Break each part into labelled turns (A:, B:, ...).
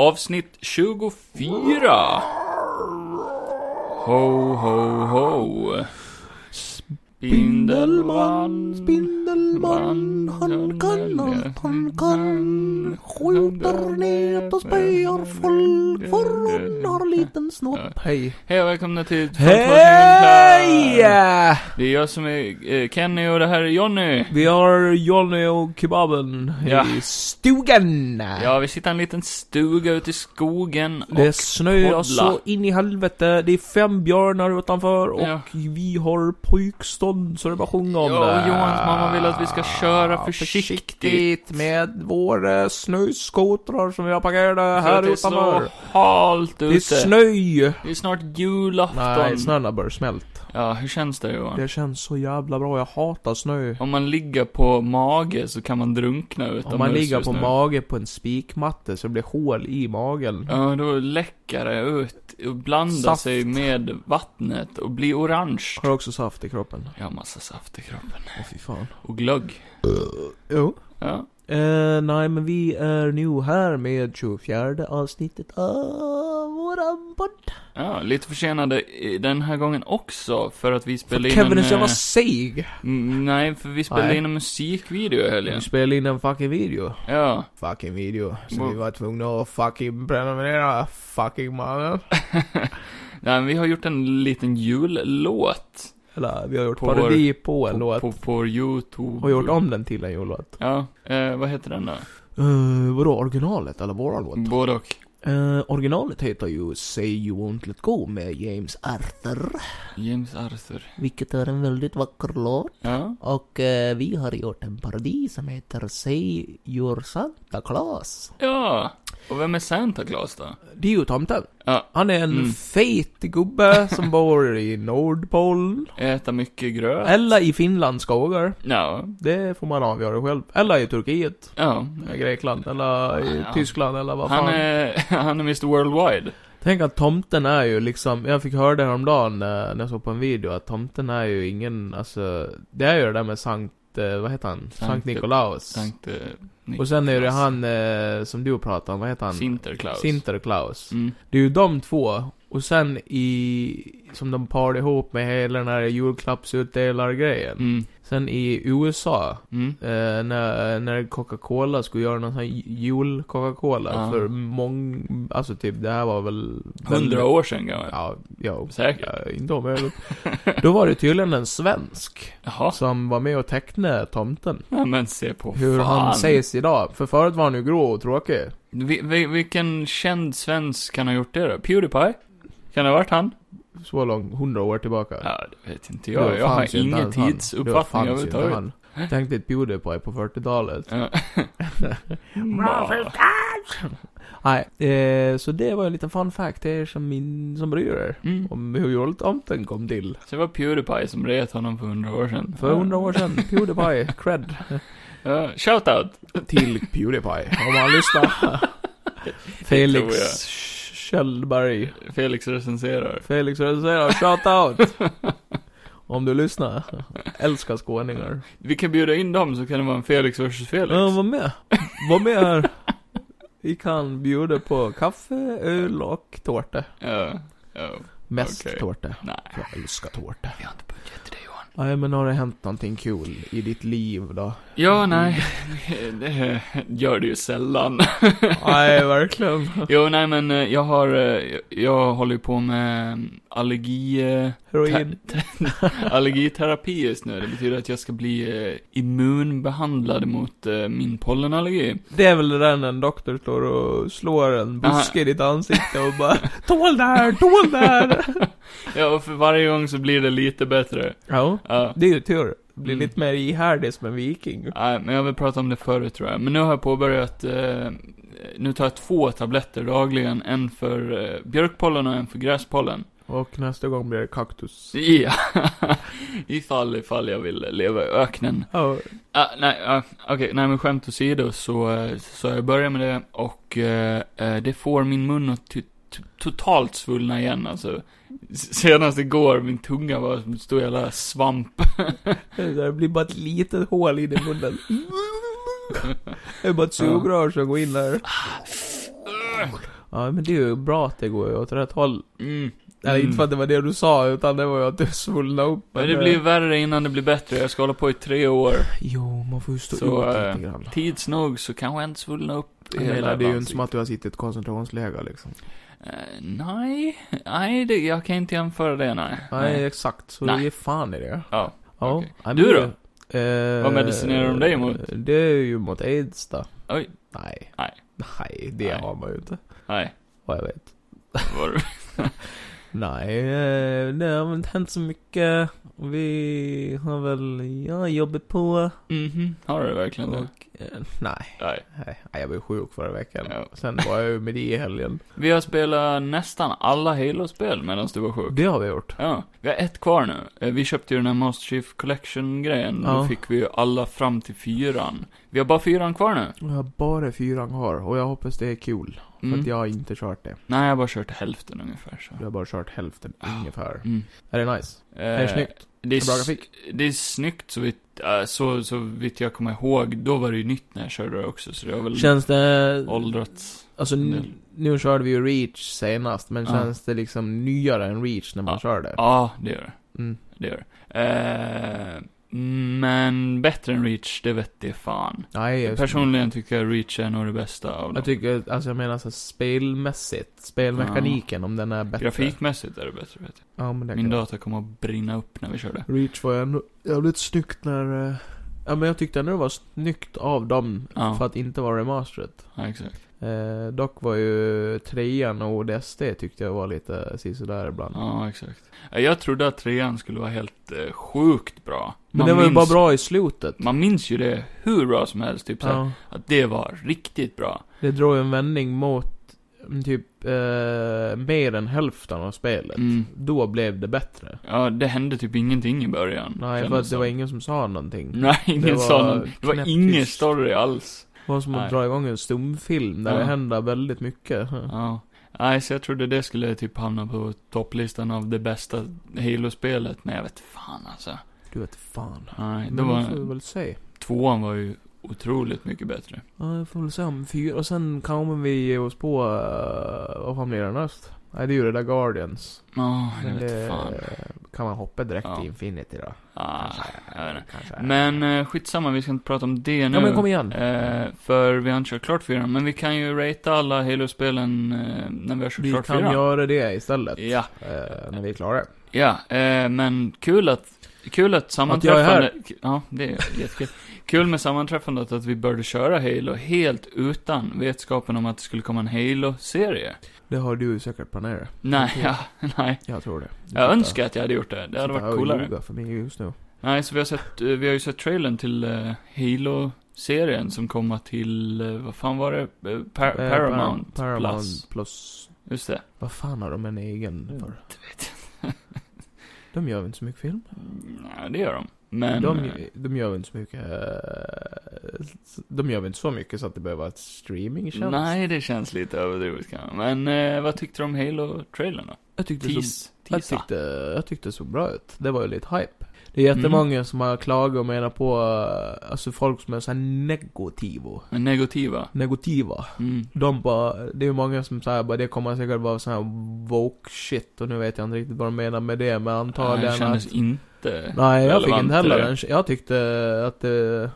A: Avsnitt 24. Ho, ho, ho. Spindelman,
B: Spindelman, han kan allt han kan. Skjuter nät och spöar folk, för hon har liten snopp. Hej.
A: Hej och välkomna till
B: Hej!
A: Det är jag som är eh, Kenny och det här är Jonny.
B: Vi har Johnny och Kebaben
A: Ja.
B: i stugan.
A: Ja, vi sitter i en liten stuga ute i skogen och...
B: Det snöar
A: poddla.
B: så in i helvete. Det är fem björnar utanför och
A: Ja.
B: vi har pojkstånd så det bara sjunger om
A: Ja, och
B: det.
A: Johans mamma vill att vi ska köra försiktigt.
B: med våra snöskotrar som vi har parkerade
A: För att
B: här
A: det är så
B: utanför.
A: halt ute.
B: Det är snö!
A: Det är snart julafton.
B: Nej, snön har börjat smälta.
A: Ja, hur känns det Johan?
B: Det känns så jävla bra, jag hatar snö.
A: Om man ligger på mage så kan man drunkna utomhus
B: Om man ligger
A: just
B: på
A: nu.
B: mage på en spikmatte så det blir hål i magen.
A: Ja, då läcker det ut och blandar
B: Saft.
A: sig med vattnet och blir orange.
B: Har du också saft i kroppen?
A: Jag har massa saft i kroppen.
B: Åh fy fan.
A: Och glögg.
B: Jo.
A: Ja.
B: Eh, nej men vi är nu här med 24 avsnittet av våran podd.
A: ja, lite försenade i- den här gången också för att vi spelade in
B: Kevin
A: en...
B: är så jävla
A: eh,
B: seg.
A: mm, nej, för vi spelade
B: Nej.
A: in en musikvideo i helgen.
B: Vi spelade in en fucking video.
A: Ja.
B: Fucking video. Så
A: Vad-
B: vi var tvungna att fucking prenumerera. Fucking mannen.
A: Nej, men vi har gjort en liten jullåt.
B: Eller vi har gjort
A: På
B: parodi på en
A: på,
B: låt.
A: På, på Youtube.
B: Har gjort om den till en jullåt.
A: Ja. Eh, vad heter den då?
B: Uh, vadå originalet eller våran låt?
A: Mm, Både och.
B: Eh, originalet heter ju Say You Won't Let Go med James Arthur.
A: James Arthur.
B: Vilket är en väldigt vacker låt.
A: Ja.
B: Och eh, vi har gjort en parodi som heter Say Your Santa Claus.
A: Ja. Och vem är Santa Claus då?
B: Det är ju tomten.
A: Ja.
B: Han är en
A: Mm.
B: fet gubbe som bor i Nordpolen.
A: Äta mycket gröt?
B: Eller i Finlands skogar.
A: Ja.
B: Det får man avgöra själv. Eller i Turkiet.
A: Ja.
B: Eller Grekland. Eller i
A: Ja.
B: Tyskland. Eller vad fan.
A: Han är, han är Mr Worldwide.
B: Tänk att tomten är ju liksom, jag fick höra det häromdagen eh, när jag såg på en video, att tomten är ju ingen, alltså, det är ju det där med Sankt, eh, vad heter han? Sankt,
A: Sankt-
B: Nikolaus.
A: Sankt eh, Nick-
B: Och sen är
A: Alltså.
B: det han eh, som du pratar om, vad heter han?
A: Sinterklaus.
B: Sinterklaus.
A: Mm.
B: Det är ju de två, och sen i, som de par ihop med hela den här julklappsutdelar-grejen.
A: Mm.
B: Sen i USA,
A: Mm.
B: Eh, när, när Coca-Cola skulle göra någon sån här jul-Coca-Cola
A: Ja.
B: för mång... Alltså typ, det här var väl...
A: Hundra år sedan gammal.
B: Ja, ja.
A: Säkert.
B: ja inte omöjligt. Då var det tydligen en svensk
A: Jaha.
B: som var med och tecknade tomten.
A: Ja, men se på
B: Hur
A: fan.
B: han sägs idag. För förut var han ju grå och tråkig.
A: Vi, vi, vilken känd svensk kan ha gjort det då? Pewdiepie? Kan det ha varit han?
B: Så långt, hundra år tillbaka.
A: Ja, det vet inte
B: Då
A: jag. Jag
B: fanns
A: har
B: ju inte
A: ingen
B: ens han. Då
A: tidsuppfattning
B: fanns ju inte
A: överhuvudtaget.
B: han. Tänk dig ett Pewdiepie på 40-talet.
A: Ja.
B: Nej, eh, så det var en liten fun fact till er som, min, som bryr er.
A: Mm.
B: Om hur jultomten kom till.
A: Så det var Pewdiepie som ret honom för hundra år sedan.
B: För hundra år sedan, Pewdiepie, cred.
A: Ja, shoutout!
B: Till Pewdiepie, om han lyssnar. Felix
A: tror jag.
B: Kjellberg.
A: Felix recenserar.
B: Felix recenserar, shout out! Om du lyssnar. Älskar skåningar.
A: Vi kan bjuda in dem så kan det vara en Felix vs Felix.
B: Ja, var med. Var med här. Vi kan bjuda på kaffe, öl och tårta.
A: Ja, ja.
B: Mest
A: Okej.
B: tårta.
A: Nej.
B: Jag älskar tårta.
A: Vi har inte budget till det Johan.
B: Nej, men har det hänt någonting kul i ditt liv då?
A: Ja, nej. Det gör det ju sällan.
B: Nej, verkligen.
A: Jo, nej men eh, jag har, eh, jag håller ju på med mm, allergi, eh,
B: Heroin.
A: allergiterapi just nu. Det betyder att jag ska bli eh, immunbehandlad mot eh, min pollenallergi.
B: Det är väl det där när en doktor står och slår en buske i ditt ansikte och bara Tål där, tål där!
A: Ja, och för varje gång så blir det lite bättre.
B: Ja,
A: Ja.
B: det är ju tur. Blir
A: Mm.
B: lite mer ihärdig som en viking.
A: Nej, men jag vill prata om det förut tror jag. Men nu har jag påbörjat, eh, nu tar jag två tabletter dagligen. En för eh, björkpollen och en för gräspollen.
B: Och nästa gång blir det kaktus.
A: Ja, ifall, ifall jag vill leva i öknen.
B: Ja,
A: Ah, nej, ah, okej, nej men skämt åsido så, eh, så jag börjar med det och eh, eh, det får min mun att ty- t- totalt svullna igen alltså. S- Senast igår, min tunga var som en stor jävla svamp.
B: det där blir bara ett litet hål i din munnen. Det är bara ett sugrör som går in där.
A: Ugh.
B: Ja, men det är ju bra att det går åt rätt håll.
A: Mm.
B: Eller
A: Mm.
B: inte för att det var det du sa, utan det var ju att du svullnade upp.
A: Men det blir värre innan det blir bättre. Jag ska hålla på i tre år.
B: Jo, man får ju stå
A: Så,
B: ut
A: eh,
B: lite grann.
A: Tids nog så kanske jag inte svullnar upp
B: Jag menar, det är ju inte som
A: ansiktet.
B: att du har suttit i ett koncentrationsläger liksom.
A: Eh, nej, nej det, jag kan inte jämföra det, nej.
B: Nej, exakt. Så
A: Nej.
B: ge fan i det.
A: Ja.
B: Ja.
A: Okej.
B: nej,
A: Du
B: men
A: då?
B: det- eh,
A: Vad medicinerar de dig mot?
B: Det är ju mot aids då.
A: Oj.
B: Nej.
A: Nej.
B: Nej, det
A: Nej.
B: har man ju inte.
A: Nej,
B: Vad jag vet.
A: var det.
B: Nej, eh, det har väl inte hänt så mycket. Vi har väl, jag jobbar på.
A: Mhm, har du verkligen det?
B: Och, eh, nej,
A: Nej.
B: nej, nej, jag blev sjuk förra veckan.
A: Ja.
B: Sen var jag ju med det i helgen.
A: Vi har spelat nästan alla Halo-spel medan du var sjuk.
B: Det har vi gjort.
A: Ja, vi har ett kvar nu. Eh, Vi köpte ju den här Master Chief Collection-grejen. Då
B: Ja.
A: fick vi ju alla fram till fyran. Vi har bara fyran kvar nu.
B: Jag har bara fyran kvar och jag hoppas det är kul. För
A: Mm.
B: att jag har inte kört det.
A: Nej, jag har bara kört hälften ungefär så.
B: Jag har bara kört hälften ungefär.
A: Mm.
B: Är det nice?
A: Eh,
B: Är det snyggt?
A: Det är,
B: Bra
A: s-
B: grafik?
A: det är snyggt så vitt, eh, så, så vitt jag kommer ihåg. Då var det ju nytt när jag körde det också, så det har väl
B: Känns det...
A: åldrats.
B: Alltså
A: en
B: nu,
A: del.
B: nu körde vi ju Reach senast, men
A: Ja.
B: känns det liksom nyare än Reach när man
A: Ja.
B: kör det?
A: Ja, det gör det.
B: Mm.
A: Det gör det. Eh, men bättre än Reach, det vet det fan.
B: Nej, just,
A: Personligen tycker jag Reach är nog det bästa av dem.
B: jag tycker, alltså jag menar så spelmässigt, spelmekaniken om den är bättre.
A: Grafikmässigt är det bättre, vet jag.
B: Ja, men det
A: Ah. Min
B: kan.
A: data kommer att brinna upp när vi kör det.
B: Reach var ju ändå jävligt snyggt när... eh, Ja men jag tyckte ändå det var snyggt av dem,
A: Ja.
B: för att inte vara remasterat.
A: Ja, exakt.
B: Eh, dock var ju trean och ODST tyckte jag var lite sisådär ibland.
A: Ja, exakt. Eh, Jag trodde att trean skulle vara helt eh, sjukt bra.
B: Men
A: Man
B: det var ju
A: minns-
B: bara bra i slutet.
A: Man minns ju det hur bra som helst, typ såhär,
B: Ja.
A: att det var riktigt bra.
B: Det drog ju en vändning mot mm, typ eh, mer än hälften av spelet.
A: Mm.
B: Då blev det bättre.
A: Ja, det hände typ ingenting i början.
B: Nej, för
A: kändes
B: att det
A: som.
B: var ingen som sa någonting.
A: Nej,
B: det
A: ingen
B: var
A: sa någon. Det var
B: knäpptyst.
A: ingen story alls.
B: Det var som att
A: Nej.
B: dra igång en stumfilm där
A: Ja.
B: det händer väldigt mycket.
A: Ja. Nej, så jag trodde det skulle typ hamna på topplistan av det bästa Halo-spelet, men jag vet fan alltså.
B: Du vet fan.
A: Nej, det
B: Men
A: var...
B: det får vi väl se.
A: Tvåan var ju otroligt mycket bättre.
B: Ja, vi får väl se om fyra. Och sen kommer vi ge oss på, eh, vad fan blir det näst? Nej, det är ju det där Guardians.
A: Ja, jag
B: Men
A: vet fan.
B: kan man hoppa direkt
A: Ja.
B: till Infinity då?
A: Ah, jag vet inte.
B: Kanske.
A: Men eh, skitsamma, vi ska inte prata om det nu.
B: Ja men kom igen.
A: Eh, för vi har inte kört klart fyran, men vi kan ju ratea alla Halo-spelen eh, när vi har kört
B: vi
A: klart
B: kan
A: fyran.
B: göra det istället.
A: Ja,
B: Eh, när vi är klara.
A: ja, eh, men kul att, kul att sammanträffande... Ja, det är jättekul. kul med sammanträffandet att vi började köra Halo helt utan vetskapen om att det skulle komma en Halo-serie.
B: Det har du säkert planerat.
A: Nej,
B: Okej.
A: ja, nej.
B: Jag tror det. Du
A: Jag
B: sitter-
A: önskar att jag hade gjort det. Det hade
B: sitter här
A: varit
B: och
A: coolare.
B: ljuger för mig just nu.
A: Nej, så vi har, sett, eh, vi har ju sett trailern till eh, Halo-serien som kommer till, eh, vad fan var det? Eh, Par-
B: Eh,
A: Paramount,
B: Par- Paramount
A: Plus.
B: plus.
A: Just det.
B: Vad fan har de en egen för? De gör väl inte så mycket film?
A: Nej, det gör de. Men... eh,
B: De, de gör väl inte så mycket... eh, s- De gör väl inte så mycket så att det behöver vara ett streamingtjänst?
A: nej, det känns lite överdrivet kanske. Men eh, vad tyckte du om Halo-trailern då?
B: Jag tyckte, så,
A: Tease,
B: jag,
A: teasa. Mm.
B: tyckte, jag tyckte det såg bra ut. Det var ju lite hype. Det är jättemånga som har klagat och menar på, eh, alltså folk som är så här negativo.
A: Men negativa.
B: Negativa.
A: Mm.
B: De bara, det är ju många som säger bara det kommer säkert vara sån här woke shit och nu vet jag inte riktigt vad de menar med det men
A: Nej, det
B: antagligen
A: kändes
B: att...
A: inte...
B: Nej, jag fick
A: relevant
B: inte heller
A: till det.
B: den. Jag tyckte att det, att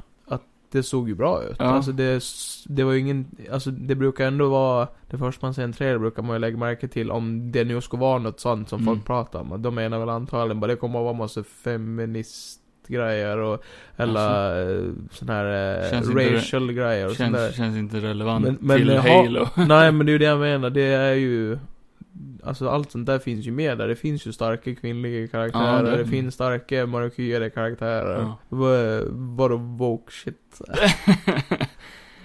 B: det såg ju bra ut.
A: Ja.
B: Alltså det, s- det var ju ingen, alltså det brukar ändå vara, det första man ser en trailer brukar man ju lägga märke till om det nu ska vara något sånt som
A: Mm.
B: folk pratar om. Och De menar väl antagligen bara det kommer att vara massa feministgrejer och, eller alltså, sån här eh,
A: Känns inte det-
B: racial grejer och sånt där.
A: Känns, känns inte relevant
B: Men- men
A: till
B: ha-
A: Halo.
B: Nej men det är ju det jag menar, det är ju Alltså allt sånt där finns ju med där, det finns ju starka kvinnliga karaktärer,
A: Ja, det-
B: det... finns starka mörkhyade karaktärer.
A: Ja.
B: Vad- Vadå woke shit?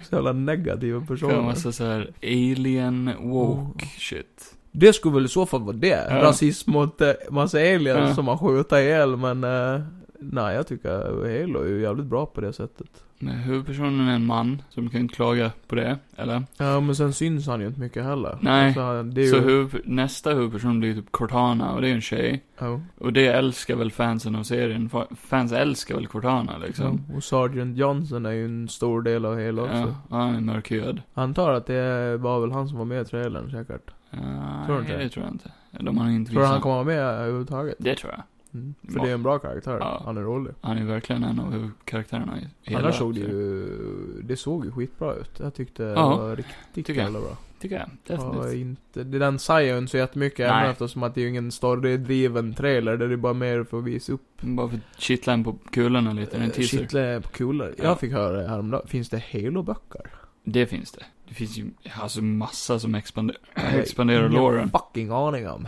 B: Så jävla negativa
A: Det var en
B: personer.
A: massa såhär alien woke
B: Oh.
A: shit.
B: Det skulle väl i så fall vara det?
A: Ja.
B: Rasism mot eh, massa aliens
A: Ja.
B: som man skjuter ihjäl men eh, Nej jag tycker Halo är ju jävligt bra på det sättet.
A: Men Huvudpersonen är en man, så de kan inte klaga på det, eller?
B: Ja, men sen syns han ju inte mycket heller.
A: Nej,
B: Så det är
A: Så
B: ju...
A: huvud, nästa huvudperson blir typ Cortana, och det är ju en tjej.
B: Ja.
A: Och det älskar väl fansen av serien. Fa- Fans älskar väl Cortana liksom.
B: Ja, Och Sergeant Johnson är ju en stor del av hela också.
A: Ja, han är mörkhyad.
B: Antar att det var väl han som var med i trailern säkert.
A: Uh,
B: Tror du
A: nej,
B: inte?
A: det tror jag inte. De har inte
B: Tror du han
A: visat.
B: kommer vara med överhuvudtaget?
A: Det tror jag.
B: Mm. För
A: Ja.
B: det är en bra karaktär.
A: Ja.
B: Han är rolig.
A: Han är verkligen en av huvudkaraktärerna i hela
B: Annars såg det
A: serien.
B: ju... Det såg ju skitbra ut. Jag tyckte det
A: Ja.
B: var riktigt
A: Tycker jag.
B: jävla bra.
A: Tycker jag.
B: Ja,
A: Definitivt.
B: inte, det- den säger ju inte så jättemycket även
A: Nej.
B: eftersom att det är ju ingen storydriven trailer. Där det är bara mer för att visa upp
A: Bara för att kittla en på kulorna lite. Det är en
B: eh,
A: teaser.
B: kittla på kulor.
A: Ja.
B: Jag fick höra det häromdagen. Finns det Halo-böcker?
A: Det finns det. Det finns ju alltså massa som expander-
B: Nej,
A: expanderar
B: ingen
A: loren.
B: fucking aning om.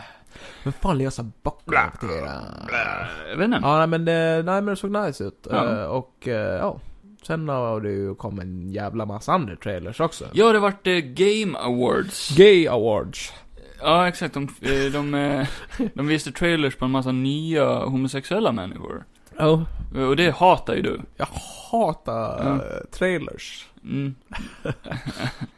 B: Men fan läsa böcker till era?
A: Jag vet inte.
B: Ja, nej men det, nej, men det såg nice ut.
A: Ja.
B: Eh, och eh, ja, sen har det ju kommit en jävla massa andra trailers också.
A: Ja, det vart eh, Game Awards.
B: Gay Awards.
A: Ja, exakt. De, eh, de, eh, de visade trailers på en massa nya homosexuella människor.
B: Ja.
A: Och det hatar ju du.
B: Jag hatar
A: Ja.
B: eh, trailers.
A: Mm.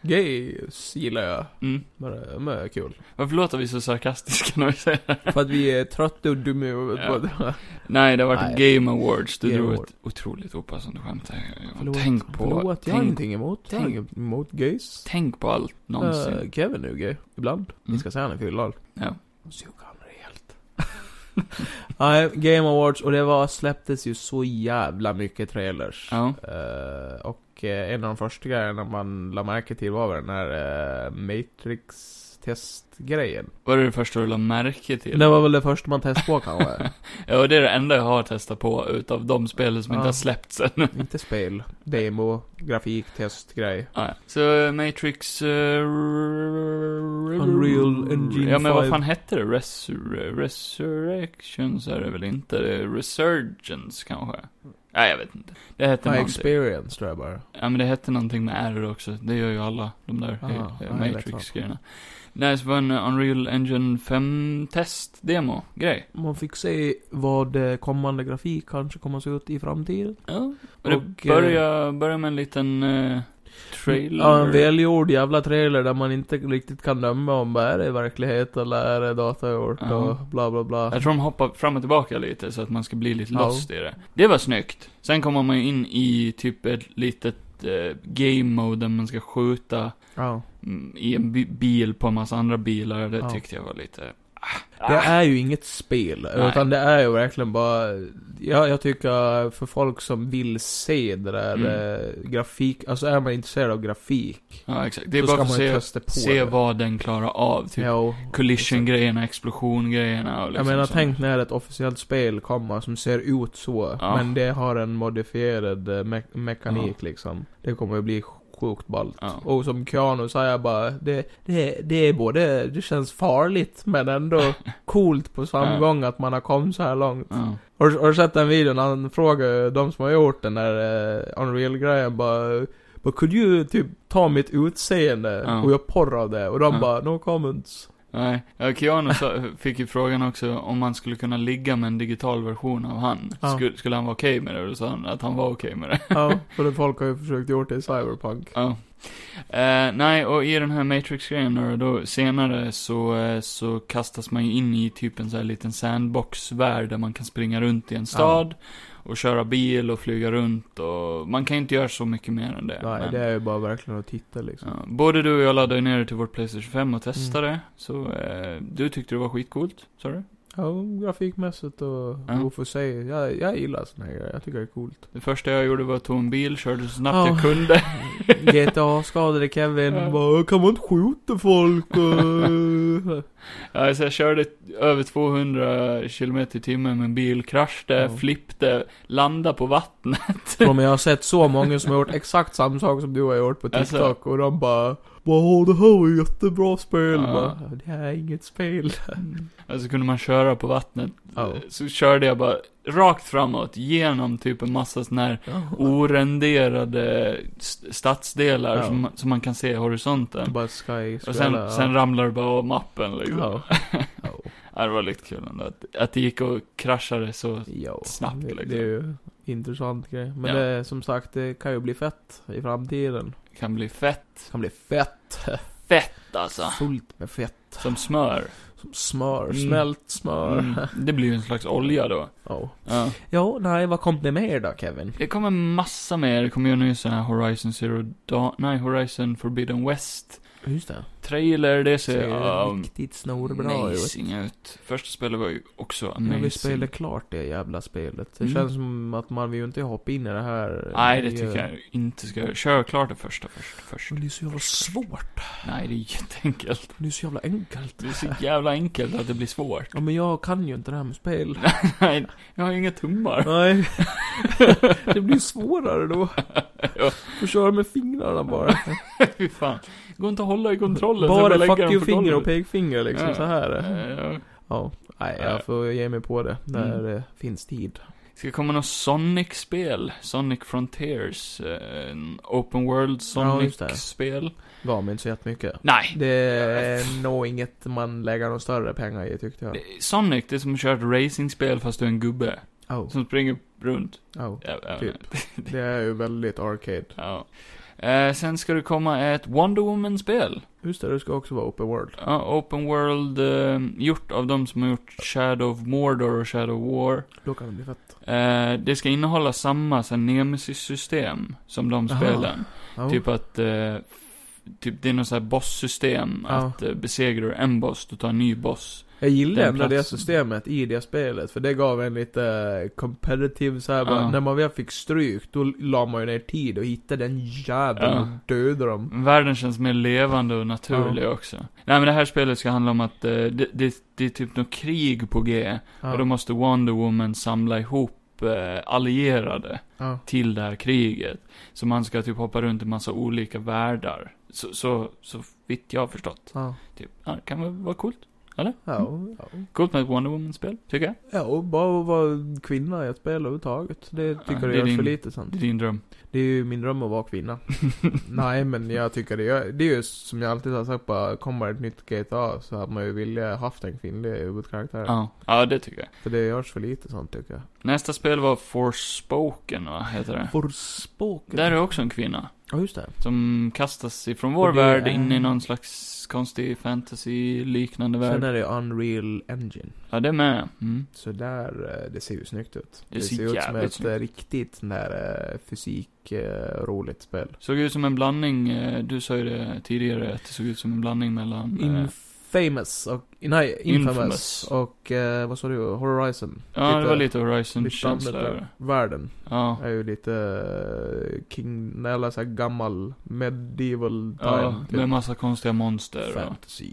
B: Gays gillar jag.
A: Mm.
B: Men det- men det är kul.
A: Varför låter vi så sarkastiska när vi säger det?
B: För att vi är trötta och dumma i huvudet
A: Ja.
B: både.
A: Nej, det har varit
B: Nej.
A: Game Awards. Du
B: Game
A: drog
B: Award.
A: ett otroligt opassande skämt här.
B: Förlåt,
A: Tänk på...
B: Förlåt, jag har
A: tänk,
B: ingenting emot. Jag har
A: tänk-
B: inget emot gays.
A: tänk på allt någonsin.
B: Eh, Kevin är ju gay. Ibland. Vi
A: Mm.
B: ska säga han är fyllad.
A: Ja.
B: Suga han rejält. Nej, Game Awards och det var, släpptes ju så jävla mycket trailers.
A: Ja.
B: Eh, och eh, en av de första grejerna man la märke till var väl den här eh, Matrix-testgrejen.
A: Var det det första du la märke till?
B: Det var väl det första man testade på kanske?
A: Ja, och det är det enda jag har testat på utav de spel som
B: Ja.
A: inte har släppts än.
B: Inte spel, demo, grafik, testgrej.
A: Ja, ja. Så eh, Matrix... eh,
B: Unreal Engine
A: Ja, men vad
B: 5.
A: fan hette det? Resur Resurrections är det väl inte? Det är Resurgence kanske? Nej, jag vet inte. Det hette
B: My
A: någonting.
B: experience tror jag bara.
A: Ja, men det hette någonting med R också. Det gör ju alla de där
B: Ah,
A: eh,
B: nej,
A: eh,
B: jag vet
A: Matrix-grejerna. Nej, så var en eh, Unreal Engine 5-test-demo-grej.
B: Man fick se vad eh, kommande grafik kanske kommer att se ut i framtiden.
A: Ja. Och det
B: Och, eh,
A: börjar, börjar med en liten eh, trailer.
B: Ja, en välgjord jävla trailer där man inte riktigt kan döma om vad är det verklighet eller är det datagjort
A: Ja.
B: och bla bla bla.
A: Jag tror de hoppar fram och tillbaka lite så att man ska bli lite
B: Ja.
A: lost i det. Det var snyggt. Sen kommer man in i typ ett litet eh, game mode där man ska skjuta
B: Ja.
A: mm, i en bi- bil på en massa andra bilar. Det
B: Ja.
A: tyckte jag var lite...
B: Det är ju inget spel,
A: Ah. Nej.
B: utan det är ju verkligen bara... Jag, jag tycker för folk som vill se det där
A: Mm.
B: eh, grafik, alltså är man intresserad av grafik,
A: Ja, exakt. Det är
B: så
A: bara
B: ska
A: för
B: man ju
A: att se,
B: testa på
A: se
B: det.
A: vad den klarar av. Typ
B: Jo.
A: collision-grejerna, explosion-grejerna och liksom
B: jag menar,
A: sånt.
B: tänk när ett officiellt spel kommer som ser ut så,
A: Ja.
B: men det har en modifierad eh, me- mekanik liksom. Det kommer ju bli sjukt ballt.
A: Ja.
B: Och som Keanu säger bara, det, det, det är både, det känns farligt men ändå coolt på samma
A: Ja.
B: gång att man har kommit så här långt.
A: Ja.
B: Har, du- har du sett den videon? Han frågar de som har gjort den där eh, Unreal-grejen bara But could you typ ta mitt utseende
A: Ja.
B: och jag porr av det? Och de
A: Ja.
B: bara no comments.
A: Nej, ja, Keanu sa, fick ju frågan också om man skulle kunna ligga med en digital version av han.
B: Ja.
A: Skulle, skulle han vara okej med det? Och då sa han att han var okej med det.
B: ja, för det folk har ju försökt gjort det i Cyberpunk.
A: Ja. Eh, nej, och i den här Matrix-grejen då, då senare så, eh, så kastas man ju in i typ en så här liten sandbox-värld där man kan springa runt i en stad och köra bil och flyga runt och man kan ju inte göra så mycket mer än det.
B: Nej,
A: men-
B: det är ju bara verkligen att titta liksom.
A: Ja, både du och jag laddade ner det till vårt Playstation 5 och testade
B: Mm.
A: det. Så eh, du tyckte det var skitcoolt, sa du?
B: Ja, grafikmässigt och
A: Ja.
B: ja. för sig. Jag, jag gillar såna här grejer. Jag tycker det är coolt.
A: Det första jag gjorde var att ta en bil, körde så snabbt
B: Ja.
A: jag kunde.
B: GTA-skadade Kevin
A: Ja.
B: bara, kan man inte skjuta folk? Och...
A: Ja, så jag körde över 200 km i timmen med en bil, kraschade,
B: Ja.
A: flippte, landade på vattnet.
B: Ja, men jag har sett så många som har gjort exakt samma sak som du har gjort på TikTok
A: Alltså.
B: och de bara Wow, det här var ju jättebra spel.
A: Ja.
B: Bara, det här är inget spel.
A: Alltså kunde man köra på vattnet. Eh,
B: Ja.
A: Så körde jag bara rakt framåt, genom typ en massa sådana här orenderade st- stadsdelar
B: Ja.
A: som, som man kan se i horisonten.
B: Bara sky,
A: Och sen, sen ramlar det bara av mappen liksom.
B: ja. Ja.
A: Ja, det var lite kul ändå att, att det gick och kraschade så.
B: Ja.
A: Snabbt,
B: det,
A: liksom.
B: det är ju intressant grej. Men
A: Ja.
B: det, som sagt, det kan ju bli fett i framtiden.
A: Kan bli fett.
B: Det kan bli fett.
A: Fett alltså.
B: Fullt med fett.
A: Som smör.
B: Som smör.
A: Mm.
B: Smält smör.
A: Mm. Det blir ju en slags olja då.
B: Oh.
A: Ja.
B: Ja, nej, vad kom det mer då Kevin?
A: Det kommer massa mer. Det kommer ju en ny sån här Horizon Zero Dawn. Nej, Horizon Forbidden West.
B: Just det.
A: Trailer, det ser
B: Ser
A: um,
B: riktigt snorbra ut.
A: amazing ut. Första spelet var ju också
B: Jag
A: amazing.
B: vill spela klart det jävla spelet. Det
A: Mm.
B: känns som att man vill ju inte hoppa in i det här.
A: Nej, det
B: nya-
A: tycker jag inte ska jag. Kör klart det första först. först.
B: Men det är så jävla svårt.
A: Nej, det är jätteenkelt.
B: Det är så jävla enkelt.
A: Det är så jävla enkelt att det blir svårt.
B: Ja, men jag kan ju inte det här med spel.
A: Nej, jag har inga tummar.
B: Nej. det blir svårare då.
A: Ja.
B: Får köra med fingrarna bara.
A: Fy fan. Det går inte att hålla i kontrollen. så jag
B: bara
A: lägger
B: fuck
A: den
B: you
A: på
B: finger
A: golvet.
B: och pekfinger liksom
A: Ja.
B: så här.
A: Eh, ja.
B: Ja. Nej,
A: Ja.
B: jag får ge mig på det när
A: Mm.
B: det finns tid.
A: Ska det komma något Sonic-spel? Sonic Frontiers? eh, en Open World
B: Ja, just det.
A: Sonic-spel?
B: Gav mig inte så jättemycket.
A: Nej.
B: Det är nog inget man lägger några större pengar i tyckte jag.
A: Det- Eh, Sonic, det är som att köra ett racingspel fast du är en gubbe.
B: Oh,
A: Som springer runt.
B: oh.
A: Ja, ja,
B: Typ. Det är ju väldigt arcade.
A: Ja. Eh, sen ska det komma ett Wonder Woman-spel.
B: Just det, det ska också vara open world.
A: Ja, open World, eh, gjort av de som har gjort Shadow of Mordor och Shadow of War.
B: Då kan det bli fett.
A: Eh, det ska innehålla samma så här, Nemesis-system som de
B: Aha.
A: spelen.
B: Ja.
A: Typ att, eh, f- typ det är något så här boss-system.
B: Ja.
A: Att eh, besegrar du en boss, du tar en ny boss.
B: jag gillar
A: den
B: ändå det
A: platsen.
B: systemet i det spelet, för det gav en lite eh, competitive så här, bara,
A: Ja.
B: När man väl fick stryk, då la man ju ner tid och hittade den jäveln
A: Ja.
B: och dödade dem.
A: Världen känns mer levande och naturlig också. Nej men det här spelet ska handla om att eh, det, det, det är typ något krig på G.
B: Ja.
A: Och då måste Wonder Woman samla ihop eh, allierade
B: ja.
A: till det här kriget. Så man ska typ hoppa runt i massa olika världar. Så, så, så vitt jag har förstått.
B: Ja.
A: Typ, ja, det kan väl vara coolt.
B: Ja. Ja.
A: Coolt med ett Wonder Woman-spel, tycker jag.
B: ja, och bara att vara kvinna i ett spel överhuvudtaget. Det tycker
A: det är
B: jag görs
A: din-
B: för lite sen.
A: Det är din dröm.
B: Det är ju min dröm att vara kvinna. Nej men jag tycker det, jag, det är ju som jag alltid har sagt bara, kommer ett nytt GTA så hade man ju velat haft en kvinnlig huvudkaraktär.
A: Ja. ja, det tycker jag.
B: För det görs för lite sånt tycker jag.
A: Nästa spel var Forspoken, va? Heter det.
B: Forspoken.
A: Där är också en kvinna.
B: Ja just det.
A: Som kastas ifrån vår
B: Och det
A: värld
B: är-
A: in i någon slags konstig fantasy-liknande
B: Sen
A: värld.
B: är det Unreal Engine.
A: Ja, det med. Mm.
B: Så där, eh, det ser ju snyggt ut.
A: Det ser
B: ut som
A: jävligt
B: ett
A: snyggt
B: eh, riktigt sån där eh, fysik, eh, roligt spel.
A: Såg ut som en blandning, eh, du sa ju det tidigare, att det såg ut som en blandning mellan... eh,
B: Infamous och, nej, Infamous,
A: Infamous.
B: och eh, vad sa du, Horizon?
A: ja, det
B: lite-
A: var lite
B: Lite
A: Horizon-känsla över det.
B: annorlunda. Världen.
A: Ja.
B: är ju lite eh, King, eller så här gammal medieval
A: Ja,
B: time.
A: med
B: typ.
A: massa konstiga monster och
B: Fantasy.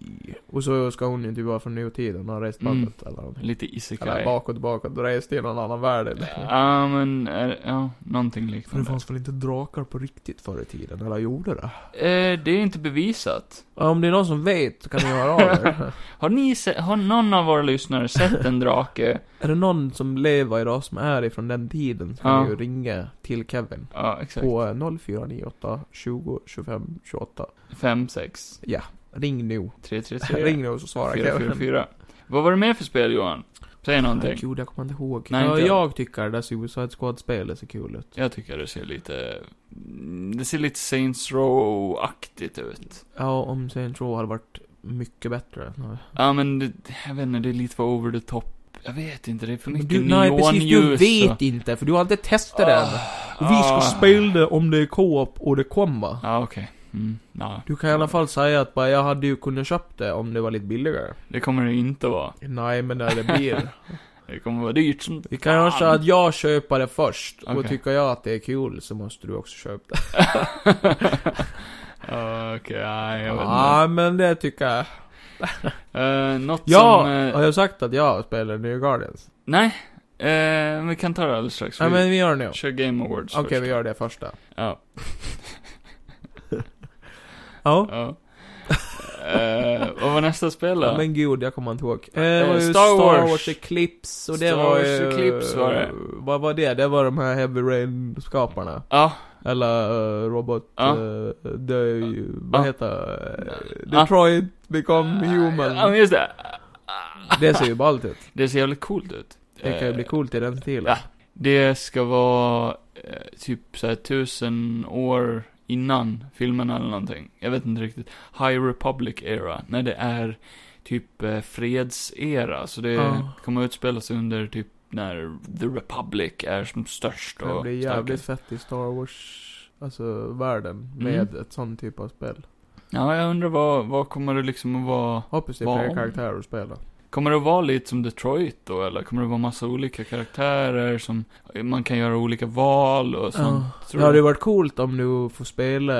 B: Och så ska hon ju typ vara från nutiden och har rest
A: Mm.
B: bakåt eller någonting.
A: lite
B: Eller
A: isekai.
B: bakåt, bakåt, rest i någon annan värld eller?
A: Ja, men, är- ja, någonting
B: För det
A: liknande.
B: fanns väl inte drakar på riktigt förr i tiden? Eller gjorde det?
A: Eh, det är inte bevisat.
B: Ja, om det är någon som vet så kan ni höra av er.
A: Har ni se- har någon av våra lyssnare sett en drake?
B: är det någon som lever idag som är ifrån den tiden så kan
A: Ja.
B: ni ju ringa till Kevin.
A: Ja, exakt.
B: På eh, 0498 20 25 28.
A: 5, 6,
B: Ja, ring nu.
A: 3, 3, 3.
B: Ring nu så svarar
A: fyra fyra
B: Kevin.
A: fyra Vad var det mer för spel Johan? Säg någonting.
B: Herregud, jag kommer inte ihåg.
A: Nej,
B: ja,
A: inte jag.
B: jag tycker det alltså, där Suicide Squad-spelet ser kul ut.
A: Jag tycker det ser lite... mm, Det ser lite Saints Row-aktigt ut.
B: Ja, om Saints Row hade varit mycket bättre. Nej.
A: Ja men det, jag vet inte, det är lite för over the top. Jag vet inte, det är för mycket
B: Du, nej, precis. Du
A: neonljus
B: vet
A: och-
B: inte, för du har inte testat den.
A: Ah,
B: Och vi ska
A: ah.
B: spela det om det är co-op och det kommer.
A: Ja, okej. Mm, ja.
B: Du kan i alla fall säga att bara, jag hade ju kunnat köpt det om det var lite billigare.
A: Det kommer det inte vara.
B: Nej, men när det blir.
A: Det kommer vara dyrt som
B: Vi kan göra så att jag köper det först. Och
A: Okej.
B: tycker jag att det är kul så måste du också köpa det.
A: Ja, Okej, nej, jag vet inte.
B: Ja, men det tycker jag.
A: Eh, något
B: Ja,
A: som... eh,
B: har jag sagt att jag spelar New Guardians?
A: Nej. Eh, vi kan ta det alldeles strax.
B: Nej,
A: Vi
B: men vi gör det nu.
A: kör Game Awards
B: Okej,
A: först.
B: vi gör det första.
A: Ja.
B: Ja.
A: ja. Eh, vad var nästa spel då?
B: Men gud, jag kommer inte ihåg. Eh,
A: var
B: det var ju
A: Star
B: Star
A: Wars.
B: Wars, Eclipse och det
A: Star
B: var
A: Wars
B: ju...
A: Eclipse var det.
B: Vad var det? Det var de här Heavy Rain-skaparna.
A: Ja,
B: Eller eh, Robot...
A: Ja.
B: eh, de, vad
A: Ja.
B: heter det?
A: Ja.
B: Detroit Become Human.
A: Ja, men just det.
B: Det ser ju ballt ut.
A: Det ser jävligt coolt ut.
B: Det kan ju bli coolt i den stilen.
A: Eh, Ja. Det ska vara eh, typ såhär tusen år innan filmen eller någonting. Jag vet inte riktigt. High Republic era. När det är typ eh, fredsera. Så det
B: Ja.
A: kommer utspela sig under typ när The Republic är som störst
B: Det
A: och
B: blir jävligt
A: starkast.
B: fett i Star Wars, alltså världen,
A: Mm.
B: med ett sånt typ av spel.
A: Ja, jag undrar vad, vad kommer det liksom att vara?
B: Hoppas det är
A: Vad
B: fler
A: om?
B: karaktärer att spela.
A: Kommer det att vara lite som Detroit då, eller kommer det vara massa olika karaktärer som man kan göra olika val och sånt?
B: Det
A: tror
B: hade
A: du?
B: ju varit coolt om du får spela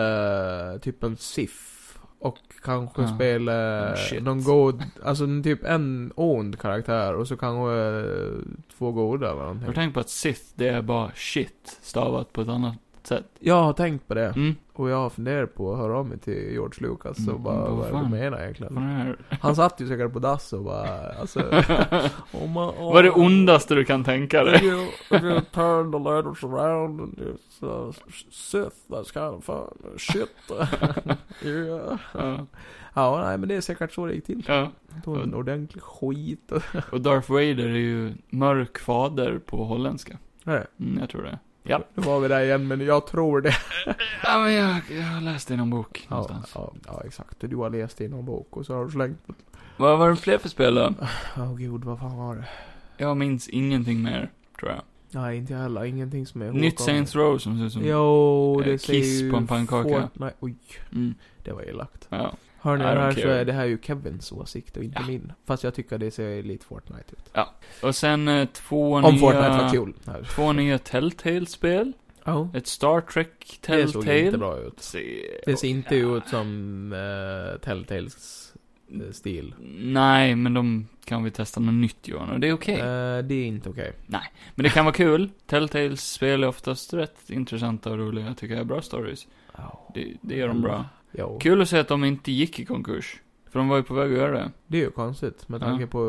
B: eh, typ en SIF. Och kanske
A: Ja.
B: spela
A: Oh, shit.
B: någon god, alltså en- typ en ond karaktär och så kanske eh, två goda eller
A: Har du
B: någonting.
A: tänkt på att Sith, det är bara shit, stavat på ett annat sätt?
B: Jag har tänkt på det.
A: Mm,
B: Och jag har funderat på att höra av mig till George Lucas och
A: Mm,
B: bara,
A: vad
B: vad är det du
A: fan?
B: menar
A: vad
B: egentligen?
A: är det här?
B: Han satt ju säkert på dass och bara, alltså... oh my, oh.
A: Vad är det ondaste du kan tänka dig?
B: If you, if you turn the letters around and it's uh, Sith, that's kind of fun. Shit. yeah.
A: Ja,
B: Ja, nej men det är säkert så det gick till.
A: ja.
B: Han Tog en ordentlig skit.
A: Och Darth Vader är ju mörk fader på holländska.
B: Nej,
A: Mm, jag tror det. Ja.
B: nu var vi där igen, men jag tror det.
A: Ja, men jag, jag har läst det i någon bok
B: Ja,
A: någonstans.
B: ja, ja exakt. Du har läst i någon bok och så har du slängt.
A: Vad var det fler för spel då?
B: Åh gud, vad fan var det?
A: Jag minns ingenting mer, tror jag.
B: Nej, inte jag heller. Ingenting som är
A: Nytt Saints Row som ser ut som...
B: Jo, det
A: eh,
B: ser
A: kiss
B: ju
A: på en pannkaka.
B: Fortnite- Oj,
A: Mm,
B: det var elakt.
A: ja.
B: Hör ni,
A: I don't
B: här så
A: care.
B: är det här ju Kevins åsikt och inte
A: Ja.
B: min. Fast jag tycker det ser lite Fortnite ut.
A: Och sen eh, två
B: Om
A: nya...
B: Fortnite var kul.
A: Två nya Telltale-spel.
B: Ja.
A: Ett Star Trek
B: Det såg ju inte
A: Telltale.
B: bra ut.
A: Se-
B: Det ser inte
A: Ja.
B: ut som uh, Telltales eh, stil.
A: Nej, men de kan vi testa något nytt Johan, och det är okej.
B: Eh, det är inte okej.
A: Men det kan vara kul. Telltales spel är oftast rätt intressanta och roliga, tycker jag. Bra stories. Det, det gör de bra.
B: Mm. Jo.
A: Kul att se att de inte gick i konkurs. För de var ju på väg att göra det.
B: Det är ju konstigt med
A: Ja.
B: tanke på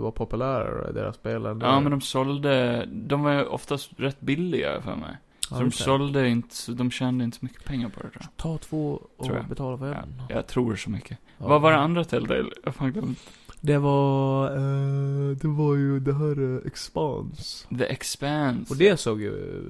B: vad populära deras spel ändå
A: Ja,
B: är.
A: men de sålde... De var ju oftast rätt billiga för mig. Så
B: Ja,
A: de
B: just det.
A: sålde inte... så De tjänade inte så mycket pengar på det, tror jag.
B: Ta två och
A: Tror jag.
B: betala för
A: Ja,
B: en.
A: jag tror så mycket.
B: Ja.
A: Vad var det andra Telltale? Jag har fan glömt.
B: Det var, eh, det var ju det här eh, Expanse.
A: The Expanse.
B: Och det såg ju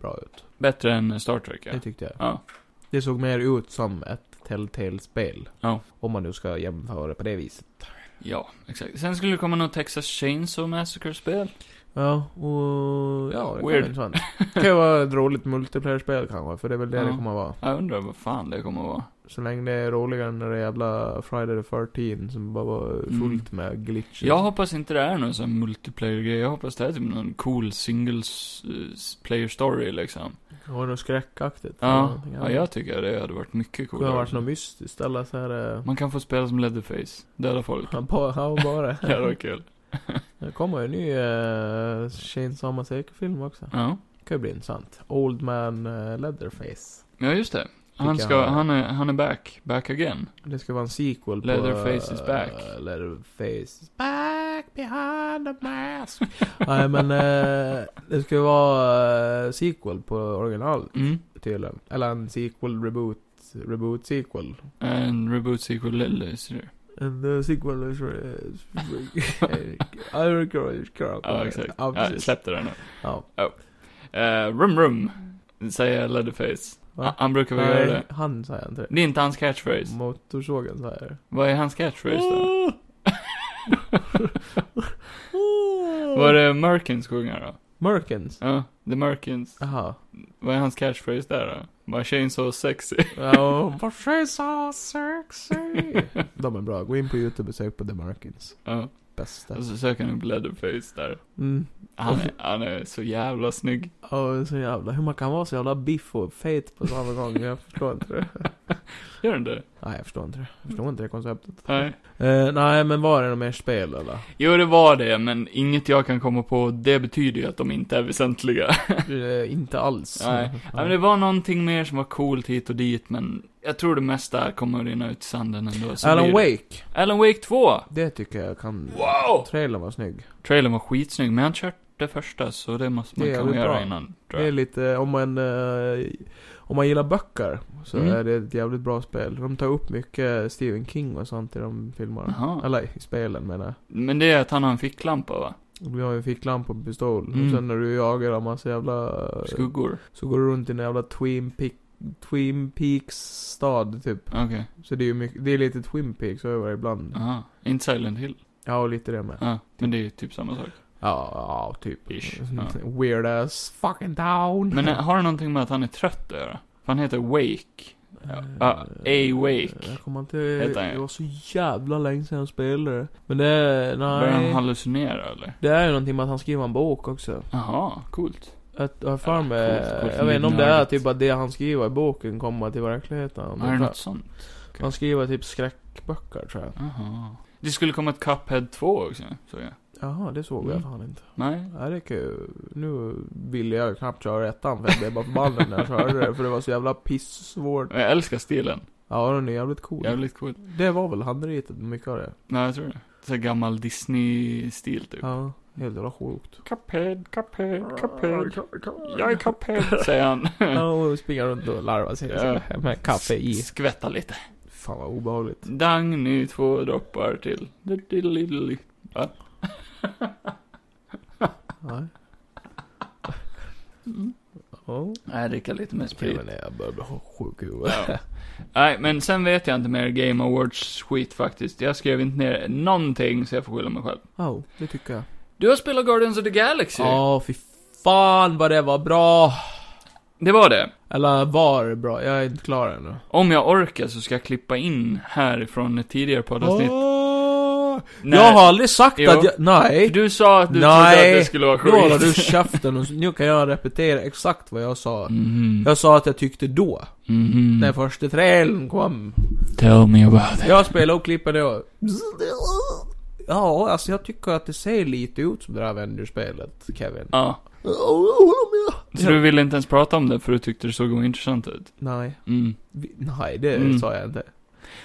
B: bra ut.
A: Bättre än Star Trek, ja.
B: Det tyckte jag.
A: Ja.
B: Det såg mer ut som ett Telltale-spel.
A: Ja.
B: Om man nu ska jämföra på det viset.
A: Ja, exakt. Sen skulle det komma något Texas Chainsaw Massacre-spel.
B: Ja, och... Ja, det
A: Weird.
B: kan vara intressant. Det kan ju vara ett roligt multiplayer-spel kanske, för det är väl det
A: Ja.
B: det kommer att vara.
A: Jag undrar vad fan det kommer att vara.
B: Så länge det är roligare än det där jävla Friday the 13 som bara var
A: Mm.
B: fullt med glitches.
A: Jag hoppas inte det är någon sån här multiplayer-grej. Jag hoppas det är typ någon cool singles eh, player story liksom.
B: Var det något skräckaktigt?
A: Ja,
B: Någonting
A: ja
B: annat?
A: jag tycker det hade varit mycket
B: Det har
A: coolare.
B: varit något mystiskt eller så här... eh,
A: Man kan få spela som Leatherface. Döda folk.
B: Han bara, han bara.
A: Ja, det var kul.
B: Det kommer ju en ny uh, Shane Samaseker-film också.
A: Ja.
B: Det kan ju bli intressant. Old Man eh, Leatherface.
A: Ja, just det. Han
B: Fick
A: ska,
B: jag-
A: han är, han är back. Back again.
B: Det ska vara en sequel på...
A: Leatherface is back.
B: eh, Leatherface is back behind the mask. Nej men eh, det ska ju vara eh, sequel på original
A: Mm.
B: tydligen. Eller en sequel reboot. Reboot sequel.
A: En reboot sequel, eller så det.
B: And the eh, sequel eh, is... I recall it correct.
A: Ja, exakt.
B: Ja,
A: Ja, jag
B: precis.
A: släppte den nu.
B: Ja.
A: Uh, rum rum, säger Leatherface.
B: Va?
A: Han- Han brukar väl göra det.
B: Nej, han säger inte det.
A: Det är inte hans catchphrase.
B: Motorsågen säger.
A: Vad är hans catchphrase då? Var det Merkins sjunger då?
B: Merkins?
A: Ja, The Merkins.
B: Jaha.
A: Vad är hans catchphrase där då? Bara tjejen så sexy.
B: Ja, Oh, Vad tjej så sexy. De är bra. Gå in på YouTube och sök på The Merkins.
A: Ja,
B: Bästa.
A: och så söker han upp Leatherface där.
B: Mm.
A: Han är, han är så jävla snygg.
B: Oh, så jävla. Hur man kan vara så jävla biff och fet på samma gång. Jag förstår inte det.
A: Gör han det?
B: Nej, jag förstår inte det. Jag förstår inte det konceptet.
A: Nej.
B: Eh, nej, men var det något mer spel eller?
A: Jo, det var det, men inget jag kan komma på. Det betyder ju att de inte är väsentliga.
B: Eh, inte alls.
A: Nej. Ja, men det var någonting mer som var coolt hit och dit, men jag tror det mesta kommer att rinna ut i sanden ändå. så
B: Alan
A: blir det-
B: Wake.
A: Alan Wake 2!
B: Det tycker jag kan...
A: Wow!
B: Trailern var snygg.
A: Trailern var skitsnygg, men jag har inte kört det första, så det måste man
B: Det är
A: kunna
B: jävligt
A: göra
B: bra.
A: innan, tror
B: Det är
A: jag.
B: lite, om man, eh, om man gillar böcker så
A: Mm.
B: är det ett jävligt bra spel. De tar upp mycket Stephen King och sånt i de filmerna.
A: Jaha.
B: Eller i spelen menar jag.
A: Men det är att han har en ficklampa, va?
B: Vi har ju en ficklampa och pistol.
A: Mm.
B: Och sen när du jagar en massa jävla...
A: Skuggor?
B: Så går du runt i en jävla Twin, Pe- Twin Peaks stad typ.
A: Okej.
B: Så det är ju mycket, det är lite Twin Peaks över ibland.
A: Aha. Inte Silent Hill?
B: Ja, och lite det med.
A: Ja. Men det är ju typ samma sak.
B: Ja, ja typ.
A: Ish, ja.
B: Weird ass fucking town.
A: Men eh, har det någonting med att han är trött att göra? För han heter Wake. Ja, ah,
B: Eh,
A: Awake.
B: Jag kommer inte...
A: Heter han ju.
B: Det var så jävla länge sedan jag spelade det. Men det är...
A: Börjar han
B: Nej.
A: hallucinera eller?
B: Det är ju någonting med att han skriver en bok också.
A: Jaha, coolt.
B: Att, jag har för mig...
A: Coolt, coolt,
B: jag vet inte om det är
A: nördigt.
B: typ att det han skriver i boken kommer till verkligheten.
A: Är det
B: Det-
A: något sånt?
B: Han skriver typ skräckböcker tror jag.
A: Jaha. Det skulle komma ett Cuphead 2 också, såg jag.
B: Jaha, det såg
A: Mm.
B: jag fan inte.
A: Nej.
B: Ja, det är kul. Nu ville jag knappt köra ettan för jag blev bara förbannad när jag körde det. För det var så jävla pissvårt.
A: Jag älskar stilen.
B: Ja, den är jävligt cool.
A: Jävligt cool.
B: Det var väl handritet mycket av det.
A: Nej, jag tror det. Så här gammal Disney-stil typ.
B: Ja, helt jävla sjukt.
A: Cuphead, Cuphead, Cuphead. Jag är Cuphead, säger han.
B: Ja, och springa runt och larva sig
A: Ja.
B: så, med kaffe i.
A: Skvätta lite.
B: Fan vad obehagligt.
A: Dagny, två droppar till. Diddly-diddly.
B: Nej. Ja.
A: Nej, dricka lite mer Mm. sprit.
B: Killen är, jag börjar bli sjuk i huvudet.
A: Ja. Nej, men sen vet jag inte mer Game Awards-skit faktiskt. Jag skrev inte ner någonting, så jag får skylla mig själv.
B: Ja, det tycker jag.
A: Du har spelat Guardians of the Galaxy.
B: Ja, fy fan vad det var bra!
A: Det var det.
B: Eller var bra, jag är inte klar ännu.
A: Om jag orkar så ska jag klippa in härifrån ett tidigare poddavsnitt.
B: Åh,
A: När-
B: jag har aldrig sagt
A: Jo.
B: att jag... Nej!
A: Du sa att du trodde
B: Nej,
A: att det skulle vara
B: Nu håller du
A: skit.
B: käften och så- nu kan jag repetera exakt vad jag sa.
A: Mhm.
B: Jag sa att jag tyckte då,
A: Mhm.
B: när första trailern kom.
A: Tell me about it.
B: Jag spelade och klippade och... Ja, alltså jag tycker att det ser lite ut som det där Avengers-spelet, Kevin.
A: Ja.
B: Ja, jag håller med.
A: Så du ville inte ens prata om det för du tyckte det såg ointressant ut?
B: Nej.
A: Mm.
B: Vi- Nej, det
A: Mm.
B: sa jag inte.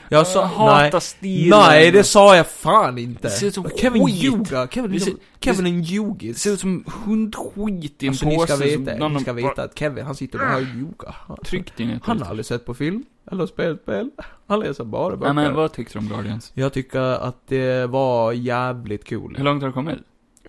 B: Jag sa... nej.
A: hatar stilen.
B: Nej, det sa jag fan inte.
A: Det ser ut som
B: Kevin
A: skit.
B: ljuga. Kevin,
A: Det ser-
B: ser, Kevin en ljugit.
A: Det ser ut som hundskit i en
B: Alltså
A: påse
B: ni ska
A: som
B: veta,
A: någon
B: ni ska
A: har
B: veta att Kevin, han sitter bara och ljuga. Han-
A: bara tryckt in i ett
B: Han har aldrig sett på film, eller spelat spel. Han läser bara
A: Nej
B: böcker.
A: men vad tyckte du om Guardians?
B: Jag tycker att det var jävligt
A: Hur
B: cool.
A: långt har du kommit?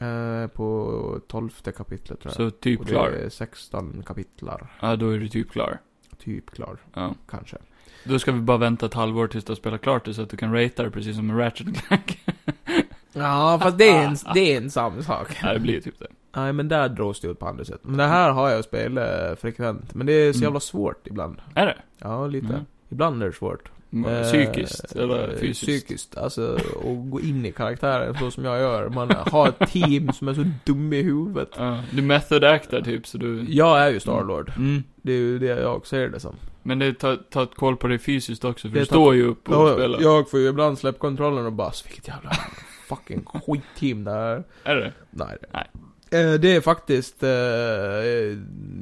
B: Eh, på tolfte kapitlet tror jag.
A: Så typ
B: och
A: klar?
B: det är 16 kapitlar.
A: Ja, då är du typ klar.
B: Typ klar,
A: Ja.
B: kanske.
A: Då ska vi bara vänta ett halvår tills du har spelat klart det så att du kan ratea det precis som en Ratchet Clank.
B: Ja, fast det är en, det är en samma sak.
A: ja, det blir ju typ det.
B: Nej, men där dras det ut på andra sätt. Men det här har jag spelat frekvent. Men det är så
A: Mm.
B: jävla svårt ibland.
A: Är det?
B: Ja, lite.
A: Mm.
B: Ibland är det svårt. Eh,
A: Psykiskt eller
B: eh,
A: fysiskt?
B: Psykiskt, alltså att gå in i karaktären så som jag gör. Man har ett team som är så dum i huvudet.
A: Ja, du method actar typ så du...
B: Jag är ju Starlord.
A: Mm.
B: Det är ju det jag ser det som.
A: Men det tar tar ett koll på dig fysiskt också för
B: Det
A: du
B: tar-
A: står ju upp och spelar.
B: Jag, jag får ju ibland släppa kontrollen och bara, "Så vilket jävla fucking skitteam det här
A: Är det?
B: Nej.
A: Nej.
B: Eh, Det är faktiskt, eh, eh,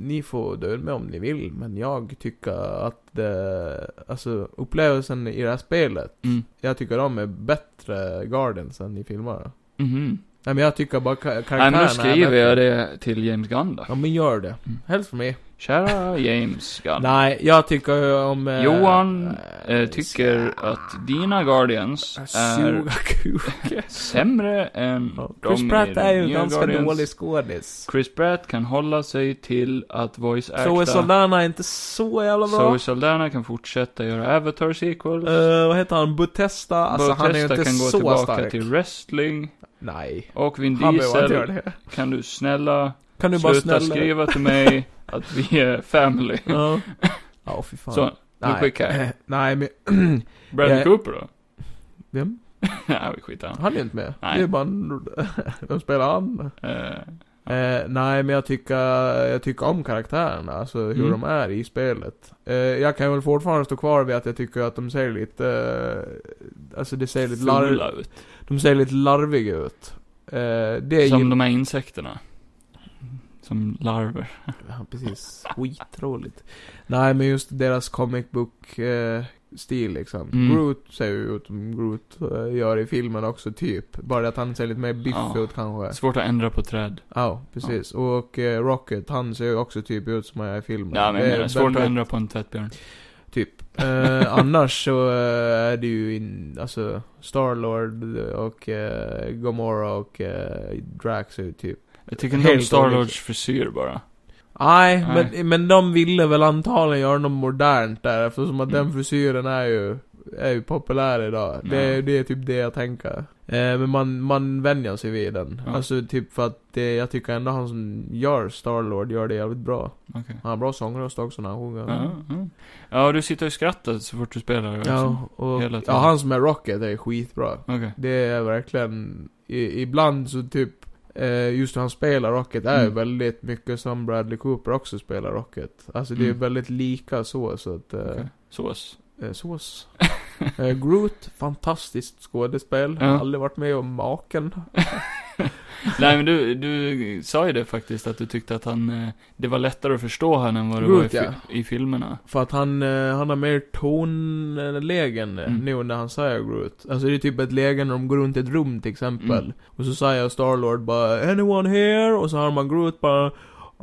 B: ni får döda mig om ni vill, men jag tycker att, eh, alltså upplevelsen i det här spelet,
A: Mm.
B: jag tycker de är bättre Guardians än i filmerna.
A: Mhm.
B: Nej men jag tycker bara ka- karaktärerna
A: Nej men då skriver jag
B: bättre.
A: det till James Gunn då.
B: Ja men gör det.
A: Mm.
B: Helst för mig.
A: Kära James Gunn.
B: Nej, jag tycker ju om... eh,
A: Johan
B: eh, Äh,
A: eh, tycker att dina Guardians är
B: Suga kuk.
A: sämre än
B: Ja,
A: de
B: Chris
A: i
B: Pratt är ju
A: nya
B: ganska
A: Guardians.
B: dålig skådis.
A: Chris Pratt kan hålla sig till att voice acta.
B: Zoe Saldana är inte så jävla bra.
A: Zoe Saldana kan fortsätta göra Avatar sequels.
B: Eh, vad heter han? Butesta? Alltså han är ju
A: Bautista
B: inte
A: kan gå
B: så
A: tillbaka
B: stark.
A: till wrestling.
B: Nej.
A: Och Vin
B: Han behöver inte
A: Diesel,
B: göra det.
A: kan du snälla
B: Kan du bara
A: sluta
B: snälla...
A: skriva till mig att vi är family?
B: Ja. Ja, fy fan.
A: Så, nu
B: Nej.
A: skickar jag.
B: Nej, men...
A: Bradley
B: Jag-
A: Cooper då?
B: Vem?
A: Nej, vi skitar i honom.
B: Han är inte med.
A: Nej.
B: Det är bara en... Vem spelar han?
A: Eh,
B: Eh, nej, men jag tycker, jag tycker om karaktärerna, alltså hur
A: Mm.
B: de är i spelet. Eh, jag kan väl fortfarande stå kvar vid att jag tycker att de ser lite, eh, alltså det ser lite,
A: fula
B: lar-
A: ut.
B: de ser lite larviga ut. Eh, det
A: Som
B: gill-
A: de här insekterna. Som larver.
B: Ja, precis. Skitroligt. nej, men just deras comic book eh, stil liksom.
A: Mm.
B: Groot ser ju ut som Groot eh, gör i filmen också, typ. Bara att han ser lite mer biffig
A: Ja.
B: ut kanske.
A: Svårt att ändra på träd.
B: Ja, precis. Och eh, Rocket, han ser ju också typ ut som han gör i filmen.
A: Ja, men jag
B: Det är
A: menar, svårt att
B: väldigt-
A: ändra på en tvättbjörn.
B: Typ. Eh, annars så eh, är det ju in, alltså Starlord och eh, Gomorra och eh, Drax är ju typ
A: Jag tycker inte om
B: Helt
A: Starlords
B: olika.
A: frisyr bara.
B: Nej,
A: Nej.
B: men, men de ville väl antagligen göra något modernt där eftersom att
A: Mm.
B: den frisyren är ju, är ju populär idag. Det,
A: Ja.
B: är- det är typ det jag tänker. Eh, men man, man vänjer sig vid den.
A: Ja.
B: Alltså typ för att det, jag tycker ändå han som gör Starlord gör det jävligt bra.
A: Okej.
B: Han har bra sångröst också när han sjunger.
A: Ja, ja. ja, och du sitter och skrattar så fort du spelar. också.
B: Ja, och,
A: Hela
B: ja,
A: tiden.
B: han som är Rocket är skitbra.
A: Okej.
B: Det är verkligen, i, ibland så typ, eh, just hur han spelar Rocket är ju
A: Mm.
B: väldigt mycket som Bradley Cooper också spelar Rocket. Alltså det är
A: Mm.
B: väldigt lika så, så att, eh,
A: okej. Sås.
B: eh, sås. eh, Groot, fantastiskt skådespel.
A: Ja.
B: Aldrig varit med om maken.
A: Nej men du, du sa ju det faktiskt att du tyckte att han, eh, det var lättare att förstå han än vad det var i,
B: Groot, ja.
A: fi- i filmerna.
B: För att han, eh, han har mer tonlägen
A: Mm.
B: nu när han säger Groot. Alltså det är typ ett läge när de går runt i ett rum till exempel.
A: Mm.
B: Och så säger Starlord bara 'Anyone here?' Och så har man Groot bara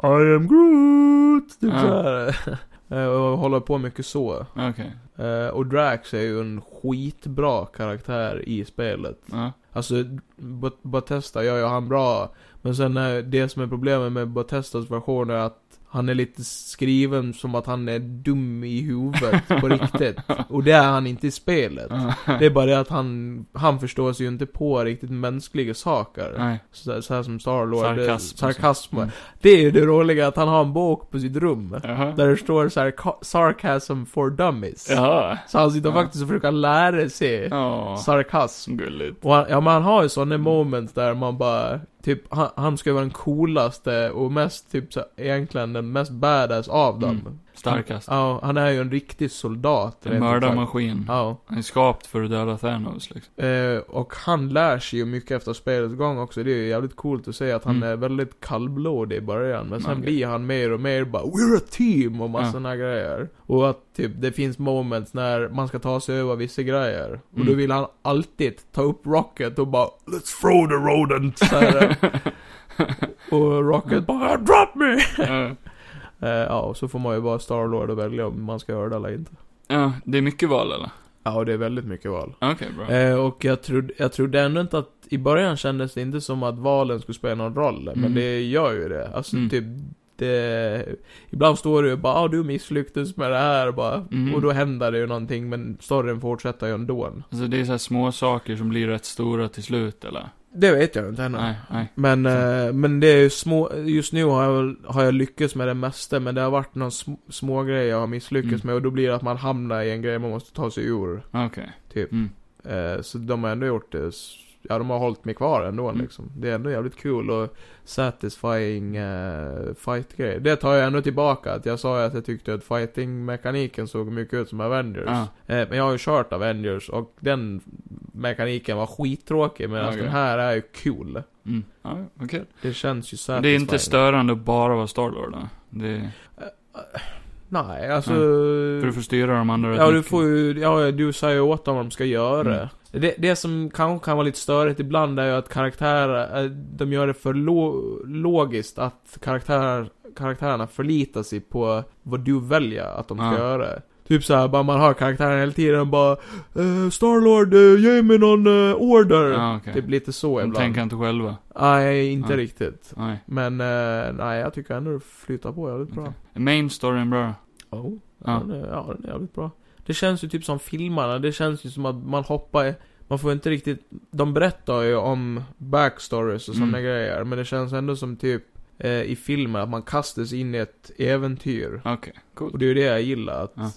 B: 'I am Groot' Typ
A: Ja.
B: såhär. Eh, Och håller på mycket så.
A: Okej.
B: Eh, Och Drax är ju en skitbra karaktär i spelet.
A: Ja.
B: Alltså, Bat- Batesta gör ju han bra. Men sen eh, det som är problemet med Batestas version är att han är lite skriven som att han är dum i huvudet på riktigt. Och det är han inte i spelet. Det är bara det att han, han förstår sig ju inte på riktigt mänskliga saker.
A: Nej.
B: Så, så här som Starlord.
A: Sarkasm.
B: Sarkasm. sarkasm.
A: Mm.
B: Det är ju det roliga att han har en bok på sitt rum.
A: Jaha.
B: Där det står sarka- sarcasm for dummies.
A: Jaha.
B: Så han sitter
A: Ja.
B: faktiskt och försöker lära sig
A: Ja.
B: sarkasm.
A: Gulligt.
B: Och han, ja, men han har ju sådana
A: Mm.
B: moments där man bara, typ, han, han ska ju vara den coolaste och mest, typ så, egentligen den mest badass av dem.
A: Mm. Starkast.
B: Ja, han är ju en riktig soldat.
A: En
B: rent ut sagt.
A: mördarmaskin.
B: Ja.
A: Han är skapt för att döda Thanos liksom.
B: Eh, och han lär sig ju mycket efter spelets gång också. Det är ju jävligt coolt att se att han
A: Mm.
B: är väldigt kallblodig i början. Men sen
A: Okej.
B: blir han mer och mer bara 'We're a team' och massa
A: Ja.
B: såna grejer. Och att typ det finns moments när man ska ta sig över vissa grejer. Och då
A: Mm.
B: vill han alltid ta upp Rocket och bara 'Let's throw the rodent' så här. Och Rocket bara 'Drop me'
A: Ja.
B: eh, Ja, och så får man ju bara Starlord och välja om man ska höra det eller inte.
A: ja, det är mycket val eller?
B: Ja, och det är väldigt mycket val.
A: Okej, bra.
B: Eh, och jag trodde, jag trodde ändå inte att, i början kändes det inte som att valen skulle spela någon roll,
A: Mm.
B: men det gör ju det. Alltså
A: Mm.
B: typ, det, ibland står det ju bara ah, du misslyckades med det här och bara,
A: Mm.
B: och då händer det ju någonting men storyn fortsätter ju ändå.
A: Alltså det är så här små saker som blir rätt stora till slut eller?
B: Det vet jag inte ännu.
A: Nej, nej.
B: Men, eh, men det är ju små, just nu har jag, väl- har jag lyckats med det mesta men det har varit någon sm, små grej jag har misslyckats
A: Mm.
B: med och då blir det att man hamnar i en grej man måste ta sig ur.
A: Okej.
B: Typ.
A: Mm.
B: Eh, så de har ändå gjort det. s- Ja, de har hållit mig kvar ändå
A: Mm.
B: liksom. Det är ändå jävligt kul och satisfying eh, fight-grej. Det tar jag ändå tillbaka. Att jag sa ju att jag tyckte att fighting-mekaniken såg mycket ut som Avengers.
A: Ja.
B: Eh, men jag har ju kört Avengers och den mekaniken var skittråkig. Medan
A: Okej.
B: den här är ju cool.
A: Mm. Ja, vad kul.
B: Det känns ju
A: Men
B: satisfying.
A: Det är inte störande att bara vara Starlord då? Det,
B: Nej, alltså...
A: Mm. för du får styra de andra rätt
B: Ja, du
A: mycket.
B: får ju, ja, du säger ju åt dem vad de ska göra.
A: Mm.
B: Det, det som kanske kan vara lite störigt ibland är ju att karaktärer, eh, de gör det för lo- logiskt att karaktärer, karaktärerna förlitar sig på vad du väljer att de ska
A: Ja.
B: göra. Typ såhär, bara man har karaktären hela tiden bara eh, Starlord, eh, ge mig någon eh, order.
A: Ja, okej.
B: Typ lite så
A: De
B: ibland.
A: tänker inte själva.
B: Nej, inte
A: Ja.
B: riktigt.
A: Nej.
B: Men, eh, nej, jag tycker ändå det flyter på jävligt bra.
A: okej. Main storyn bra.
B: Oh,
A: Ja.
B: ja. Den är, ja, den är jävligt bra. Det känns ju typ som filmerna, det känns ju som att man hoppar i- man får inte riktigt, de berättar ju om backstories och sådana
A: Mm.
B: grejer, men det känns ändå som typ eh, i filmer att man kastas in i ett äventyr.
A: Okej,
B: Och
A: coolt.
B: det är ju det jag gillar, att
A: Ja.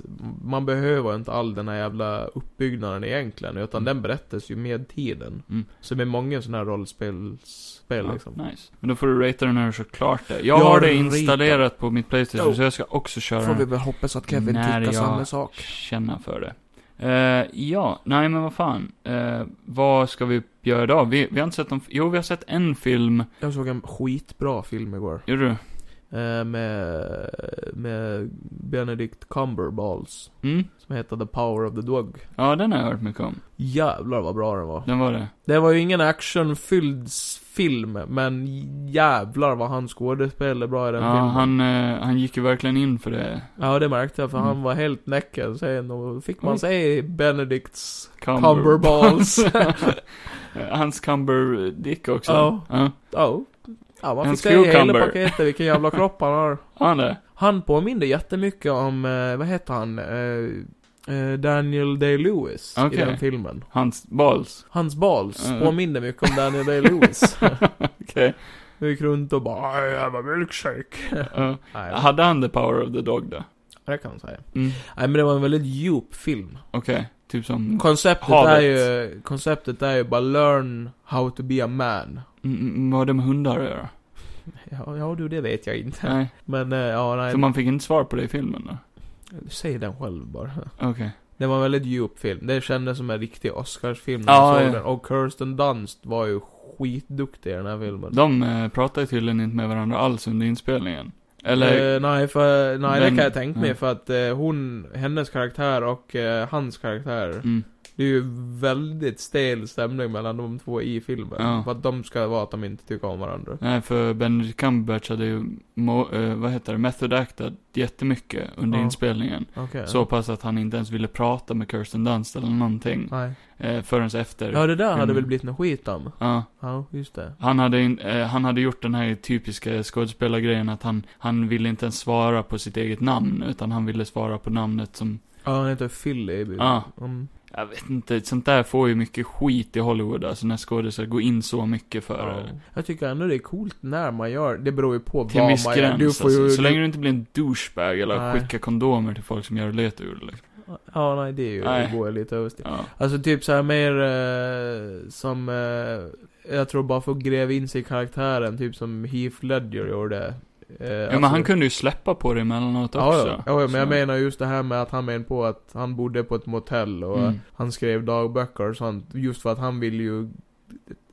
B: man behöver inte all den här jävla uppbyggnaden egentligen, utan
A: Mm.
B: den berättas ju med tiden.
A: Mm.
B: Så med många sådana här rollspelsspel
A: Ja,
B: liksom.
A: nice. Men då får du rata den när du kört klart det. Jag
B: Jag
A: har det
B: ratar.
A: installerat på mitt Playstation,
B: Jo.
A: så jag ska också köra
B: Får vi
A: den.
B: väl hoppas att Kevin
A: När
B: tycker
A: jag-
B: samma sak.
A: Känna för det. Eh, ja, nej men vad fan. Eh, vad ska vi göra idag? Vi, vi har inte sett någon, jo vi har sett en film.
B: Jag såg en skitbra film igår.
A: Gjorde du?
B: eh, med, med Benedict Cumberballs.
A: Mm.
B: Som heter The Power of the Dog.
A: Ja, den har jag hört mycket om.
B: Jävlar vad bra den var.
A: Den var det.
B: Det var ju ingen actionfylld s- film, men jävlar vad han skådespelade bra i den
A: Ja,
B: filmen.
A: han, eh, han gick ju verkligen in för det.
B: Ja, det märkte jag för han
A: Mm.
B: var helt näcken sen och fick man
A: Oj.
B: se Benedicts
A: Cumber-
B: Cumberballs.
A: Hans Cumberdick också.
B: Ja.
A: Ja.
B: Ja, ja man
A: En
B: fick se hela
A: cucumber.
B: paketet, vilken jävla kropp han har.
A: Har han det?
B: Han påminner jättemycket om, eh, vad heter han, eh, eh, Daniel Day-Lewis
A: Okej.
B: i den filmen.
A: Hans balls.
B: Hans balls
A: Mm.
B: påminner mycket om Daniel Day-Lewis.
A: Okej.
B: Han gick runt och bara "Ah, jag var milkshake.
A: Ja.
B: Nej,
A: Hade han the power of the dog då?
B: det kan man säga.
A: Mm.
B: Nej men det var en väldigt djup film.
A: Okej. Typ
B: Mm.
A: som...
B: Konceptet
A: Havet.
B: är ju, konceptet är ju bara learn how to be a man.
A: Mm, mm, vad har det med hundar att göra?
B: Ja, ja du, det vet jag inte.
A: Nej.
B: Men, eh, ja nej.
A: Så man fick inte svar på det i filmen då?
B: Säg den själv bara.
A: Okej.
B: Det var en väldigt djup film. Det kändes som en riktig Oscarsfilm när
A: Ja,
B: man såg
A: ja.
B: den. Och Kirsten Dunst var ju skitduktig i den här filmen.
A: De eh, pratar ju tydligen inte med varandra alls under inspelningen. Eller,
B: Eh, nej, för, nej
A: Den-
B: det kan jag tänka mig
A: ja.
B: för att eh, hon, hennes karaktär och eh, hans karaktär.
A: mm,
B: Det är ju väldigt stel stämning mellan de två i filmen.
A: Ja.
B: För att de ska vara att de inte tycker om varandra.
A: nej för Benedict Cumberbatch hade ju, mo, eh, vad heter det, method actat jättemycket under
B: Ja.
A: inspelningen.
B: Okej.
A: Så pass att han inte ens ville prata med Kirsten Dunst eller någonting.
B: Nej.
A: Eh, förrän efter.
B: Ja, det där hade
A: filmen.
B: väl blivit något skit om.
A: Ja.
B: Ja, just det.
A: Han hade, in, eh, han hade gjort den här typiska skådespelargrejen att han, han ville inte ens svara på sitt eget namn, utan han ville svara på namnet som,
B: Ja, han heter Phil i
A: Ja.
B: Mm.
A: jag vet inte, sånt där får ju mycket skit i Hollywood, alltså när skådespelare går in så mycket för
B: Ja.
A: det.
B: Jag tycker ändå det är coolt när man gör det. beror ju på
A: Till en
B: vad
A: viss
B: man
A: gräns
B: gör. Du får ju...
A: alltså. Så länge du inte blir en douchebag eller
B: Nej.
A: skickar kondomer till folk som gör löt ur det, liksom.
B: Ja, nej det är ju,
A: Nej.
B: det går ju lite överstyr.
A: ja.
B: Alltså typ så här mer eh, som, eh, jag tror bara för att gräva in sig i karaktären, typ som Heath Ledger gjorde. Eh,
A: ja, men han kunde ju släppa på det emellanåt också.
B: Ja, ja, ja, men jag
A: Så-
B: menar just det här med att han menar på att han bodde på ett motell och
A: Mm.
B: han skrev dagböcker och sånt. Just för att han vill ju,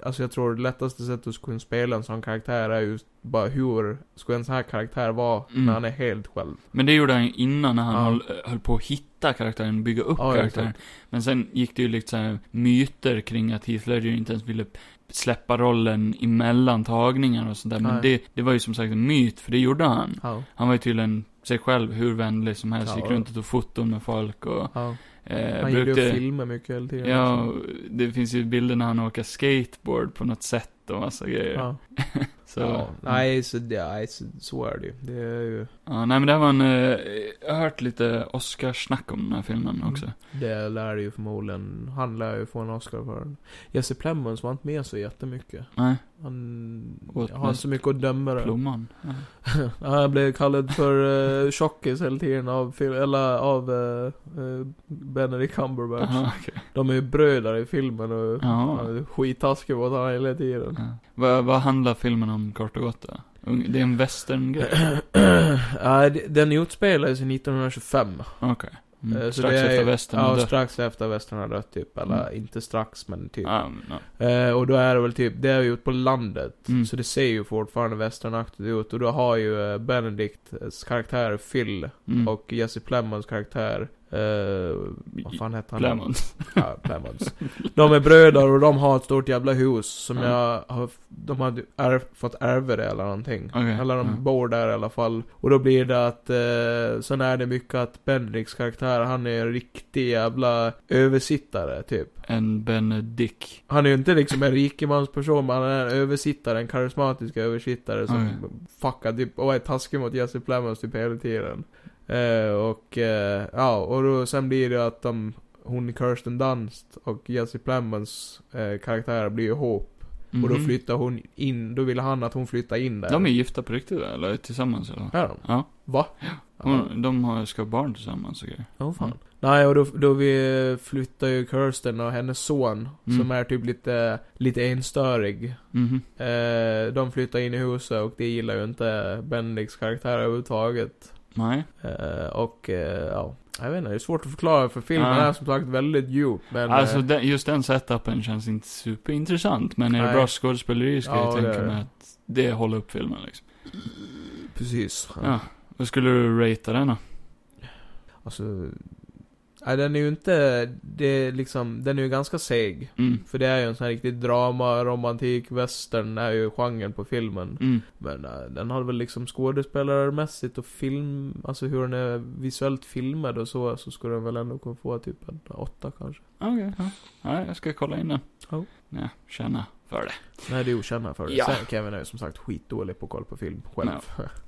B: alltså jag tror det lättaste sättet att kunna spela en sån karaktär är just bara hur ska en sån här karaktär vara
A: Mm.
B: när han är helt själv.
A: Men det gjorde han ju innan när han
B: Ja.
A: höll, höll på att hitta karaktären, bygga upp
B: Ja, exakt.
A: karaktären. Men sen gick det ju lite så här myter kring att Heath Ledger inte ens ville släppa rollen emellan tagningar och sånt där. Men
B: Nej.
A: det, det var ju som sagt en myt, för det gjorde han.
B: Ja.
A: Han var ju tydligen sig själv hur vänlig som helst,
B: Ja,
A: gick
B: ja.
A: runt och tog foton med folk och...
B: Ja.
A: Eh,
B: Han gillar ju filmer mycket hela tiden.
A: Ja,
B: också.
A: och det finns ju bilder när han åker skateboard på något sätt och massa grejer.
B: ja.
A: Så, Mm.
B: Ja, nej, så, det, nej så, så är det ju. Det är ju
A: Ja, nej men det här var en, eh, jag har hört lite Oscars-snack om den här filmen
B: Mm.
A: också.
B: det lär ju förmodligen, han lär ju få en Oscar för den. Jesse Plemons var inte med så jättemycket.
A: Nej,
B: Han
A: Åt
B: har
A: mest
B: inte så mycket att döma det.
A: Plomman. Ja.
B: Han blev kallad för uh, tjockis hela tiden av, fil- eller av eh, eh, Benedict Cumberbatch.
A: Jaha, okej.
B: De är ju bröder i filmen och
A: Ja.
B: han är skittaskig mot honom hela tiden.
A: Ja. Vad, vad handlar filmen om kort och gott då? Ung- Det är en västerngrej?
B: Nej, det- den utspelar sig 1925.
A: Okej.
B: Eh,
A: Mm.
B: så
A: Strax
B: det är-
A: efter västern
B: Ja,
A: dör.
B: strax efter västern har dött typ. Eller
A: Mm.
B: inte strax, men typ.
A: Ja, men, ja.
B: Eh, och då är det väl typ, det är ju ute på landet.
A: Mm.
B: Så det ser ju fortfarande västernaktigt ut. Och då har ju eh, Benedicts karaktär Phil
A: Mm.
B: och Jesse Plemons karaktär, eh, vad fan heter han?
A: Lemon.
B: Ja, Plemons. De är bröder och de har ett stort jävla hus som
A: Ja.
B: jag har, de har är, fått ärva det eller någonting.
A: Okej.
B: Eller de
A: ja.
B: bor där i alla fall. Och då blir det att, eh, sen är det mycket att Benedicts karaktär, han är en riktig jävla översittare typ.
A: En Benedick.
B: Han är ju inte liksom en rikemansperson, men han är en översittare, en karismatisk översittare som
A: Okej.
B: fuckar typ, och är taskig mot Jesse Plemons typ hela tiden. Eh, och, eh, ja, och då, sen blir det att de, hon Kirsten Dunst och Jesse Plemons eh, karaktärer blir ihop. Och då
A: Mhm.
B: flyttar hon in, då vill han att hon flyttar in där.
A: De är gifta på riktigt eller? Tillsammans eller?
B: Är de?
A: Ja.
B: Va?
A: Hon, de har, ska ha barn tillsammans och grejer.
B: Åh fan.
A: Mm.
B: Nej, och då, då vi flyttar ju Kirsten och hennes son,
A: Mm.
B: som är typ lite, lite enstörig.
A: Mhm.
B: Eh, de flyttar in i huset och det gillar ju inte Bendix karaktär överhuvudtaget.
A: Nej.
B: Eh, och eh, ja, jag vet inte, det är svårt att förklara för filmen
A: Ja.
B: är som sagt väldigt djup. Men,
A: alltså
B: eh,
A: den, just den setupen känns inte superintressant, men är det
B: Nej.
A: bra skådespeleri ska
B: Ja,
A: jag
B: det är
A: tänka
B: det.
A: mig att det håller upp filmen liksom.
B: Precis.
A: Ja. Vad skulle du ratea den då?
B: Alltså... Nej, den är ju inte... Det är liksom... Den är ju ganska seg.
A: Mm.
B: För det är ju en sån här riktig drama, romantik, western är ju genren på filmen.
A: Mm.
B: Men eh, den har väl liksom skådespelarmässigt och film, alltså hur den är visuellt filmad och så, så skulle den väl ändå kunna få typ en åtta kanske.
A: Okej, ja. ja. Jag ska kolla in den.
B: Ja.
A: Nej, känna för det.
B: Nej, det är okända för det.
A: Ja.
B: Sen Kevin är ju som sagt skitdålig på att kolla på film själv.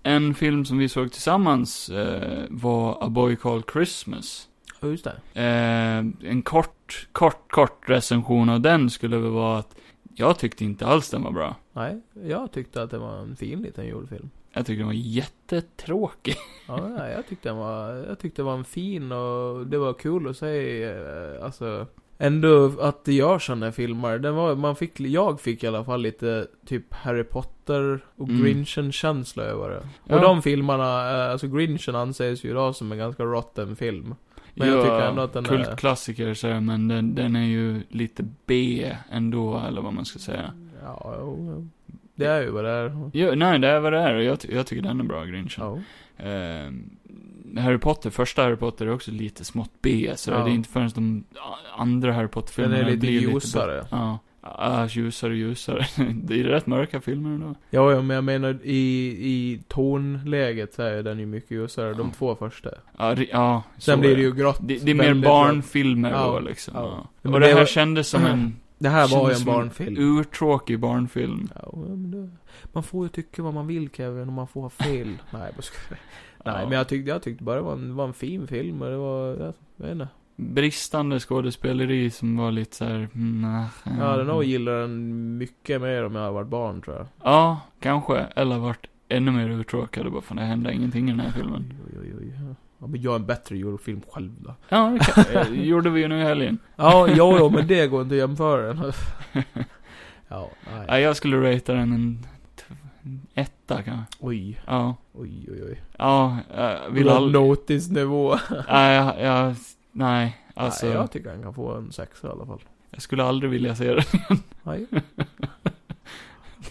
A: En film som vi såg tillsammans eh, var A Boy Called Christmas.
B: Ja, just det.
A: Eh, en kort, kort, kort recension av den skulle väl vara att jag tyckte inte alls den var bra.
B: Nej, jag tyckte att det var en fin liten julfilm.
A: Jag tyckte den var jättetråkig.
B: Ja, nej, jag tyckte den var, jag tyckte det var en fin och det var kul att se, eh, alltså. Ändå att det görs sådana här filmer. Den var, man fick, jag fick i alla fall lite typ Harry Potter och
A: Mm.
B: Grinchen-känsla över det.
A: Ja.
B: Och de filmerna, eh, alltså Grinchen anses ju idag som en ganska rotten film. Men jag tycker ändå att den är-
A: kultklassiker så här, men den, den är ju lite B ändå, eller vad man ska säga.
B: Ja, jo, jo. det är ju vad det är.
A: Jo, nej, det är vad det är och jag, ty- jag tycker den är bra, Grinchen.
B: Ja.
A: Eh, Harry Potter, första Harry Potter är också lite smått B, så
B: Ja.
A: det är inte förrän de a- andra Harry
B: Den
A: Potter-filmerna
B: är lite
A: blir
B: ljusare.
A: bättre. Ja. Ah, ljusare, ljusare. det är rätt mörka filmer ändå.
B: Ja, ja, men jag menar i, i tonläget så är den ju mycket ljusare, de
A: Ja.
B: två första.
A: Ja, ri- ja så
B: Sen
A: är
B: blir det ju grått.
A: Det, det är mer
B: väldigt grått.
A: barnfilmer
B: Ja,
A: då liksom.
B: ja.
A: Ja.
B: Men
A: Och det
B: det
A: här
B: var-
A: kändes som en...
B: Det här var ju
A: kändes
B: en
A: som
B: barnfilm.
A: Urtråkig barnfilm.
B: Ja, men det, man får ju tycka vad man vill Kevin, och man får ha fel. Nej, jag bara skojar. Nej,
A: Ja.
B: men jag tyckte, jag tyckte bara det var en, var en fin film och det var, jag vet inte.
A: Bristande skådespeleri som var lite såhär... Mm, ah,
B: Jag hade nog
A: mm.
B: gillat den mycket mer om jag hade varit barn tror jag.
A: Ja, kanske. Eller varit ännu mer uttråkad och bara fan det hände ingenting i den här filmen.
B: Oj, oj, oj. Ja, men jag är en bättre julfilm själv då.
A: Ja, det kan, eh, gjorde vi ju nu i helgen.
B: Ja, jo, jo, men det går inte att jämföra. ja, nej.
A: Ja, jag skulle ratea den en t- en etta kanske.
B: Oj,
A: Ja.
B: oj, oj, oj.
A: Ja, eh, vill
B: Vill ha
A: aldrig...
B: notisnivå.
A: Nej, jag, jag, nej. Alltså,
B: Nej,
A: jag...
B: jag tycker han kan få en sexa i alla fall.
A: skulle aldrig vilja se den.
B: Nej,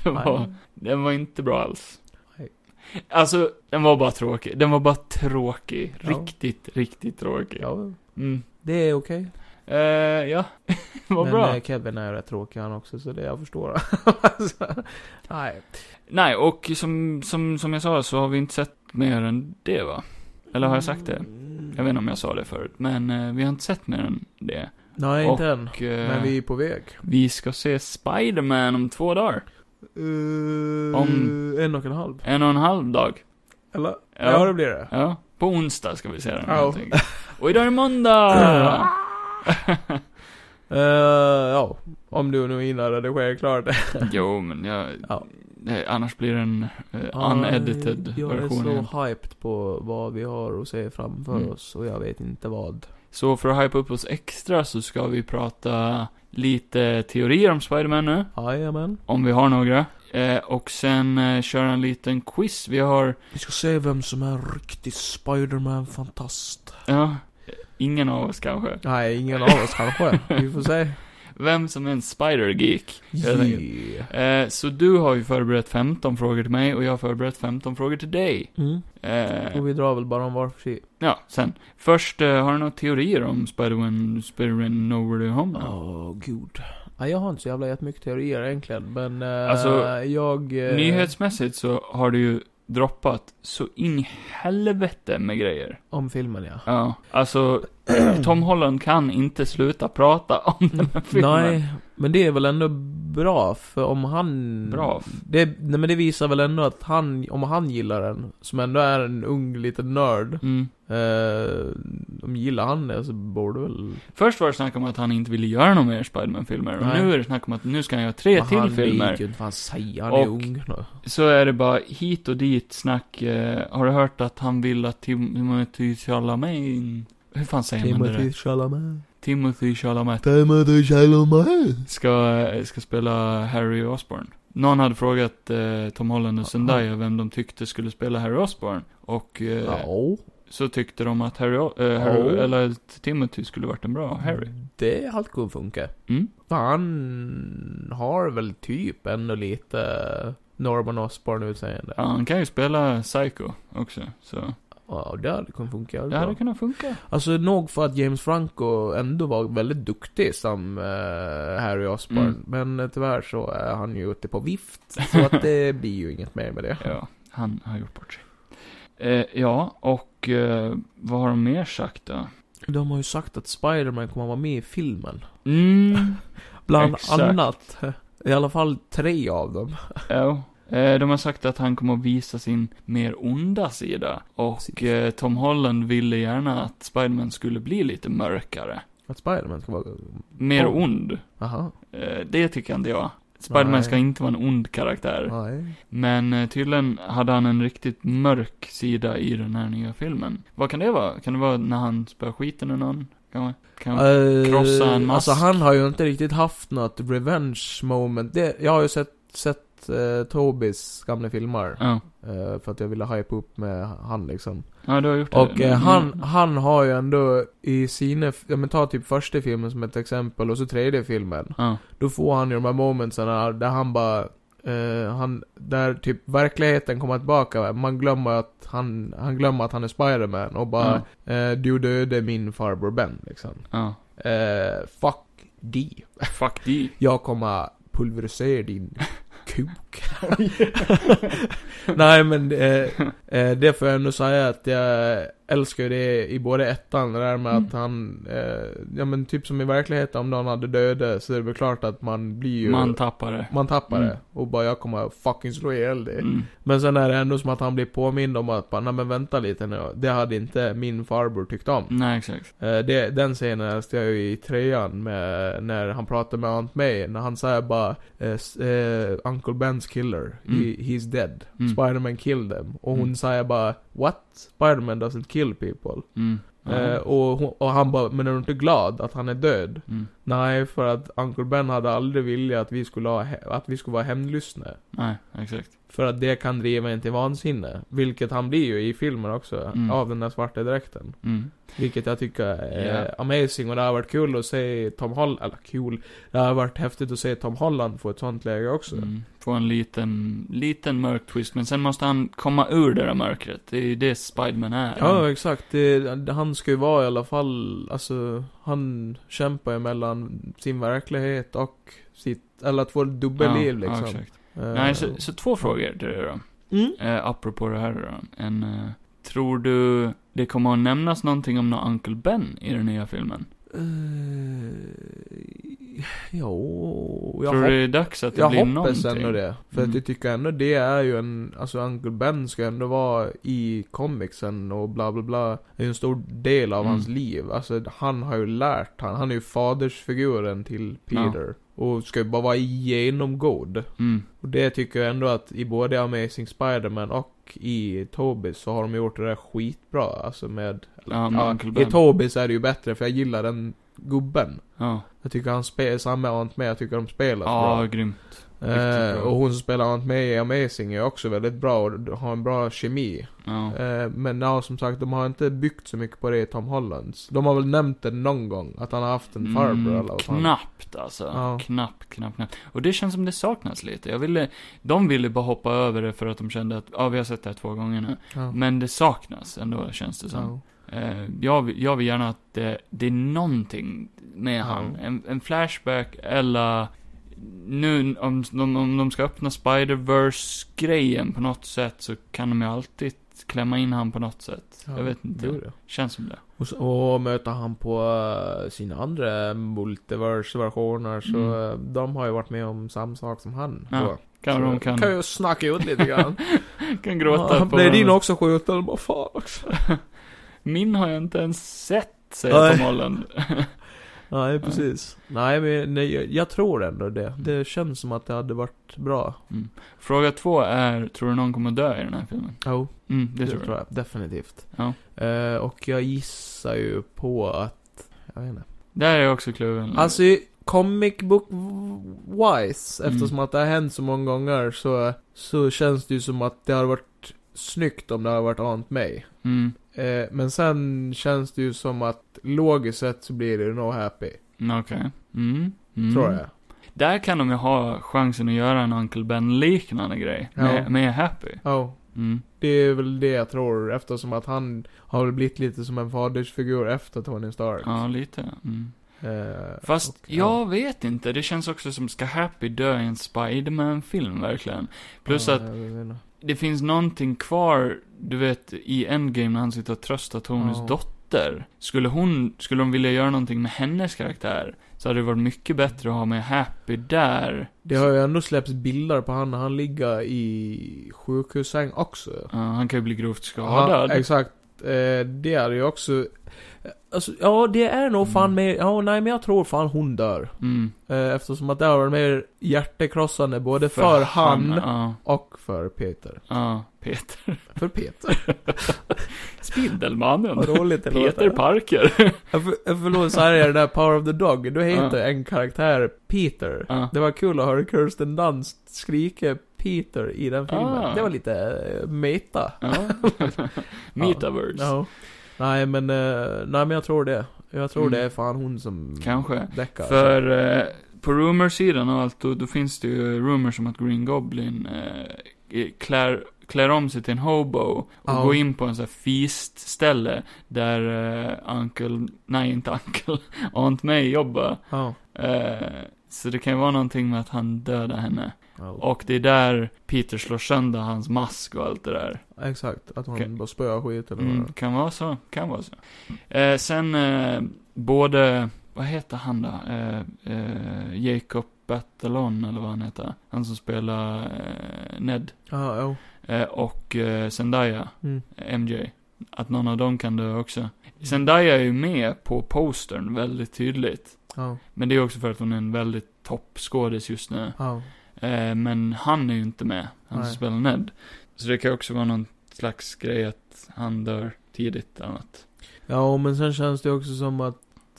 A: Det
B: nej.
A: var, den var inte bra alls.
B: Nej.
A: Alltså, den var bara tråkig. Den var bara tråkig.
B: Ja.
A: Riktigt, riktigt tråkig.
B: Ja,
A: Mm.
B: det är okej.
A: Eh, ja, vad
B: Men
A: bra.
B: eh, Kevin är ju rätt tråkig han också, så det jag förstår. alltså, nej.
A: Nej, och som, som, som jag sa så har vi inte sett mer än det va? Eller har jag sagt det? Jag vet inte om jag sa det förut, men eh, vi har inte sett mer än det.
B: Nej,
A: Och,
B: inte än.
A: Och, eh,
B: Men vi
A: vi...
B: är på väg.
A: ska se Spider-Man om två dagar. Om-
B: Om... Eh, En och en halv.
A: En och en halv dag.
B: Eller?
A: Ja.
B: Ja, ja det blir det.
A: Ja, på onsdag ska vi se den
B: Ja.
A: helt enkelt. Och idag är det måndag!
B: Eh, ja, om du nu hinner redigera klart det.
A: jo, men jag...
B: Ja.
A: Nej, annars blir det en uh, unedited
B: jag
A: version.
B: Jag är
A: igen.
B: så hyped på vad vi har att se framför
A: Mm.
B: oss och jag vet inte vad.
A: Så för att hypa upp oss extra så ska vi prata lite teorier om Spider-Man nu.
B: Jajamän.
A: Om vi har några. Eh, och sen eh, köra en liten quiz. Vi har,
B: Vi ska se vem som är en riktig Spiderman-fantast.
A: ja, ingen av oss kanske.
B: Nej, ingen av oss kanske. Vi får se.
A: Vem som är en spider-geek. helt enkelt.
B: Yeah.
A: Eh, så du har ju förberett 15 frågor till mig och jag har förberett 15 frågor till dig.
B: Mm.
A: Eh,
B: Och vi drar väl bara om var för sig.
A: ja, sen. Först, eh, har du några teorier om Spider-Man, Spider-Man Nowhere to Home?
B: Åh, gud. Nej, jag har inte så jävla jättemycket teorier egentligen, men... eh,
A: Alltså,
B: jag... eh,
A: Nyhetsmässigt så har du ju droppat så in i helvete med grejer.
B: Om filmen, ja.
A: Ja, alltså Tom Holland kan inte sluta prata om den här filmen.
B: Nej, men det är väl ändå bra, för om han...
A: Bra.
B: Det, nej, men det visar väl ändå att han, om han gillar den, som ändå är en ung liten nörd,
A: Mm.
B: eh, om gillar han det så borde väl...
A: Först var det snack om att han inte ville göra några mer Spiderman-filmer. Och
B: Nej.
A: nu är det snack om att nu ska han göra tre
B: Men
A: till
B: han
A: filmer.
B: vet ju inte vad han säger, han är
A: Och-
B: ung nu.
A: Så är det bara hit och dit snack. Eh, har du hört att han vill att Tim- Timothy Chalamet... Hur fan säger man det? där?
B: Timothy Chalamet.
A: Timothy Chalamet
B: Timothy Chalamet.
A: ska, ska spela Harry Osborn. Någon hade frågat eh, Tom Holland och Zendaya vem de tyckte skulle spela Harry Osborn. Och eh,
B: Ja.
A: så tyckte de att Harry, O- eh, Harry
B: Ja. Mm.
A: eller att Timothy skulle varit en bra Harry.
B: Det hade kunnat funka.
A: Mm.
B: För han har väl typ ändå lite Norman Osborn utseende.
A: Ja, han kan ju spela Psycho också, så
B: Ja, det hade kunnat funka.
A: det
B: bra.
A: hade kunnat funka.
B: Alltså nog för att James Franco ändå var väldigt duktig som eh, Harry Osborn.
A: Mm.
B: Men eh, tyvärr så är han ju ute på vift. Så att det blir ju inget mer med det.
A: Ja, han har gjort bort sig. Eh, ja, och eh, vad har de mer sagt då?
B: De har ju sagt att Spider-Man kommer vara med i filmen.
A: Mm,
B: Bland
A: Exakt.
B: annat. I alla fall tre av dem.
A: ja. Eh, de har sagt att han kommer att visa sin mer onda sida. Och eh, Tom Holland ville gärna att Spiderman skulle bli lite mörkare.
B: Att Spider-Man ska vara...
A: Mer
B: Oh.
A: ond.
B: Aha.
A: Eh, det tycker inte jag. Spiderman
B: Nej.
A: ska inte vara en ond karaktär.
B: Nej.
A: Men eh, tydligen hade han en riktigt mörk sida i den här nya filmen. Vad kan det vara? Kan det vara när han spöar skiten ur någon? Kan, kan,
B: Eh,
A: krossa en mask.
B: Alltså han har ju inte riktigt haft något revenge moment. Det, jag har ju sett, sett eh, Tobis gamla filmer.
A: Ja.
B: Eh, för att jag ville hypa upp med han liksom.
A: Ja, du har gjort det.
B: Och eh,
A: Mm.
B: han, han har ju ändå i sina, ja men ta typ första filmen som ett exempel och så tredje filmen.
A: Ja.
B: Då får han ju de här momentsen där, där han bara, eh, han, där typ verkligheten kommer tillbaka. Man glömmer att han, han glömmer att han är Spiderman och bara, eh, du dödade min farbror Ben liksom.
A: Ja.
B: Eh, fuck dig.
A: Fuck dig.
B: Jag kommer pulverisera din kuk. Nej men eh, eh, det får jag ändå säga att jag älskar ju det i både ettan, det där med
A: Mm.
B: att han, eh, ja men typ som i verkligheten om någon hade dödat så är det väl klart att man blir ju
A: Man tappar det.
B: man tappar
A: Mm.
B: det och bara jag kommer fucking slå ihjäl dig.
A: Mm.
B: Men sen är det ändå som att han blir påmind om att bara, nej men vänta lite nu. Det hade inte min farbror tyckt om.
A: Nej, exakt.
B: Eh, det, den scenen älskar jag ju i trean med, när han pratar med Aunt May, när han säger bara eh, s- eh, Uncle Ben's killer,
A: Mm.
B: He, he's dead.
A: Mm.
B: Spiderman killed them. Och hon
A: Mm.
B: säger bara What? Spiderman doesn't kill people.
A: Mm. Ja.
B: Eh, och, hon, och han bara, men är du inte glad att han är död?
A: Mm.
B: Nej, för att Uncle Ben hade aldrig vilja att vi skulle, ha, he- att vi skulle vara hämndlystna.
A: Nej, exakt.
B: För att det kan driva en till vansinne. Vilket han blir ju i filmen också,
A: Mm.
B: av den där svarta dräkten.
A: Mm.
B: Vilket jag tycker är
A: Ja.
B: amazing och det har varit kul att se Tom Holland, eller kul, det har varit häftigt att se Tom Holland få ett sånt läge också.
A: Mm. Få en liten, liten mörk twist, men sen måste han komma ur det där mörkret. Det är ju det Spiderman är.
B: Ja, exakt. Det, han ska ju vara i alla fall, alltså, han kämpar ju mellan sin verklighet och sitt, eller två dubbelliv
A: Ja,
B: liksom.
A: Ja, exakt.
B: Eh,
A: Nej, så, så två frågor till dig då.
B: Mm.
A: Eh, apropå det här då. En, eh, tror du det kommer att nämnas någonting om någon Uncle Ben i den nya filmen?
B: Eh, jo, jag
A: tror du
B: hoppas
A: det är dags att det
B: Jag
A: blir
B: hoppas
A: någonting?
B: ändå det. För
A: Mm.
B: att jag tycker ändå det är ju en, alltså Uncle Ben ska ändå vara i comicsen och bla bla bla. Det är ju en stor del av
A: Mm.
B: hans liv. Alltså han har ju lärt han, han är ju fadersfiguren till Peter. Och ska ju bara vara genomgod.
A: Mm.
B: Och det tycker jag ändå att i både Amazing Spider-Man och i Tobis så har de gjort det där skitbra. Alltså med,
A: Ja, med Uncle
B: i
A: Ben.
B: Tobis är det ju bättre för jag gillar den gubben.
A: Ja,
B: Jag tycker han spelar, samma Aunt May, jag tycker de spelar bra.
A: ja grymt.
B: Eh,
A: Riktigt bra.
B: och hon som spelar Aunt May i Amazing är också väldigt bra och d- har en bra kemi.
A: Ja.
B: Eh, men ja, som sagt, de har inte byggt så mycket på det i Tom Hollands. De har väl nämnt det någon gång, att han har haft en farbror eller vad fan.
A: Mm, knappt alltså.
B: Ja.
A: Knappt, knappt, knappt. Och det känns som det saknas lite. Jag ville, de ville bara hoppa över det för att de kände att, ja vi har sett det här två gånger nu.
B: Ja.
A: Men det saknas ändå känns det som.
B: Ja.
A: Eh, jag, vill- jag vill gärna att det, det är någonting med
B: Ja.
A: han. En, en flashback eller nu om de, om de ska öppna Spider-Verse-grejen på något sätt så kan de ju alltid klämma in han på något sätt.
B: Ja,
A: jag vet inte.
B: det är det.
A: Känns som det.
B: Och, så, och möter han på eh, sina andra multiverse-versioner så
A: Mm.
B: eh, de har ju varit med om samma sak som han.
A: Ja,
B: då.
A: Kan
B: så,
A: de kan,
B: kan ju snacka ut lite grann.
A: kan gråta
B: ja,
A: på
B: blev din
A: varandra.
B: också skjuten? Och bara fan också.
A: Min har jag inte ens sett, säger
B: Nej.
A: Tom Holland.
B: Nej, precis. Nej, men nej, jag, jag tror ändå det. Det känns som att det hade varit bra.
A: Fråga två är, tror du någon kommer dö i den här filmen?
B: Jo,
A: Mm, det,
B: det,
A: tror,
B: tror jag. Definitivt.
A: jag. Ja.
B: Eh, och jag gissar ju på att... Jag vet inte.
A: Där är jag också kluven.
B: Alltså, i comic book wise,
A: Mm.
B: eftersom att det har hänt så många gånger så, så känns det ju som att det har varit snyggt om det har varit Aunt May.
A: Mm,
B: Eh, men sen känns det ju som att logiskt sett så blir det ju No Happy,
A: okej. Mm, mm.
B: tror jag.
A: Där kan de ju ha chansen att göra en Uncle Ben-liknande grej.
B: Ja.
A: Med, med Happy.
B: Ja.
A: Mm.
B: Det är väl det jag tror eftersom att han har väl blivit lite som en fadersfigur efter Tony Stark.
A: Ja, lite. Mm.
B: Eh,
A: Fast
B: och,
A: jag vet inte, det känns också som, ska Happy dö i en Spiderman-film verkligen? Plus
B: ja,
A: att
B: eh, jag vet inte.
A: det finns någonting kvar, du vet, i Endgame när han sitter och tröstar Tonys
B: Ja.
A: dotter. Skulle hon, skulle de vilja göra någonting med hennes karaktär, så hade det varit mycket bättre att ha med Happy där.
B: Det har ju ändå släppts bilder på han när han ligger i sjukhussäng också.
A: Ja, han kan ju bli grovt skadad.
B: Han, exakt. Eh, det är ju också... eh, Alltså, ja, det är nog fan
A: Mm.
B: mer... Ja, nej men jag tror fan hon dör.
A: mm.
B: Eh, eftersom att det har varit mer hjärtekrossande både för, han,
A: Ja,
B: och för Peter.
A: ja, Peter.
B: För Peter.
A: Spindelmannen.
B: Vad roligt det låter.
A: Peter Parker.
B: Jag för- jag förlåt, så här är det där Power of the Dog. Då heter
A: Ja.
B: en karaktär Peter.
A: Ja.
B: Det var kul att höra Kirsten Dunst skrika Peter i den filmen.
A: Ah.
B: Det var lite eh, meta.
A: ja. Metaverse.
B: Ja. Nej men, eh, nej men jag tror det. Jag tror
A: Mm.
B: det är fan hon som
A: Kanske.
B: däckar.
A: För eh, på rumorsidan och allt, då, då finns det ju rumors om att Green Goblin eh, klär, klär om sig till en hobo och
B: Ja.
A: går in på en sån här feast-ställe där eh, Uncle, nej inte Uncle, Aunt May jobbar.
B: Ja.
A: Eh, så det kan ju vara någonting med att han dödar henne.
B: Ja.
A: Och det är där Peter slår sönder hans mask och allt det där.
B: Exakt, att hon
A: Okej.
B: bara spöar skit eller
A: Mm,
B: vad.
A: kan vara så, kan vara så. Eh, sen, eh, både, vad heter han då? Eh, eh, Jacob Batalon, eller vad han heter. Han som spelar eh, Ned.
B: Ja, ja.
A: Eh, och eh, Zendaya,
B: Mm.
A: eh, MJ. Att någon av dem kan dö också. Zendaya är ju med på postern väldigt tydligt.
B: Ja,
A: Men det är också för att hon är en väldigt toppskådis just nu.
B: ja.
A: Eh, men han är ju inte med, han som
B: Nej.
A: spelar Ned. Så det kan ju också vara någon slags grej att han dör tidigt eller något.
B: Ja, men sen känns det också som att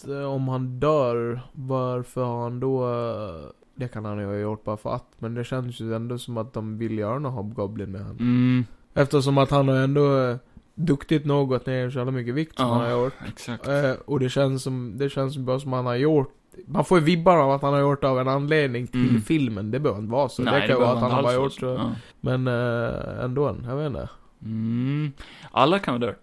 B: eh, om han dör, varför har han då... eh, Det kan han ju ha gjort bara för att, men det känns ju ändå som att de vill göra någon Hobgoblin med honom.
A: Mm,
B: Eftersom att han har ändå eh, duktigt nog gått ner så jävla mycket vikt som
A: Ja.
B: han har gjort.
A: exakt.
B: Eh, och det känns som, det känns bara som han har gjort man får ju vibbar av att han har gjort det av en anledning till
A: Mm.
B: filmen, det behöver inte vara så. det kan ju
A: behöver
B: vara att
A: man
B: han har
A: inte
B: bara
A: alls
B: gjort eh,
A: vara
B: det.
A: så. Ja.
B: Men eh, ändå, jag vet inte.
A: Mm. Alla kan vara dö.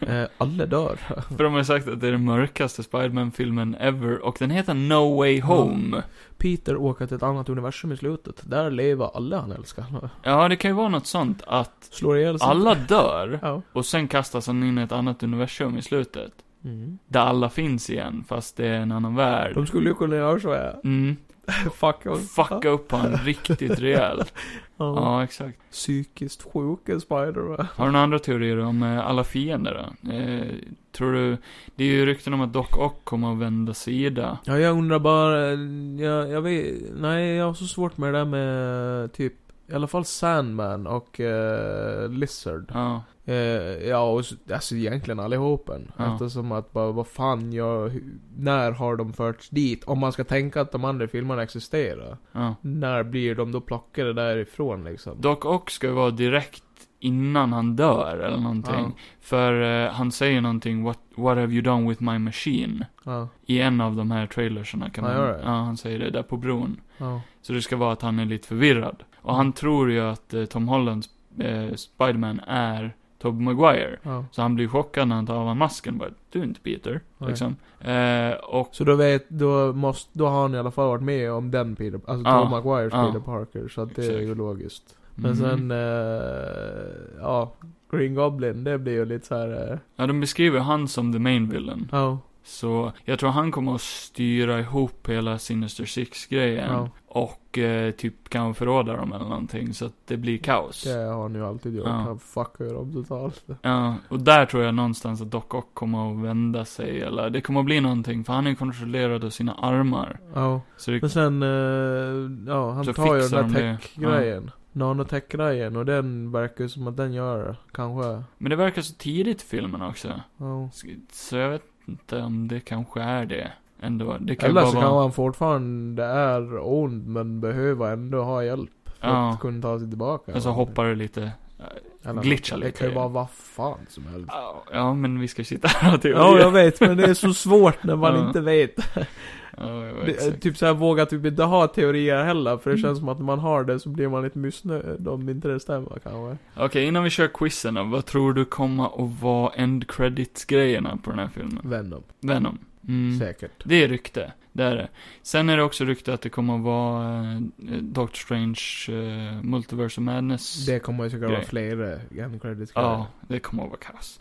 B: Eh, alla dör.
A: För de har sagt att det är den mörkaste Spiderman-filmen ever, och den heter No Way Home.
B: Peter åker till ett annat universum i slutet. Där lever alla han älskar.
A: Ja, det kan ju vara något sånt att
B: Slår ihjäl sig.
A: alla dör,
B: Ja.
A: och sen kastas han in i ett annat universum i slutet.
B: Mm.
A: Där alla finns igen, fast det är en annan värld.
B: De skulle ju kunna göra så här.
A: Mm.
B: Fuck oss.
A: Fucka upp han riktigt rejält.
B: Ja.
A: Ja, exakt.
B: Psykiskt sjuka Spider-Man.
A: Har du några andra teorier om eh, alla fiender då? Eh, tror du, det är ju rykten om att Doc Ock kommer att vända sida.
B: Ja, jag undrar bara, eh, jag, jag vet, nej jag har så svårt med det där med eh, typ, i alla fall Sandman och eh, Lizard.
A: Ja.
B: Eh, ja, och, s- alltså egentligen allihopen.
A: Ja.
B: Eftersom att bara, vad fan, jag, hu- när har de förts dit? Om man ska tänka att de andra filmerna existerar.
A: Ja.
B: När blir de då plockade därifrån liksom?
A: Doc Ock ska ju vara direkt innan han dör eller någonting.
B: Ja.
A: För eh, han säger någonting, what, what have you done with my machine?
B: Ja,
A: I en av de här trailerserna kan
B: Ja,
A: man,
B: gör det.
A: ja han säger det där på bron.
B: ja.
A: Så det ska vara att han är lite förvirrad. Och han tror ju att eh, Tom Hollands eh, Spiderman är Tobey Maguire.
B: ja.
A: Så han blir chockad när han tar av honom masken bara, du är inte Peter.
B: Nej.
A: Liksom. Eh, och
B: Så då vet, då måste, då har han i alla fall varit med om den Peter, alltså
A: Ja,
B: Tom Maguires
A: ja.
B: Peter Parker. Så att det är ju
A: Exakt.
B: logiskt. Men
A: mm.
B: sen, eh, ja, Green Goblin, det blir ju lite så här. Eh,
A: Ja, de beskriver han som the main villain.
B: ja,
A: Så jag tror han kommer att styra ihop hela Sinister Six-grejen.
B: ja,
A: Och eh, typ kan förråda dem eller någonting så att det blir kaos.
B: det har han ju alltid gjort.
A: Ja.
B: Han fuckar ju dem totalt.
A: Ja, och där tror jag någonstans att Doc Ock kommer att vända sig eller det kommer att bli någonting för han är kontrollerad av sina armar.
B: Ja,
A: Så det,
B: men sen, eh, ja, han
A: Så
B: tar ju
A: fixar
B: den
A: de det.
B: där tech-grejen. Nanotech-grejen, och den verkar ju som att den gör det, kanske.
A: men det verkar så tidigt i filmen också.
B: Ja.
A: Så, så jag vet inte om det kanske är det ändå. Det kan ju
B: Eller
A: bara
B: så kan
A: vara...
B: han fortfarande är ond men behöver ändå ha hjälp för
A: Ja.
B: att kunna ta sig tillbaka.
A: Och så hoppar det lite
B: Eller,
A: Glitcha
B: Det
A: lite.
B: kan ju vara vad fan som helst.
A: Ja, men vi ska sitta här och teorier.
B: Ja, jag vet, men det är så svårt när man
A: Ja.
B: inte vet.
A: Ja, jag
B: Det-
A: vet, exakt.
B: typ såhär, våga typ inte ha teorier heller, för det känns som att när man har det så blir man lite missnöjd om inte det stämmer kanske.
A: Okej, innan vi kör quizen då. Vad tror du kommer att vara end credits-grejerna på den här filmen?
B: Venom,
A: Venom. Mm.
B: säkert.
A: Det är rykte. Det är det. Sen är det också rykte att det kommer att vara eh, Doctor Strange eh, Multiverse of Madness.
B: Det kommer ju säkert vara eh,
A: Grej.
B: flera end credits
A: Ja, det kommer att vara kass.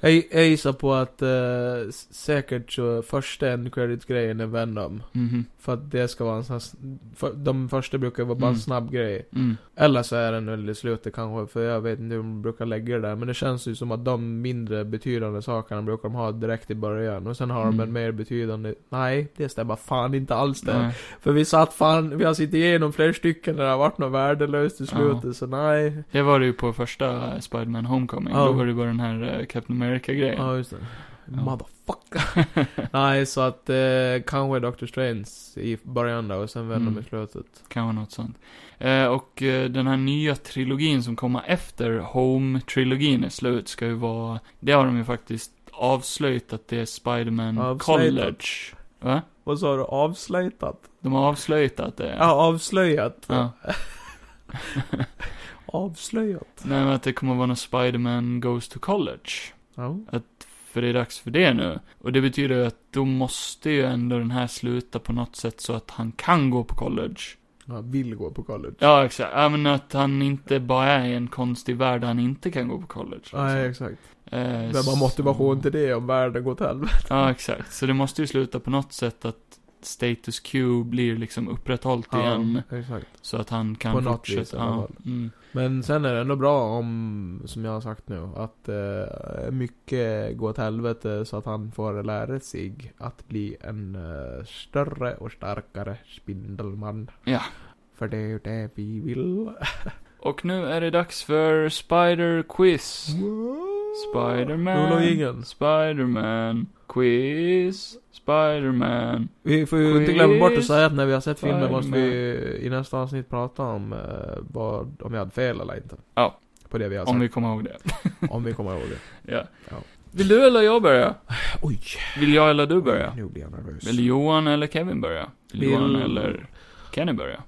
B: jag, jag gissar på att eh, s- säkert så första end credits grejen är Venom.
A: Mhm.
B: För att det ska vara en sån här, s- för, De första brukar vara bara en
A: Mm.
B: snabb grej.
A: Mm.
B: Eller så är den väl i slutet kanske, för jag vet inte hur de brukar lägga det där. Men det känns ju som att de mindre betydande sakerna brukar de ha direkt i början. Och sen har de
A: Mm.
B: en mer betydande... Nej, det stämmer fan inte alls det.
A: Nej.
B: För vi satt fan, vi har suttit igenom flera stycken där det har varit något värdelöst i
A: Ja.
B: slutet, så nej.
A: Det var det ju på första eh, Spider-Man Homecoming.
B: Ja.
A: Då var det ju bara den här eh, Captain America-grejen.
B: Ja, just det.
A: Ja.
B: Motherfucker. nej, så att eh, kanske Doctor Strange i början då, och sen vänder de
A: Mm.
B: i slutet.
A: Kan vara något sånt. Eh, och eh, den här nya trilogin som kommer efter Home-trilogin är slut ska ju vara, det har de ju faktiskt avslöjat att det är Spiderman
B: Avslöjat.
A: College. Va?
B: Vad sa du? Avslöjat?
A: De har avslöjat att det är.
B: Ja, avslöjat.
A: Ja.
B: Avslöjat.
A: Nej men att det kommer vara någon Spiderman Goes to College.
B: Ja.
A: För det är dags för det nu. Och det betyder ju att då måste ju ändå den här sluta på något sätt så att han kan gå på college.
B: Han vill gå på college.
A: Ja, exakt. Ja, men att han inte bara är i en konstig värld där han inte kan gå på college. liksom.
B: Nej, exakt.
A: Eh,
B: Vem har
A: så-
B: motivation till det om världen går åt helvete?
A: Ja, exakt. Så det måste ju sluta på något sätt att status quo blir liksom upprätthållt igen.
B: Ja, exakt.
A: Så att han kan
B: På något
A: fortsätta.
B: vis i alla
A: ja.
B: fall.
A: Mm.
B: Men sen är det ändå bra om, som jag har sagt nu, att eh, mycket går åt helvete så att han får lära sig att bli en eh, större och starkare spindelman.
A: Ja.
B: För det är ju det vi vill.
A: Och nu är det dags för Spider Quiz.
B: Nu la vi
A: Spiderman.
B: ingen.
A: Spiderman. Quiz. Spiderman.
B: Vi får ju inte
A: Quiz.
B: glömma bort att säga att när vi har sett filmen
A: Spider-Man.
B: måste vi i nästa avsnitt prata om eh, vad, om jag hade fel eller inte.
A: Ja.
B: På det vi har sagt.
A: Om vi kommer ihåg det.
B: om vi kommer ihåg det.
A: ja.
B: Ja.
A: Vill du eller jag börja?
B: Oj!
A: Vill jag eller du börja?
B: Nu blir jag nervös.
A: Vill Johan eller Kevin börja? Vill,
B: Vill-
A: Johan eller Kenny börja?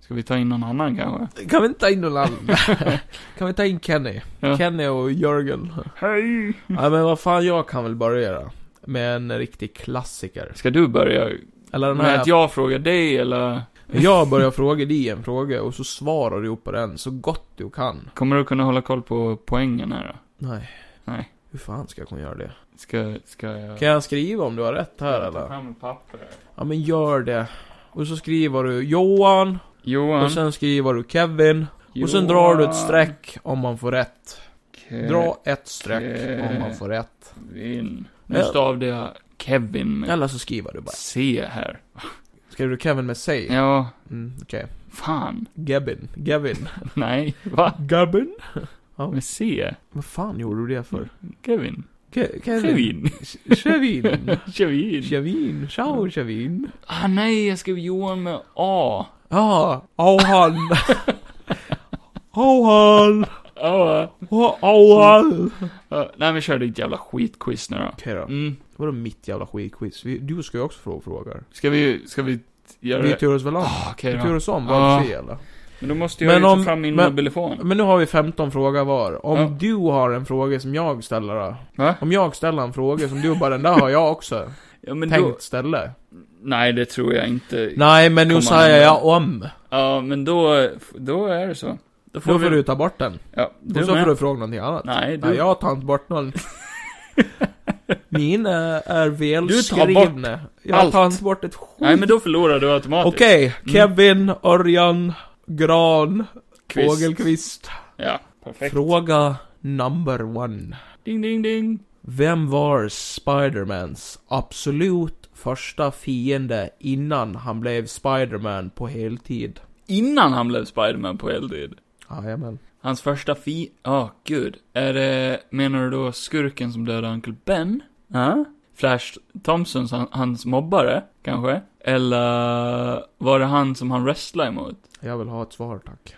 A: Ska vi ta in någon annan kanske?
B: Kan vi inte ta in någon annan? kan vi ta in Kenny?
A: Ja.
B: Kenny och Jörgen.
A: Hej!
B: Ja men vad fan, jag kan väl börja då. Med en riktig klassiker.
A: Ska du börja?
B: Eller den
A: Med
B: här...
A: att jag frågar dig eller?
B: Jag börjar fråga dig en fråga och så svarar du på den så gott du kan.
A: Kommer du kunna hålla koll på poängen här då?
B: Nej.
A: Nej.
B: Hur fan ska jag kunna göra det?
A: Ska, ska jag...
B: Kan jag skriva om du har rätt här
A: Ta
B: eller?
A: fram ett papper.
B: Ja men gör det. Och så skriver du Johan,
A: Johan.
B: och sen skriver du Kevin, och sen drar du ett streck om man får rätt.
A: Johan
B: Dra ett streck
A: eh.
B: om man får rätt.
A: Kevin. Nu
B: Ja.
A: stavade jag Kevin med
B: Eller så skriver du bara.
A: C här.
B: Skriver du Kevin med sig?
A: Ja,
B: Mm, okej.
A: fan.
B: Gavin. Gavin.
A: Nej, va?
B: Gavin?
A: Med C?
B: Vad fan gjorde du det för?
A: Kevin.
B: Ke-
A: Kevin.
B: Kevin.
A: Kevin.
B: Kevin. Ciao Kevin.
A: Ah, nej, jag skrev Johan med A.
B: Ja. Auhan. Auhan.
A: Ja.
B: Auhan.
A: ja. nej, men kör ditt jävla skitquiz nu då.
B: Okej då.
A: Mm.
B: Vadå mitt jävla skitquiz? Vi- Du ska ju också fråga frågor.
A: Ska vi, ska vi göra
B: Vi
A: det?
B: turas väl om?
A: Ah, Okej
B: Vi
A: då. Ah.
B: turas om
A: Ja.
B: var vi eller?
A: Men då måste jag
B: Men
A: ju
B: om-
A: ta fram min
B: men-
A: mobiltelefon.
B: Men nu har vi 15 frågor var. Om
A: Ja.
B: du har en fråga som jag ställer då?
A: Va?
B: Om jag ställer en fråga som du bara, den där har jag också.
A: Ja, men
B: tänkt
A: då...
B: ställe.
A: Nej, det tror jag inte.
B: Nej, men nu
A: Kommer
B: säger
A: han-
B: jag om.
A: Ja, men då, då är det så. Då
B: Då får
A: vi-
B: du ta bort den.
A: Ja,
B: Och
A: du
B: så
A: med.
B: får du fråga någonting annat.
A: Nej, du...
B: Nej, jag har tagit bort någon. Min är, är
A: Du tar
B: välskrivna. Jag
A: allt.
B: tar inte bort ett skit.
A: Nej, men då förlorar du automatiskt.
B: Okej,
A: Mm.
B: Kevin, Örjan, Gran,
A: Quiz.
B: Fågelqvist.
A: Ja, perfekt.
B: Fråga number one.
A: Ding, ding, ding.
B: Vem var Spidermans absolut första fiende innan han blev Spiderman på heltid?
A: Innan han blev Spiderman på heltid.
B: Jajamän.
A: Hans första fi... Ja, gud. Är det... Menar du då skurken som dödade Uncle Ben? Ja? Flash Thompsons, han, hans mobbare, kanske? Eller var det han som han wrestlade emot?
B: Jag vill ha ett svar tack.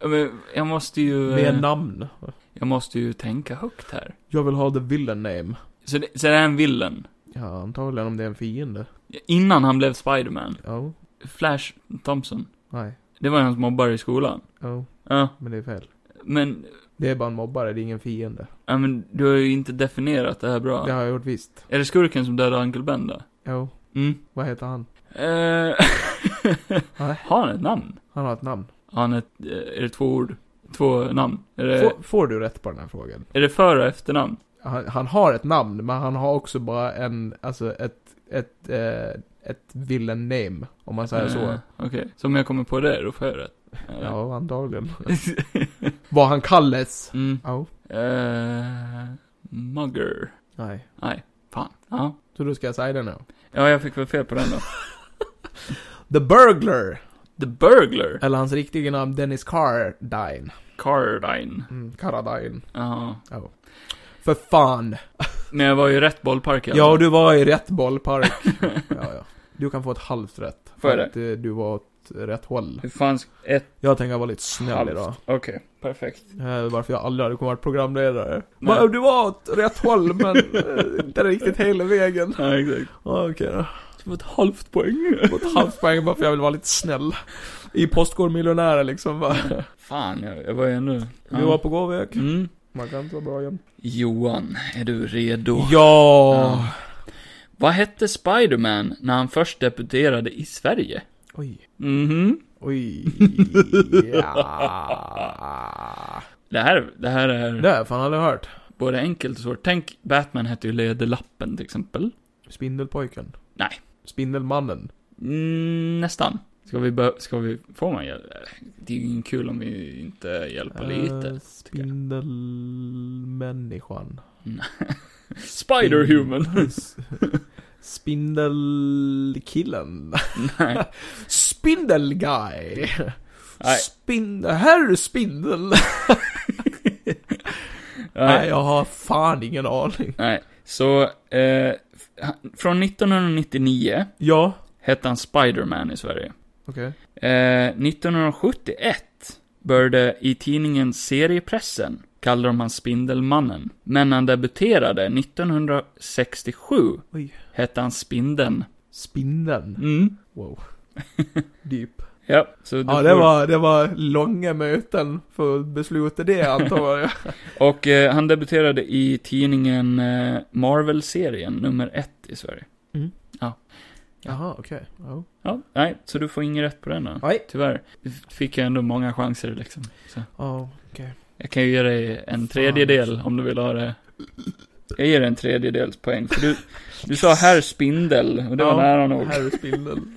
A: Ja, Men jag måste ju...
B: Med
A: eh,
B: namn.
A: Jag måste ju tänka högt här.
B: Jag vill ha the villain name.
A: Så det, så det är en villain.
B: Ja, antagligen om det är en fiende.
A: Innan han blev Spiderman.
B: Ja.
A: Flash Thompson.
B: Nej.
A: Det var ju hans mobbare i skolan.
B: Ja,
A: Ja,
B: men det är fel.
A: men...
B: Det är bara en mobbare, det är ingen fiende.
A: Ja, men du har ju inte definierat det här bra.
B: Det har jag gjort visst.
A: Är det skurken som dödade Uncle Ben då?
B: Jo,
A: Mm.
B: vad heter han?
A: Eh,
B: Nej.
A: har han ett namn?
B: Han har ett namn.
A: Har han ett... eh, Är det två ord? Två namn? Är det,
B: Får, får du rätt på den här frågan?
A: är det för och efternamn?
B: Han, han har ett namn, men han har också bara en, alltså ett, ett, eh, ett villain name. Om man säger så.
A: Eh, Okej. Så om jag kommer på det, då får jag rätt? Eh. Eller?
B: Ja, antagligen. Vad han kallas.
A: mm.
B: Ja.
A: Eh, mugger.
B: Nej.
A: Nej, fan. Ja.
B: Så då ska jag säga det nu.
A: Ja, jag fick väl fel på den då.
B: The Burglar!
A: The Burglar.
B: Eller hans riktiga namn Dennis Cardine.
A: Cardine.
B: Mm, Caradine.
A: Ja.
B: För fan!
A: Men jag var ju rätt bollpark i alla
B: Ja,
A: fall.
B: du var i rätt bollpark. ja, ja. Du kan få ett halvt rätt.
A: Får jag
B: För att eh, du var åt rätt håll.
A: Hur fan ska... Ett
B: Jag tänker vara lite snäll
A: halvt.
B: idag.
A: Okej, perfekt.
B: Eh, varför jag aldrig hade kunnat vara programledare.
A: Nej.
B: Men Du var åt rätt håll, men eh, inte riktigt hela vägen.
A: Ja, exakt.
B: Ja, Okej då.
A: Det var ett halvt poäng.
B: Jag får ett halvt poäng bara för jag vill vara lite snäll. I Postkodmiljonärer liksom va.
A: Fan, jag, jag var ju ändå...
B: Vi var på god väg.
A: Mm.
B: Man kan inte vara bra igen.
A: Johan, är du redo?
B: Ja!
A: Vad hette Spiderman när han först debuterade i Sverige?
B: Oj.
A: Mhm.
B: Oj. Ja.
A: Det här, det här är
B: Det har jag fan aldrig hört.
A: både enkelt och svårt. Tänk, Batman hette ju Läderlappen till exempel.
B: Spindelpojken.
A: Nej.
B: Spindelmannen.
A: Mm, nästan. Ska vi, bör- ska vi, får man hjälp? Det är ju inte kul om vi inte hjälper lite.
B: Eh, Spindelmänniskan. mm.
A: Spider-human.
B: S- Spindelkillen.
A: Nej.
B: Spindelguy.
A: Nej.
B: Spindel... Herr Spindel. Nej,
A: Nej.
B: jag har fan ingen aning.
A: Nej. Så, eh, han- från 1999
B: Ja.
A: hette han Spider-Man i Sverige.
B: Okej.
A: Eh, 1971 började i tidningen Seriepressen kalla de han Spindelmannen. Men när han debuterade 1967
B: Oj.
A: hette han Spindeln.
B: Spindeln.
A: Mm.
B: Wow. Deep.
A: Ja, så du
B: Ja, det
A: får-
B: var, det var långa möten för att besluta det antar jag.
A: Och eh, han debuterade i tidningen eh, Marvel-serien, nummer ett i Sverige.
B: Jaha, okej. Ja.
A: Ja, nej, så du får inget rätt på den då.
B: Nej.
A: Tyvärr. Fick jag ändå många chanser liksom. Så.
B: Ja.
A: Jag kan ju ge dig en tredjedel
B: alltså.
A: om du vill ha det. Jag ger dig en tredjedels poäng, för du, du sa herr spindel, och det var
B: Ja,
A: nära nog.
B: Herr Spindeln.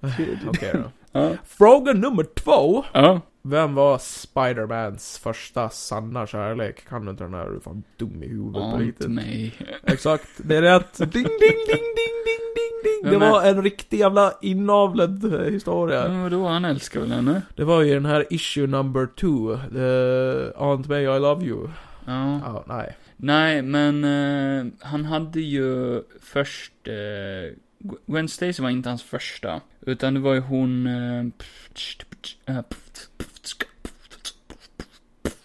B: Okej då.
A: Ja.
B: Fråga nummer två.
A: ja.
B: Vem var Spidermans första sanna kärlek? Kan du inte den här? Du är fan dum i huvudet på
A: Ant
B: riktigt.
A: mig.
B: Exakt, det är rätt. Ding, ding, ding, ding, ding, ding, ding.
A: Vem
B: Det
A: är- Mm.
B: var en riktig jävla inavlad eh, historia.
A: Men vadå, han älskar väl henne?
B: Det var ju den här issue number two. The Aunt May I Love You.
A: Ja.
B: Ja, nej.
A: Nej, men eh, han hade ju först... Eh, Gwen Stacy var inte hans första. Utan det var ju hon... Eh,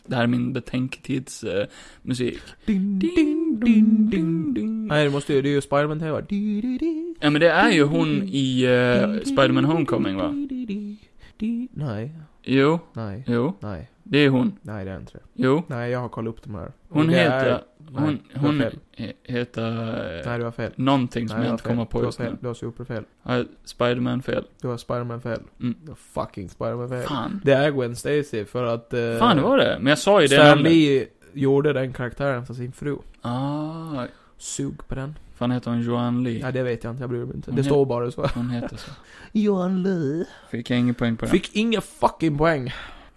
A: det här är min betänketidsmusik. Eh, musik.
B: Ding,
A: ding, ding, ding, ding.
B: Nej, det måste ju, det är ju Spiderman tema. Di, di, di.
A: Ja men det är ju hon i eh, Spiderman Homecoming va?
B: Di, di, di, di. Nej,
A: Jo,
B: nej,
A: jo,
B: nej,
A: det är hon.
B: nej det är inte det.
A: Jo.
B: Nej, jag har kollat upp de här. Och
A: Hon
B: det
A: heter,
B: är-
A: hon,
B: du har
A: hon
B: fel.
A: he- heter eh,
B: Nej, du har fel.
A: någonting som
B: Nej,
A: jag
B: du har
A: inte kommer
B: fel.
A: på
B: Du har
A: just
B: fel.
A: nu.
B: Du har superfel.
A: Ja, Spiderman fel.
B: Du har Spiderman fel.
A: Mm.
B: Du har fucking Spiderman fel.
A: Fan.
B: Det är Gwen Stacy för att... Eh,
A: Fan det var det. Men jag sa ju det
B: Stan
A: namnet.
B: Lee gjorde den karaktären för sin fru.
A: Ah,
B: Sug på den.
A: fan heter hon Joanne
B: Ja,
A: Lee?
B: det vet jag inte. Jag bryr mig inte.
A: Hon
B: Det
A: he-
B: står bara så.
A: Hon heter så.
B: Johan Lee.
A: Fick jag ingen poäng på den.
B: Fick inga fucking poäng.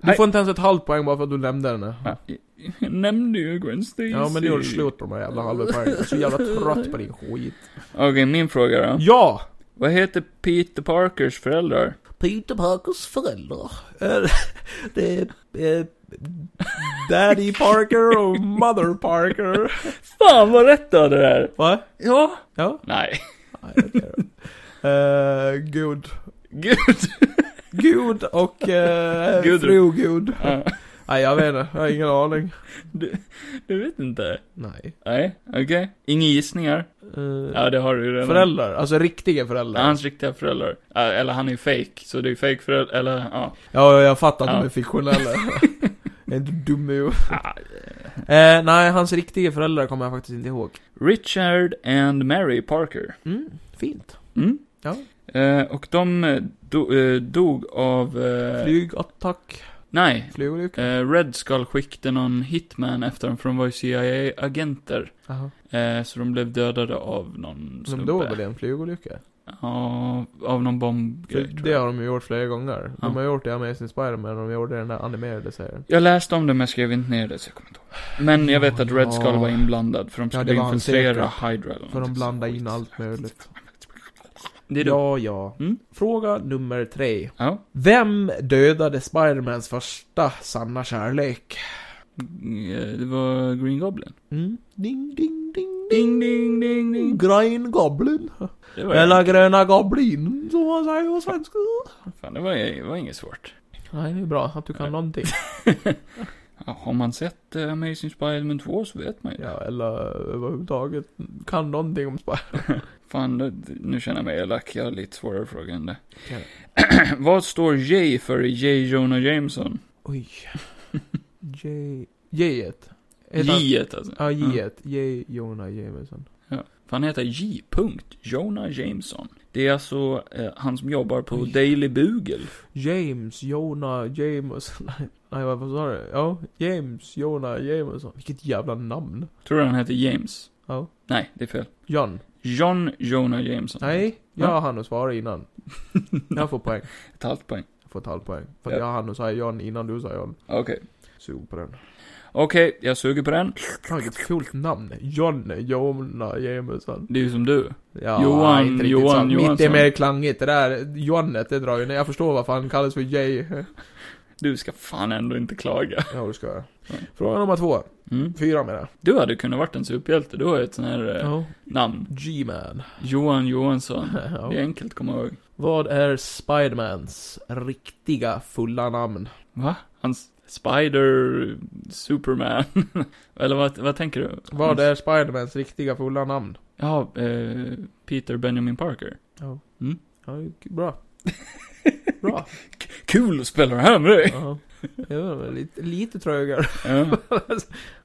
B: Du
A: Nej.
B: får inte ens ett halvt poäng bara för att du nämnde henne.
A: Ja, Jag nämnde ju Gwen Stacy.
B: Ja, men nu är det slut på de här jävla halva poängen. Jag är så jävla trött på din skit.
A: Okej, min fråga då.
B: Ja!
A: Vad heter Peter Parkers föräldrar?
C: Peter Parkers föräldrar.
B: Eh, Det är... eh, Daddy Parker och Mother Parker.
A: Fan vad rätt du hade där!
B: Va?
A: Ja.
B: Ja?
A: Nej.
B: Nej, okej då. Eh, Gud.
A: Gud.
B: Gud och eh,
A: Gudrun.
B: fru Gud.
A: Ja.
B: Nej, jag vet inte. Jag har ingen aning.
A: Du, du vet inte?
B: Nej.
A: Nej, okej. Inga gissningar?
B: Eh,
A: Ja, det har du ju redan.
B: föräldrar. Alltså riktiga föräldrar.
A: Ja, hans riktiga föräldrar. Ja, Eller han är ju fake, så det är ju fake föräldrar, eller ja.
B: Ja, ja, jag fattar att
A: Ja.
B: de är fiktionella. jag är inte dum i huvudet.
A: Ah,
B: eh, Nej, hans riktiga föräldrar kommer jag faktiskt inte ihåg.
A: Richard and Mary Parker.
B: Mm, fint.
A: Mm.
B: Ja.
A: Eh, och de eh, do, eh, dog av... Eh,
B: Flygattack.
A: nej.
B: Flygolycka.
A: Eh, Red Skull skickade någon hitman efter dem, för de var ju CIA-agenter.
B: Jaha.
A: Eh, så de blev dödade av någon
B: Men
A: snubbe.
B: då var det en flygolycka.
A: Ja, av någon
B: För
A: bombgrej, tror
B: det
A: jag.
B: har de ju gjort flera gånger.
A: Ja.
B: De har gjort det i Amazing Spider-Man och de gjorde den där animerade serien.
A: Jag läste om det men jag skrev inte ner det så jag kommer inte ihåg. Men jag vet att Red Skull
B: Ja.
A: var inblandad för de
B: Ja,
A: skulle
B: det var han
A: infiltrera
B: säkert.
A: Hydra eller någonting.
B: För de blandade in
A: Skit.
B: allt möjligt.
A: Det är du.
B: Ja, ja.
A: Mm.
B: Fråga nummer tre.
A: Ja.
B: Vem dödade Spidermans första sanna kärlek?
A: Mm, eh, Det var Green Goblin.
B: Mm. Ding, ding, ding, ding.
A: Ding, ding, ding, ding.
B: Grön Goblin.
A: Det var,
B: Eller gröna goblin, som man säger på svenska.
A: fan, det var, det var inget svårt.
B: Nej, det är bra att du kan
A: Nej.
B: någonting.
A: Ja, har man sett eh, Amazing Spider-Man 2 så vet man ju.
B: Ja, eller överhuvudtaget kan någonting om Spider.
A: Fan, nu- nu känner jag mig elak. Jag har lite svårare frågor än det.
B: Okej.
A: Vad står J för i J. Jonah Jameson?
B: Oj. J... J-et. Heter han-
A: J alltså.
B: Ja, J-et. J. Jonah Jameson.
A: För han heter J. Jonah Jameson. Det är alltså eh, han som jobbar på
B: Oj.
A: Daily Bugle.
B: James, Jonah, Jameson. Nej, nej, vad sa du? Ja, James, Jonah, Jameson. Vilket jävla namn.
A: Tror du han heter James?
B: Ja.
A: Nej, det är fel.
B: John.
A: John Jonah Jameson.
B: Nej,
A: Ja.
B: jag hann att svara innan. Jag får poäng.
A: Ett halvt poäng.
B: Jag får ett halvt poäng. För att
A: Ja.
B: jag hann att säga John innan du sa John.
A: Okej.
B: Sug på den.
A: Okej, jag suger på den.
B: Fan vilket fult namn. John Jonna Jameson.
A: Det är ju som du.
B: Ja,
A: Johan-
B: inte riktigt
A: Johan
B: sant. Mitt är
A: Johansson.
B: mer klangigt. Det där Johannet, det drar ju ner. Jag förstår varför han kallas för J.
A: Du ska fan ändå inte klaga.
B: Ja, det ska jag.
A: Ja.
B: Fråga nummer två.
A: Mm.
B: Fyra menar jag.
A: Du hade kunnat varit en superhjälte. Du har ju ett sånt här eh,
B: Ja.
A: namn.
B: G-Man.
A: Johan Johansson.
B: Ja.
A: Det är enkelt att komma ihåg.
B: Vad är Spidermans riktiga fulla namn?
A: Va? Hans Spider... Superman. Eller vad, vad tänker du?
B: Vad är Spidermans riktiga fulla namn?
A: Ja, eh, Peter Benjamin Parker.
B: Ja.
A: Mm.
B: Ja, det är bra. Bra.
A: Kul att spela det här med dig!
B: Ja. Jag vet inte, lite, lite trögare.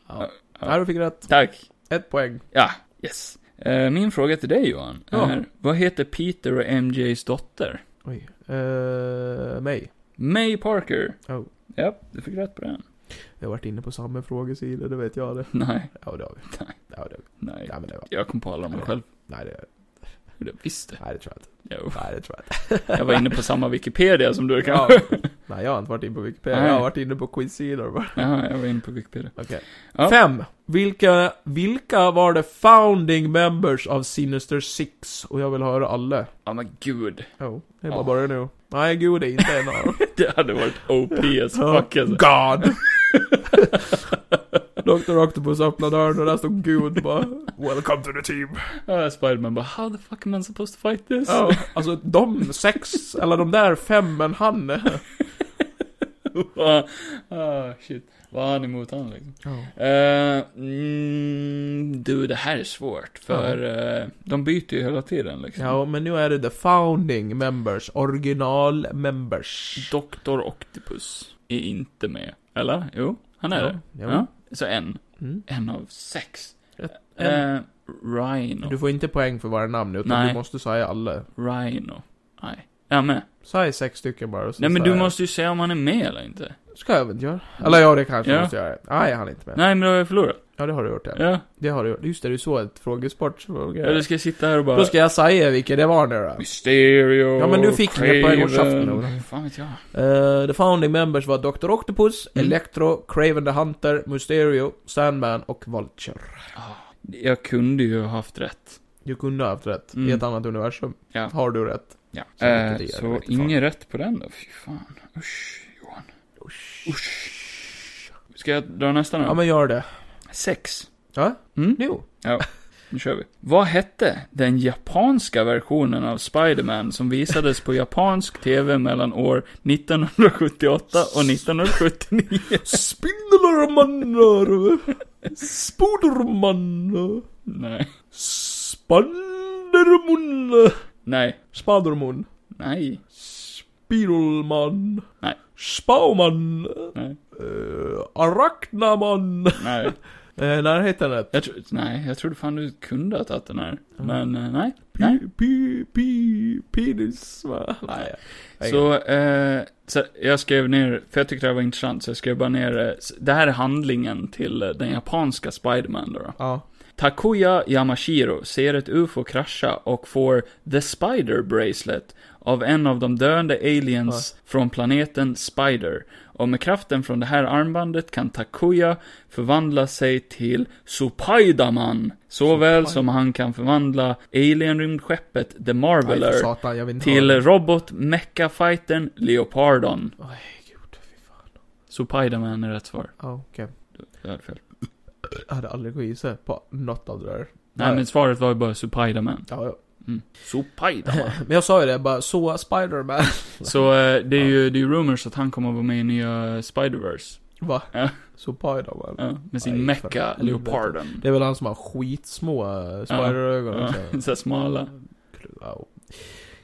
A: Ja.
B: Ja. Nej, du fick rätt.
A: Tack.
B: Ett poäng.
A: Ja, yes. Eh, Min fråga till dig Johan
B: Ja.
A: är, vad heter Peter och MJs dotter?
B: Oj. Uh, mig.
A: May Parker.
B: Oh.
A: Ja, du fick rätt på den.
B: Vi har varit inne på samma frågesida, det vet jag det.
A: Nej,
B: Ja, det har vi.
A: Nej.
B: Ja, det har vi.
A: nej.
B: Ja, men det var...
A: Jag kom på alla dem
B: Nej.
A: själv.
B: Nej, det,
A: Det visste
B: nej, det tror jag inte.
A: jag.
B: Nej, det tror jag inte.
A: Jag var inne på samma Wikipedia som du
B: Ja.
A: kanske.
B: Nej, jag har inte varit inne på Wikipedia.
A: Nej.
B: Jag har varit inne på quizsidor bara.
A: Ja, jag var inne på Wikipedia.
B: Okej.
A: Ja.
B: Fem. Vilka, vilka var the founding members av Sinister Six? Och jag vill höra alla.
A: Ja men gud.
B: Oh, det är bara
A: Ja.
B: att börja nu. Nej, gud, det är inte en av dem. Oh,
A: Det hade varit OP as fuck alltså.
B: God! Dr. Octopus öppnar dörren och där står Gud bara Welcome to the team.
A: Ja, Spiderman bara, how the fuck am I supposed to fight this?
B: Ja, alltså de sex, eller de där fem, men han...
A: Ah, ah, shit. Vad har han emot han liksom? Eh, mm, du, det här är svårt. För eh, de byter ju hela tiden liksom.
B: Ja, men nu är det the founding members, original members.
A: Doktor Octopus är inte med. Eller? Jo, han är det.
B: Ja,
A: Ja.
B: ja.
A: Så en.
B: Mm.
A: En av sex.
B: Ett-
A: Eh, Rhino.
B: Du får inte poäng för varje namn, utan
A: Nej.
B: du måste säga alla.
A: Rhino. Nej. Är han med?
B: Säg sex stycken bara. och så
A: Nej men
B: säger
A: du
B: jag.
A: måste ju säga om han är med eller inte.
B: Ska jag väl inte göra? Eller ja, det kanske
A: Ja.
B: måste jag göra. Nej, han är inte med.
A: Nej men då har jag förlorat.
B: Ja, det har du gjort, ja.
A: Ja.
B: Det har du gjort. Just det, du såg ett frågesportfråga.
A: Eller ska jag sitta här och bara...
B: Då ska jag säga vilka det var nu då.
A: Mysterio,
B: Ja, men du fick inget poäng och käften, Ola.
A: Fan vet jag.
B: Eh, the founding members var Dr. Octopus,
A: Mm.
B: Electro, Craven the Hunter, Mysterio, Sandman och Vulture.
A: Jag kunde ju ha haft rätt.
B: Du kunde ha haft rätt.
A: Mm.
B: I ett annat universum
A: Ja.
B: har du rätt.
A: Ja. Så,
B: Så vilket det
A: eh,
B: är,
A: så
B: vet du fan.
A: inget rätt på den då. Fy fan. Usch, Johan. Usch. Ska jag dra nästa nu?
B: Ja men gör det.
A: Sex.
B: Ja?
A: Mm?
B: Nu?
A: Ja. Nu kör vi. Vad hette den japanska versionen av Spiderman som visades på japansk TV mellan år 1978 och 1979?
B: Spindelmannen. Spoderman.
A: Nej.
B: Spandermun.
A: Nej.
B: Spadermun.
A: Nej.
B: Spirulman.
A: Nej.
B: Spauman.
A: Nej.
B: Uh, Arachnaman.
A: Nej.
B: Eh, när heter den det?
A: Jag tror, nej, jag trodde fan du kunde ha tagit den här. Men eh, nej. nej.
B: Pi- Pi, pi, penis, va? Nej. jag-
A: Så, eh, så jag skrev ner, för jag tyckte det här var intressant, så jag skrev bara ner, eh, s- det här är handlingen till eh, den japanska Spiderman då. då.
B: Ja.
A: Takuya Yamashiro ser ett UFO krascha och får The Spider Bracelet av en av de döende aliens från planeten Spider. Och med kraften från det här armbandet kan Takuya förvandla sig till Supaidaman. Såväl som han kan förvandla alien-rymdskeppet The
B: Nej, för
A: Marveler
B: satan, jag vill inte
A: till
B: höra.
A: robot mecha fightern Leopardon.
B: Oj, gud, fy fan.
A: Supaidaman är rätt svar.
B: Ja, okej.
A: Jag hade fel.
B: Jag hade aldrig kunnat gissa på något av det där.
A: Nej, men svaret var ju bara Supaidaman.
B: Ja, ja.
A: Supaidaman.
B: Men jag sa ju det, bara så Spider-Man.
A: Så eh, det är ju det är ju rumors att han kommer att vara med i nya Spider-Verse.
B: Va?
A: Ja.
B: Så Spider-Man.
A: Ja, med sin
B: Aj, för
A: mecha
B: helvete.
A: Leoparden.
B: Det alltså. är väl han som har skitsmå eh, Spider-ögon
A: Ja,
B: också.
A: så här smala.
B: Wow.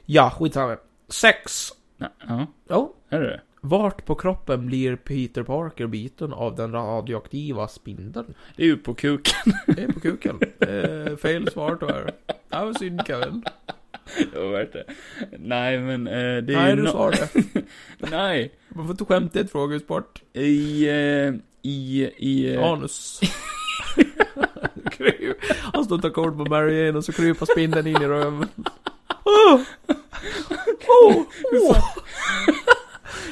B: Ja, skitsamma. Sex.
A: Nej, Ja,
B: Ja.
A: är det det
B: Vart på kroppen blir Peter Parker biten av den radioaktiva spindeln?
A: Det är ju på kuken.
B: Det är på kuken. eh, fel svar tyvärr. Det var synd Kevin.
A: Det var värt det. Nej, men eh, det är
B: Nej,
A: ju
B: du
A: nå-
B: sa det.
A: Nej.
B: Man får inte skämta i ett frågesport.
A: I, eh, i, i... eh,
B: Anus. Kryp. Han står och tar kort på Mary Jane och så kryper spindeln in i röven. Åh! Åh! Åh! Oh!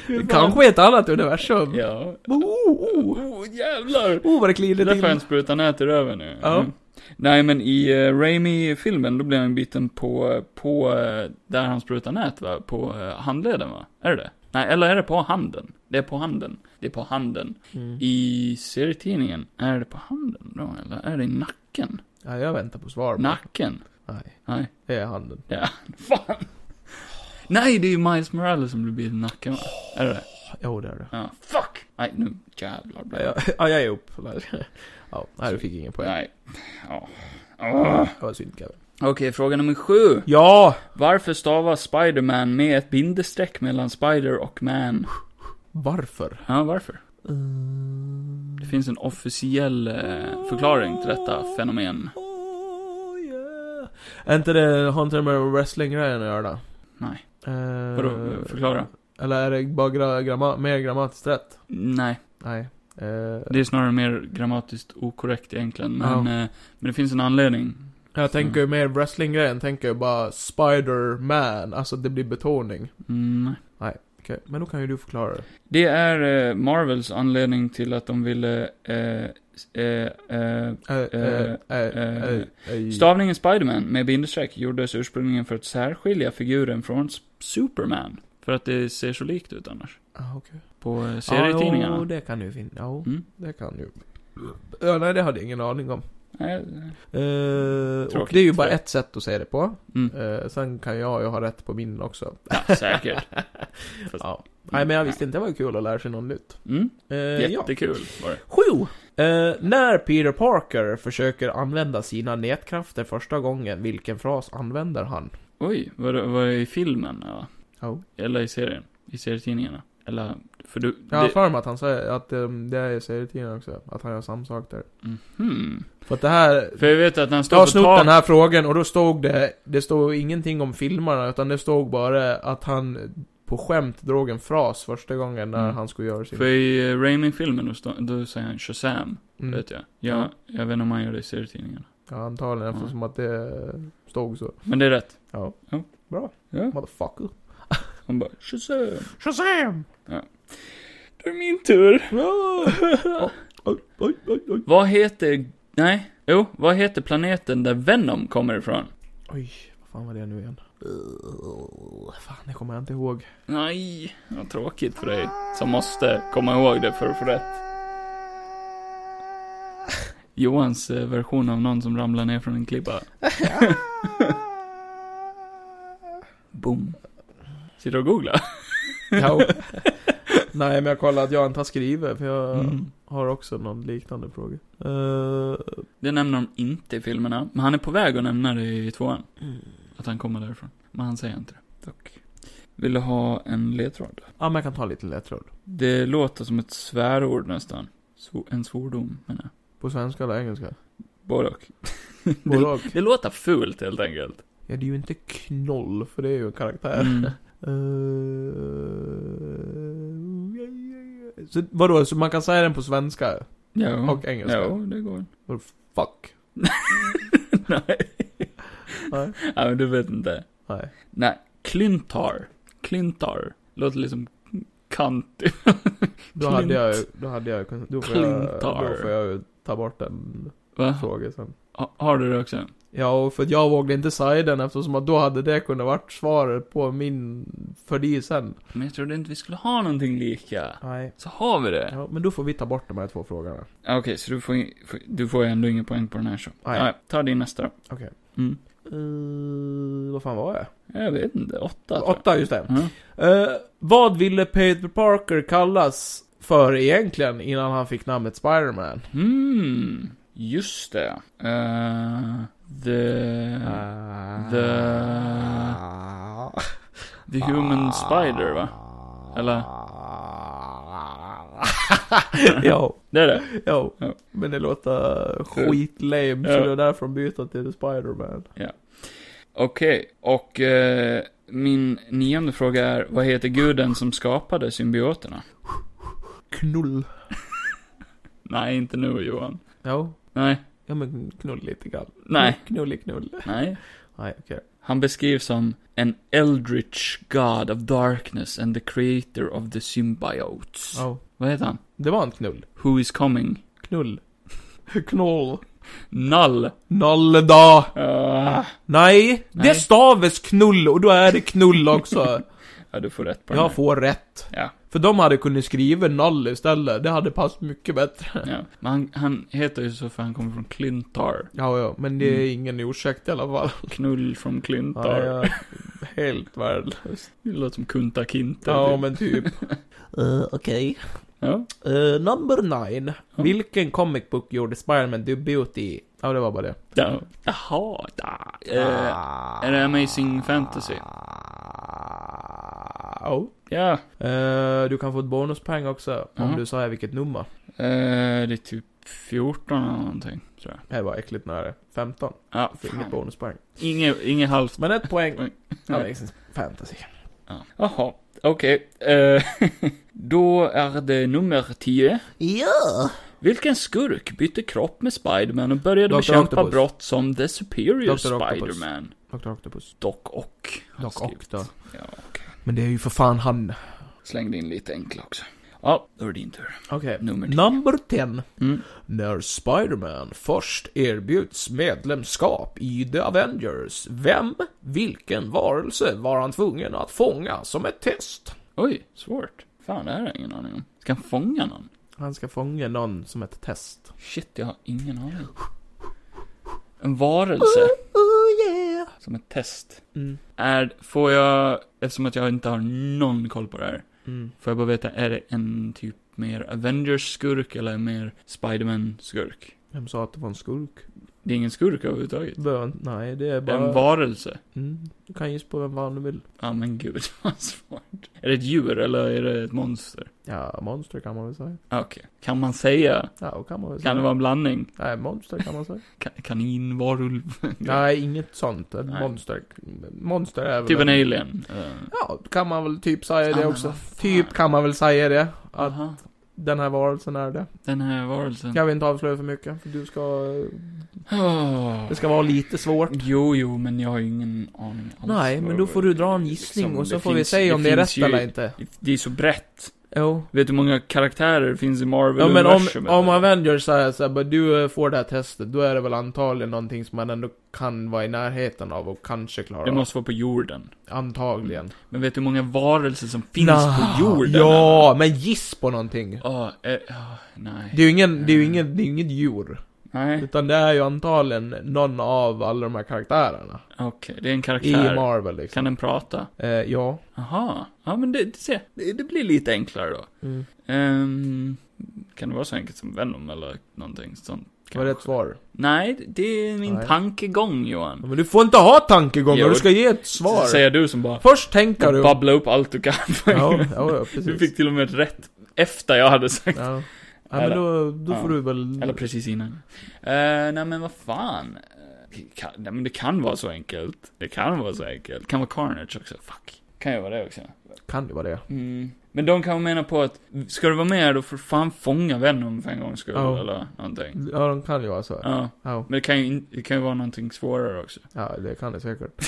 B: Det kanske är ett annat universum.
A: Ja.
B: Oh, oh.
A: Oh, jävlar!
B: oh vad det
A: Det är
B: kliade
A: därför han
B: till.
A: sprutar nät i röven nu.
B: Ja.
A: Mm. Nej, men i eh, Raimi-filmen, då blev han biten på, på, eh, där han sprutar nät va? På eh, handleden va? Är det det? Nej, eller är det på handen? Det är på handen. Det är på handen.
B: Mm.
A: I serietidningen, är det på handen då, eller är det i nacken?
B: Ja, jag väntar på svar.
A: Nacken?
B: Nej,
A: Nej,
B: det är handen.
A: fan. Nej, det är ju Miles Morales som blir biten i nacken va? Är det det?
B: Jo, det är det.
A: Ja, fuck! Nej, nu jävlar blir
B: Ja,
A: det.
B: jag- ja, jag är upp. Ja, nej, du fick ingen poäng.
A: Nej. Ja. Åh.
B: Det var synd Kevin.
A: Okej, fråga nummer sju.
B: Ja!
A: Varför stavas Spiderman med ett bindestreck mellan Spider och Man?
B: Varför?
A: Ja, varför?
B: Mm.
A: Det finns en officiell eh, förklaring till detta fenomen.
B: Oh, yeah. Är inte det, har inte det med wrestling-grejen att göra?
A: Nej.
B: Eh,
A: Vadå, förklara?
B: Eller är det bara gra, gramma, mer grammatiskt rätt?
A: Nej,
B: Nej. Eh,
A: det är snarare mer grammatiskt okorrekt egentligen, men,
B: Ja.
A: eh, men det finns en anledning.
B: jag tänker ju mer wrestling-grejen, tänker jag bara Spider-Man, alltså det blir betoning.
A: Mm, nej.
B: Okej, men då kan ju du förklara det.
A: det är eh, Marvels anledning till att de ville... Eh, s- eh, eh,
B: Eh, eh, eh, eh, eh.
A: stavningen Spiderman med bindestreck gjordes ursprungligen för att särskilja figuren från S- Superman. För att det ser så likt ut annars.
B: Ah, okej.
A: På eh,
B: Ja,
A: serietidningarna.
B: jo, det kan ju finnas. Ja,
A: Mm.
B: det kan ju. Ja, nej, det hade jag ingen aning om.
A: Nej,
B: Eh, och
A: Tråkigt,
B: det är ju bara
A: tror jag.
B: ett sätt att säga det på.
A: Mm.
B: Eh, sen kan jag ju ha rätt på min också.
A: Ja, säkert. Fast-
B: Ja. Nej, men jag visste inte. Det var ju kul att lära sig något nytt.
A: Mm.
B: Eh, ja.
A: Jättekul var det.
B: Sju! Eh, när Peter Parker försöker använda sina nätkrafter första gången, vilken fras använder han?
A: Oj, var det, var det i filmen? Ja.
B: Ja.
A: Eller i serien? I serietidningarna? Eller, för du...
B: Jag har
A: det,
B: för mig att han säger att eh, det är i serietidningen också, att han gör samma sak där.
A: Mhm.
B: För att det här...
A: För jag vet att när han
B: Jag har
A: står på
B: snott
A: tak...
B: den här frågan och då stod det, det stod ingenting om filmerna utan det stod bara att han på skämt drog en fras första gången när
A: Mm.
B: han skulle göra sin...
A: För i eh, Raimi-filmen, då, står- då säger han Shazam,
B: Mm.
A: vet jag. Ja, jag vet inte om han gör det i serietidningarna.
B: Ja, antagligen
A: Ja.
B: eftersom att det stod så.
A: Men det är rätt.
B: Ja.
A: Ja.
B: Bra.
A: Ja.
B: Motherfucker.
A: Han bara, Shazam!
B: Shazam!
A: Det är min tur.
B: Oj, oj, oj, oj.
A: Vad heter... Nej, jo, vad heter planeten där Venom kommer ifrån?
B: Oj, vad fan var det nu igen? Uh, fan, det kommer jag inte ihåg.
A: Nej, vad tråkigt för dig som måste komma ihåg det för att få rätt. Johans eh, version av någon som ramlar ner från en klippa. Boom. Sitter du och googlar?
B: Ja. Nej, men jag kollar att jag inte har skrivit, för jag
A: Mm.
B: har också någon liknande fråga. Eh,
A: Det nämner de inte i filmerna, men han är på väg att nämna det i tvåan. Att han kommer därifrån. Men han säger inte det. Mm. Dock. Vill du ha en ledtråd?
B: ja, men jag kan ta lite ledtråd.
A: Det låter som ett svärord nästan. Sv- en svordom, menar jag.
B: På svenska eller engelska?
A: Både och.
B: Både
A: det,
B: och.
A: det låter fult helt enkelt.
B: Ja, det är ju inte knoll, för det är ju en karaktär.
A: Mm.
B: Eh, Så vadå, så man kan säga den på svenska?
A: Ja.
B: Och engelska.
A: Ja, det går.
B: Vadå, Fuck.
A: Nej.
B: Nej.
A: Ja, men du vet inte.
B: Nej.
A: Nej. Clintar. Clintar. Låter liksom kant.
B: Då hade jag ju, då hade jag kunnat- då får jag,
A: Clintar.
B: då får jag ju ta bort den
A: Va?
B: frågan sen.
A: Ha- Har du det också?
B: Ja, och för att jag vågade inte säga den eftersom att då hade det kunnat varit svaret på min fördi sen.
A: Men jag trodde inte vi skulle ha någonting lika.
B: Nej.
A: Så har vi det.
B: Ja, men då får vi ta bort de här två frågorna.
A: Ja, Okej, så du får, in- får- du får ju ändå ingen poäng på den här så.
B: Nej.
A: Ja, ta din nästa då.
B: Okej.
A: Mm.
B: Eh, vad fan var jag?
A: Jag vet inte, åtta tror jag.
B: Åtta, just det.
A: Ja.
B: Eh, vad ville Peter Parker kallas för egentligen innan han fick namnet Spiderman?
A: Mm, just det. Eh, the...
B: Äh,
A: Eh, The- The Human Spider, va? Eller?
B: ja,
A: Det är det?
B: ja.
A: Ja.
B: Men det låter skitlame, så
A: Ja.
B: det är därför de byter till Spiderman.
A: Okej, och eh, min nionde fråga är, vad heter guden som skapade symbioterna?
B: Knull.
A: Nej, inte nu Johan.
B: Ja,
A: Nej,
B: ja men knull lite grann.
A: nej,
B: Knullig knull.
A: nej.
B: Nej, okej.
A: Han beskrivs som en eldritch god of darkness and the creator of the symbiotes.
B: Ja.
A: Vad heter han?
B: Det var en knull.
A: Who is coming?
B: Knull. Knoll.
A: Null.
B: Nalleda.
A: Ah.
B: Nej,
A: Nej.
B: det stavas knull och då är det knull också.
A: Ja, du får rätt på den
B: Jag
A: här.
B: får rätt.
A: Ja.
B: För de hade kunnat skriva noll istället, det hade passat mycket bättre.
A: ja. Men han, han heter ju så för han kommer från Clintar.
B: Ja, ja, men det är
A: Mm.
B: ingen ursäkt i alla fall.
A: Knull från Clintar.
B: Ja, ja. Helt värdelöst.
A: Det låter som Kunta Kinte.
B: Ja,
A: typ.
B: men typ. Eh, Okej.
A: Ja.
B: Eh, number nine.
A: Ja.
B: Vilken comic book gjorde Spiderman debut i? Ja, det var bara det.
A: ja. Jaha. Da. Eh, är det Amazing Fantasy?
B: Oh.
A: Ja.
B: Eh, du kan få ett bonuspoäng också om
A: Ja.
B: du säger vilket nummer.
A: Eh, det är typ 14 eller någonting, tror jag.
B: Det var äckligt nära. 15.
A: Ja,
B: Får inget
A: fan.
B: bonuspoäng.
A: Inget, inget halvt.
B: Men ett poäng.
A: Poäng.
B: Amazing liksom Fantasy.
A: Ja. Jaha. Okej. Eh, då är det nummer 10.
C: Ja!
A: Vilken skurk bytte kropp med Spiderman och började
B: Dr.
A: bekämpa
B: Octopus.
A: brott som The Superior
B: Dr. Octopus.
A: Spiderman?
B: Dr. Octopus.
A: Dock och. har
B: Dock och
A: skrivit.
B: då.
A: Ja, okej.
B: Men det är ju för fan han.
A: Slängde in lite enkla också. Ja, då är det din tur.
B: Okej.
A: Nummer 10.
B: Number 10.
A: Mm.
B: När Spider-Man först erbjuds medlemskap i The Avengers, vem, vilken varelse var han tvungen att fånga som ett test?
A: Oj, svårt. Fan, det här har jag ingen aning om. Ska han fånga någon?
B: Han ska fånga någon som ett test.
A: Shit, jag har ingen aning. En varelse
B: Oh yeah!
A: som ett test.
B: Mm.
A: Är, får jag, eftersom att jag inte har någon koll på det här,
B: Mm.
A: får jag bara veta, är det en typ mer Avengers-skurk eller mer Spiderman-skurk?
B: Vem sa att det var en skurk?
A: Det är ingen skurk överhuvudtaget.
B: Bön? Nej, det är
A: Det är
B: bara...
A: en varelse.
B: Mm. Du kan gissa på vem fan du vill.
A: Ja men gud, vad svårt. Är det ett djur eller är det ett monster?
B: Ja, monster kan man väl säga.
A: Ah, Okej. Kan man säga?
B: Ja, kan man väl säga.
A: Kan det vara en blandning?
B: Nej, monster kan man säga.
A: Ka- kanin, varulv?
B: Nej, inget sånt. Ett
A: Nej.
B: monster. Monster är väl...
A: Typ en alien? Eh,
B: Ja, kan man väl typ
A: Ja,
B: säga det
A: men
B: också.
A: vad fan.
B: Typ kan man väl säga det. Att
A: Aha.
B: den här varelsen är det.
A: Den här varelsen.
B: Jag vill inte avslöja för mycket, för du ska...
A: Oh.
B: Det ska vara lite svårt.
A: Jo, jo, men jag har ju ingen aning alls.
B: Nej, men då får du dra en gissning
A: Liksom,
B: och så
A: det
B: får vi
A: finns-
B: se om det är
A: finns
B: rätt
A: ju-
B: eller inte.
A: Det är så brett.
B: Jo.
A: Vet du hur många karaktärer det finns i Marvel?
B: Ja men om,
A: universumet?
B: om Avengers säger såhär bara du eh, får det här testet, då är det väl antagligen någonting som man ändå kan vara i närheten av och kanske klara
A: Det
B: av.
A: måste vara på jorden.
B: Antagligen.
A: Men vet du hur många varelser som Mm. finns på
B: Nå,
A: jorden?
B: Ja, men giss på någonting.
A: Ja, eh, ja, nej. Eh, Mm.
B: Det är ju ingen, det är ju ingen, det är ju inget djur.
A: Nej,
B: Utan det är ju antagligen någon av alla de här karaktärerna.
A: okej. Det är en
B: I
A: karaktär.
B: Marvel liksom.
A: Kan den prata?
B: Eh, ja.
A: Jaha. Ja, men det, se. Det, det blir lite enklare då. Ehm, kan det vara så enkelt som Venom eller någonting sånt?
B: Var det ett
A: kanske?
B: svar?
A: Nej, det är min
B: Nej.
A: tankegång Johan.
B: Ja, Men du får inte ha tankegångar,
A: Jo.
B: du ska ge ett svar.
A: Säger du som bara
B: Först tänker du.
A: babblar upp allt du kan.
B: Ja, ja, ja, precis.
A: du fick till och med rätt efter jag hade sagt.
B: Ja. Ja,
A: Eller-
B: men då, då
A: ja.
B: får du väl...
A: Eller precis innan. Eh, nej men vad fan. Eh, det kan, nej men det kan vara så enkelt. Det kan vara så enkelt. Kan vara Carnage också. Fuck. Kan ju vara det också.
B: Kan det vara det?
A: Mm. Men de kan mena på att, ska du vara med då får du fan fånga Venom för en gångs skull,
B: Ja.
A: eller någonting.
B: Ja, de kan ju vara så. Ja.
A: Ja. Men det kan ju, in- det kan ju vara någonting svårare också.
B: Ja, det kan det säkert.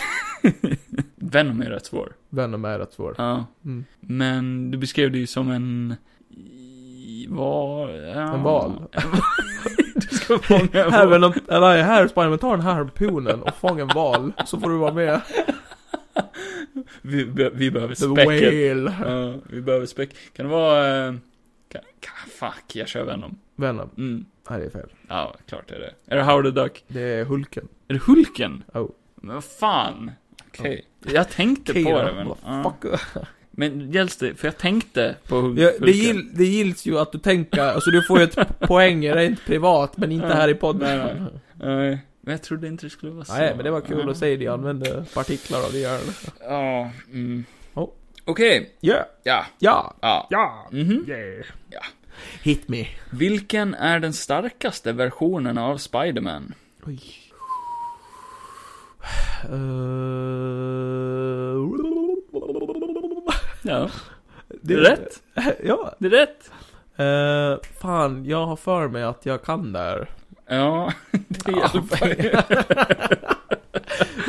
A: Venom är rätt svår.
B: Venom är rätt svår.
A: Ja.
B: Mm.
A: Men du beskrev det ju som en... i- Val? Ja.
B: En val.
A: du ska fånga en
B: Även
A: val.
B: om, eller här Spiderman, ta den här harpunen och fånga en val, så får du vara med.
A: Vi, be- vi behöver
B: The
A: späcket.
B: whale.
A: Ja, vi behöver späck. Kan det vara... eh, Kan, kan, fuck, jag kör Venom.
B: Venom.
A: Mm.
B: Nej, det är fel.
A: Ja, klart det är det. Är det Howard the Duck?
B: Det är Hulken.
A: Är det Hulken?
B: Oh.
A: Men vad fan. Okej. Jag tänkte
B: Okej
A: på
B: då,
A: det men...
B: vad
A: Ja. Men gälls det, för jag tänkte på Hul-
B: Ja,
A: Hulken.
B: det, gill, det gills ju att du tänker, alltså du får ju ett poäng rent privat, men inte
A: Ja.
B: här i podden.
A: Nej,
B: Nej,
A: Nej, men jag trodde inte det skulle vara så.
B: men det var kul
A: Ja.
B: att säga det, jag använde partiklar av det gör det.
A: Ja, mm.
B: Ja.
A: Okej,
B: Ja,
A: ja,
B: ja,
A: ja.
B: ja,
A: Mhm.
B: yeah.
A: Ja.
B: Hit me.
A: Vilken är den starkaste versionen av Spiderman?
B: Oj. Eh,
A: Ja, det är rätt.
B: Ja.
A: Det är rätt.
B: Eh, fan, jag har för mig att jag kan där.
A: Ja, det
B: Ja,
A: hjälper ju.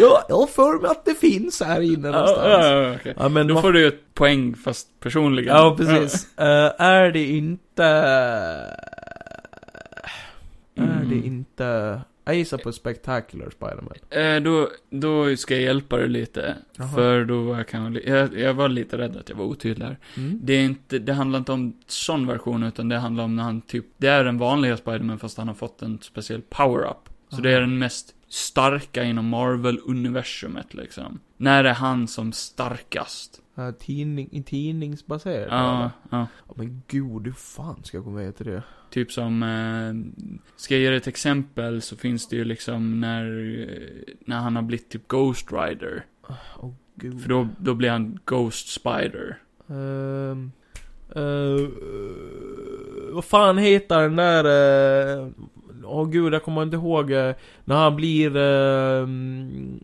B: jag, jag har för mig att det finns här inne
A: Ja,
B: någonstans.
A: ja, okej.
B: Ja, men
A: Då
B: vad
A: får du ett poäng, fast personligen.
B: Ja, precis. Eh, är det inte... Är det
A: Mm.
B: inte... Jag gissar på Spectacular Spiderman.
A: Eh, då, då ska jag hjälpa dig lite.
B: Jaha.
A: För då var jag kanske, jag, jag var lite rädd att jag var otydlig här.
B: Mm.
A: Det, är inte, det handlar inte om sån version, utan det handlar om när han typ, det är den vanliga Spiderman fast han har fått en speciell power-up. Så det är den mest starka inom Marvel-universumet liksom. När är han som starkast?
B: Eh, tidning, tidningsbaserad?
A: Ja,
B: eller?
A: ja.
B: Ja, men gud, hur fan ska jag gå med till det?
A: Typ som, eh, ska jag ge dig ett exempel så finns det ju liksom när, eh, när han har blivit typ Ghost Rider.
B: Åh, oh, gud.
A: För då, då blir han Ghost Spider.
B: Ehm, eh, eh, vad fan heter den där... eh, Åh gud, jag kommer inte ihåg. eh, när han blir... eh, mm,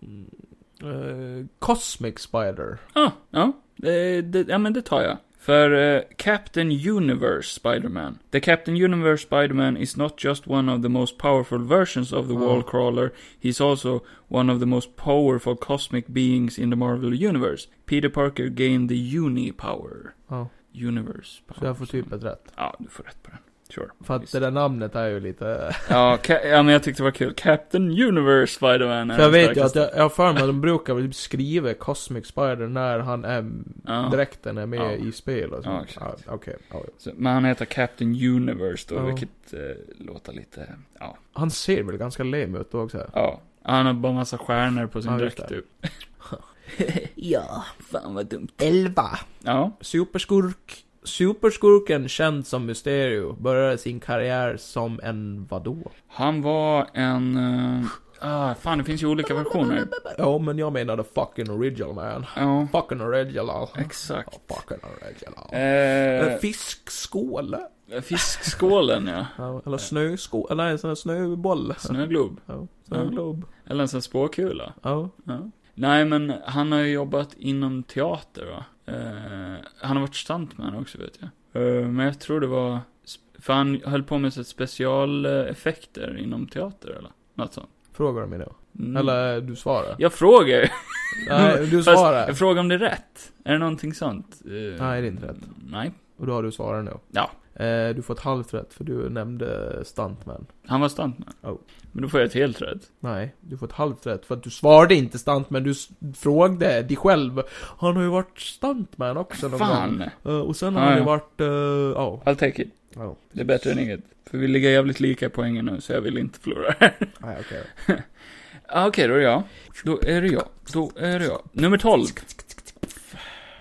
B: eh, Cosmic Spider.
A: Ja, ja. Det, det, ja, men det tar jag. För eh, Captain Universe Spider-Man. The Captain Universe Spider-Man is not just one of the most powerful versions of the
B: Ja.
A: wall crawler. He's also one of the most powerful cosmic beings in the Marvel Universe. Peter Parker gained the uni-power.
B: Ja,
A: Universe.
B: så jag får typ ett rätt.
A: Ja, du får rätt på den. Sure.
B: För att
A: Visst.
B: det där namnet är ju lite...
A: Ja, ca- ja, men jag tyckte det var kul. Captain Universe Spider-Man är
B: För jag
A: den
B: vet ju att
A: starkaste.
B: jag, jag har för mig att de brukar väl typ skriva Cosmic Spider när han är...
A: Ja.
B: Dräkten är med
A: Ja.
B: i spel och så.
A: Ja, exakt.
B: Ja, Okej. ja, ja.
A: Så, men han heter Captain Universe då,
B: Ja.
A: vilket eh, låter lite, ja.
B: Han ser väl ganska lem ut då också?
A: Ja. Han har bara massa stjärnor på sin
B: Ja, just
A: dräkt
B: det.
A: typ.
C: Ja, fan vad dumt.
B: 11.
A: Ja.
B: Superskurk. Superskurken känd som Mysterio började sin karriär som en vadå?
A: Han var en... eh, ah, fan, det finns ju olika versioner.
B: Ja, men jag menade fucking original man.
A: Ja,
B: Fucking original.
A: exakt.
B: Ja, fucking original.
A: Eh,
B: Eh, Fiskskål?
A: fiskskålen, ja.
B: Ja, Eller snöskål? Eller en sån här snöboll?
A: Snöglob.
B: Ja, snöglob.
A: Eller en sån spåkula.
B: Ja.
A: Ja. Nej, men han har ju jobbat inom teater, va? Eh, han har varit stuntman också, vet jag. Eh, men jag tror det var... För han höll på med så här specialeffekter inom teater, eller? Något sånt.
B: Frågar du mig då?
A: Mm.
B: Eller du svarar?
A: Jag frågar ju.
B: Nej, du
A: Fast
B: svarar.
A: jag frågar om det är rätt. Är det någonting sånt? Eh,
B: Nej, det är inte rätt.
A: Nej.
B: Och då har du svarat nu.
A: Ja.
B: Eh, du får ett halvt rätt för du nämnde stuntman.
A: Han var stuntman.
B: Oh.
A: Men då får jag ett helt rätt.
B: Nej, du får ett halvt rätt för att du svarade inte stuntman, du s- frågade dig själv. Han har ju varit stuntman också någon gång.
A: Fan!
B: Eh, och sen
A: Ah,
B: har han ju
A: ja.
B: varit, eh, ja.
A: I'll take it.
B: ja.
A: Det är bättre än inget. För vi ligger jävligt lika i poängen nu, så jag vill inte förlora här.
B: Nej, okej.
A: Ah, Okej, då är det jag. Då är det jag. Då är det jag. Nummer 12.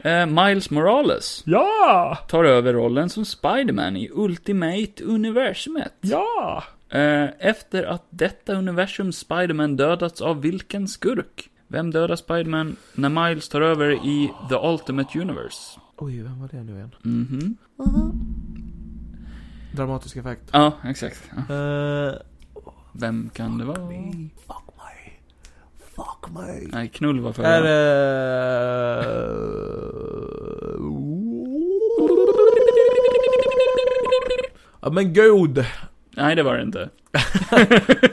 A: Eh, Miles Morales
B: Ja!
A: tar över rollen som Spiderman i Ultimate Universumet.
B: Ja!
A: Eh, efter att detta universum Spiderman dödats av vilken skurk? Vem dödar Spiderman när Miles tar över i The Ultimate Universe?
B: Oj, vem var det nu igen?
A: Mhm.
B: Dramatisk effekt.
A: Ja, exakt. Ja.
B: Eh,
A: Vem kan det vara?
C: Fuck mig. Fuck mig.
A: Nej, knull var
B: är
A: förra.
B: det... Ja men god!
A: Nej, det var det inte.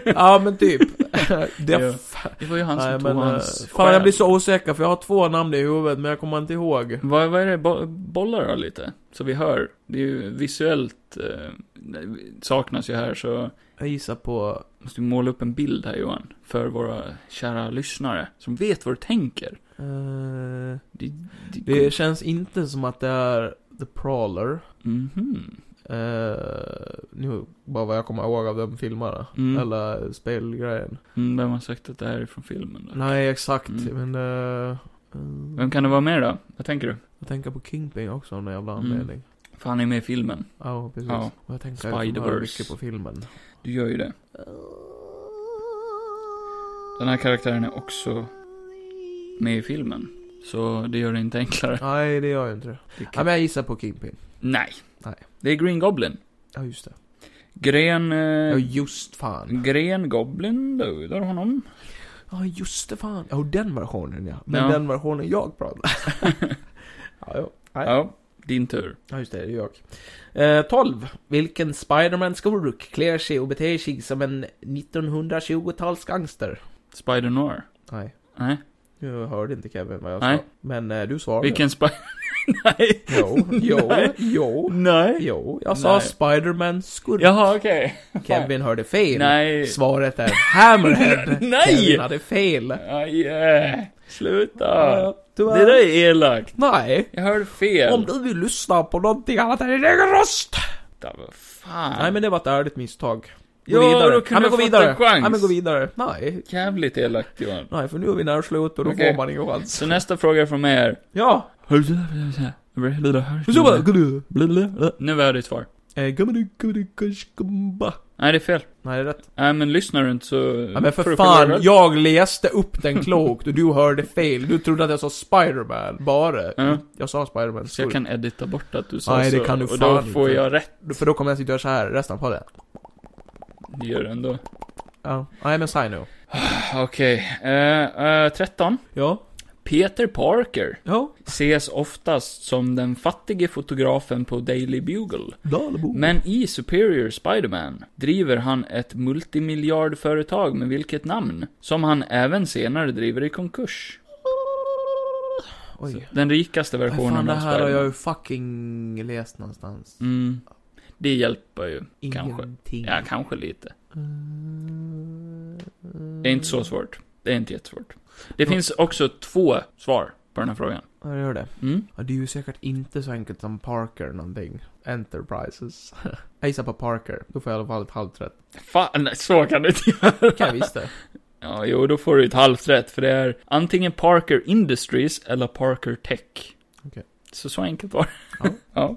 B: Ja men typ. Det
A: Ja. Det var ju han som
B: Nej,
A: tog
B: men,
A: hans
B: eh, fan jag
A: själ.
B: blir så osäker för jag har två namn i huvudet men jag kommer inte ihåg.
A: Vad, vad är det? Bo bollar då lite? Så vi hör. Det är ju visuellt eh, saknas ju här så
B: Jag gissar på...
A: måste vi måla upp en bild här Johan. För våra kära lyssnare som vet vad du tänker.
B: eh,
A: Det, det,
B: det känns inte som att det är The Prawler.
A: Mhm.
B: Eh, nu bara vad jag kommer ihåg av de filmerna.
A: Mm.
B: Eller spelgrejen.
A: Mm, vem har sagt att det här är från filmen då?
B: Nej exakt
A: Mm.
B: men... eh, eh,
A: Vem kan det vara med då? Vad tänker du?
B: Jag tänker på Kingpin också av någon jävla
A: Mm.
B: anledning.
A: För han är med i filmen.
B: Ja, precis.
A: Ja.
B: Och jag tänker att jag kommer
A: Spider-Verse.
B: mycket på filmen.
A: Du gör ju det. Den här karaktären är också med i filmen. Så det gör det inte enklare.
B: Nej, det gör jag inte det.
A: tycker
B: Ja,
A: jag.
B: men jag gissar på Kingpin.
A: Nej.
B: Nej.
A: Det är Green Goblin.
B: Ja, just det.
A: Gren...
B: Ja,
A: Eh,
B: just fan.
A: Gren Goblin dödar honom.
B: Ja, just det fan. Ja, och den versionen ja. Men
A: Ja.
B: den versionen jag pratar. ja, jo. Nej.
A: Ja, din tur.
B: Ja, just det. Det är jag. Eh, 12. Vilken Spiderman-skurk klär sig och beter sig som en 1920-talsgangster?
A: Spider-Noir.
B: Nej.
A: Nej.
B: Nu hörde inte Kevin vad jag sa.
A: Nej.
B: Men eh, du svarade.
A: Vilken Spider... Nej.
B: Jo, jo,
A: Nej.
B: jo.
A: Nej.
B: Jo, jag sa
A: Nej.
B: Spiderman-skurk.
A: Jaha, okej.
B: Kevin hörde fel.
A: Nej.
B: Svaret är Hammerhead.
A: Nej!
B: Kevin hade fel.
A: Aj, eh. Sluta.
B: Tyvärr.
A: Det där är elakt.
B: Nej.
A: Jag hörde fel.
B: Om du vill lyssna på någonting annat än din egen röst.
A: Vänta, vad fan.
B: Nej men det var ett ärligt misstag.
A: Ja, då kunde
B: Nej, men
A: jag
B: gå
A: fått
B: vidare.
A: en chans.
B: Nej men gå vidare. Nej.
A: Jävligt elakt Johan.
B: Nej för nu är vi nära slut och då
A: Okej.
B: får man ingen chans.
A: Så nästa fråga från mig är...
B: Ja.
A: Mm. Nu var jag ditt svar.
B: Eh, gummidi, gummidi, gush, gumba.
A: Nej, det är fel.
B: Nej det är rätt.
A: Nej, men lyssnar du inte så...
B: Ja, men för
A: får du
B: fan,
A: förlora.
B: jag läste upp den klokt och du hörde fel. Du trodde att jag sa Spiderman, bara.
A: Ja.
B: Jag sa Spiderman.
A: Mm. Så jag kan edita bort att du sa
B: Nej, det
A: så,
B: kan du
A: och då
B: fan
A: får
B: inte.
A: jag rätt.
B: För då kommer jag sitta och göra så här resten på det.
A: Det gör du ändå.
B: Ja, nej men säg nu.
A: Okej, eh, eh, 13.
B: Ja,
A: Peter Parker
B: ja.
A: ses oftast som den fattige fotografen på Daily Bugle.
B: Dalbo.
A: Men i Superior Spider-Man driver han ett multimiljardföretag med vilket namn? Som han även senare driver i konkurs.
B: Oj.
A: Den rikaste
B: Vad
A: versionen
B: fan, det
A: av
B: här har
A: Spider-Man.
B: jag ju fucking läst någonstans.
A: Mm. Det hjälper ju. Kanske.
B: Ingenting.
A: Ja, kanske lite.
B: Mm.
A: Det är inte så svårt. Det är inte jättesvårt. Det finns också två svar på den här frågan.
B: Ja, det gör det.
A: Mm.
B: Ja, det är ju säkert inte så enkelt som Parker någonting. Enterprises. jag gissar på Parker. Då får jag i alla fall ett halvt rätt.
A: Fan, nej, så kan du inte göra.
B: Kan jag visst det.
A: Ja, jo, då får du ett halvt rätt, för det är antingen Parker Industries eller Parker Tech.
B: Okej.
A: Så så enkelt var det.
B: Ja.
A: ja.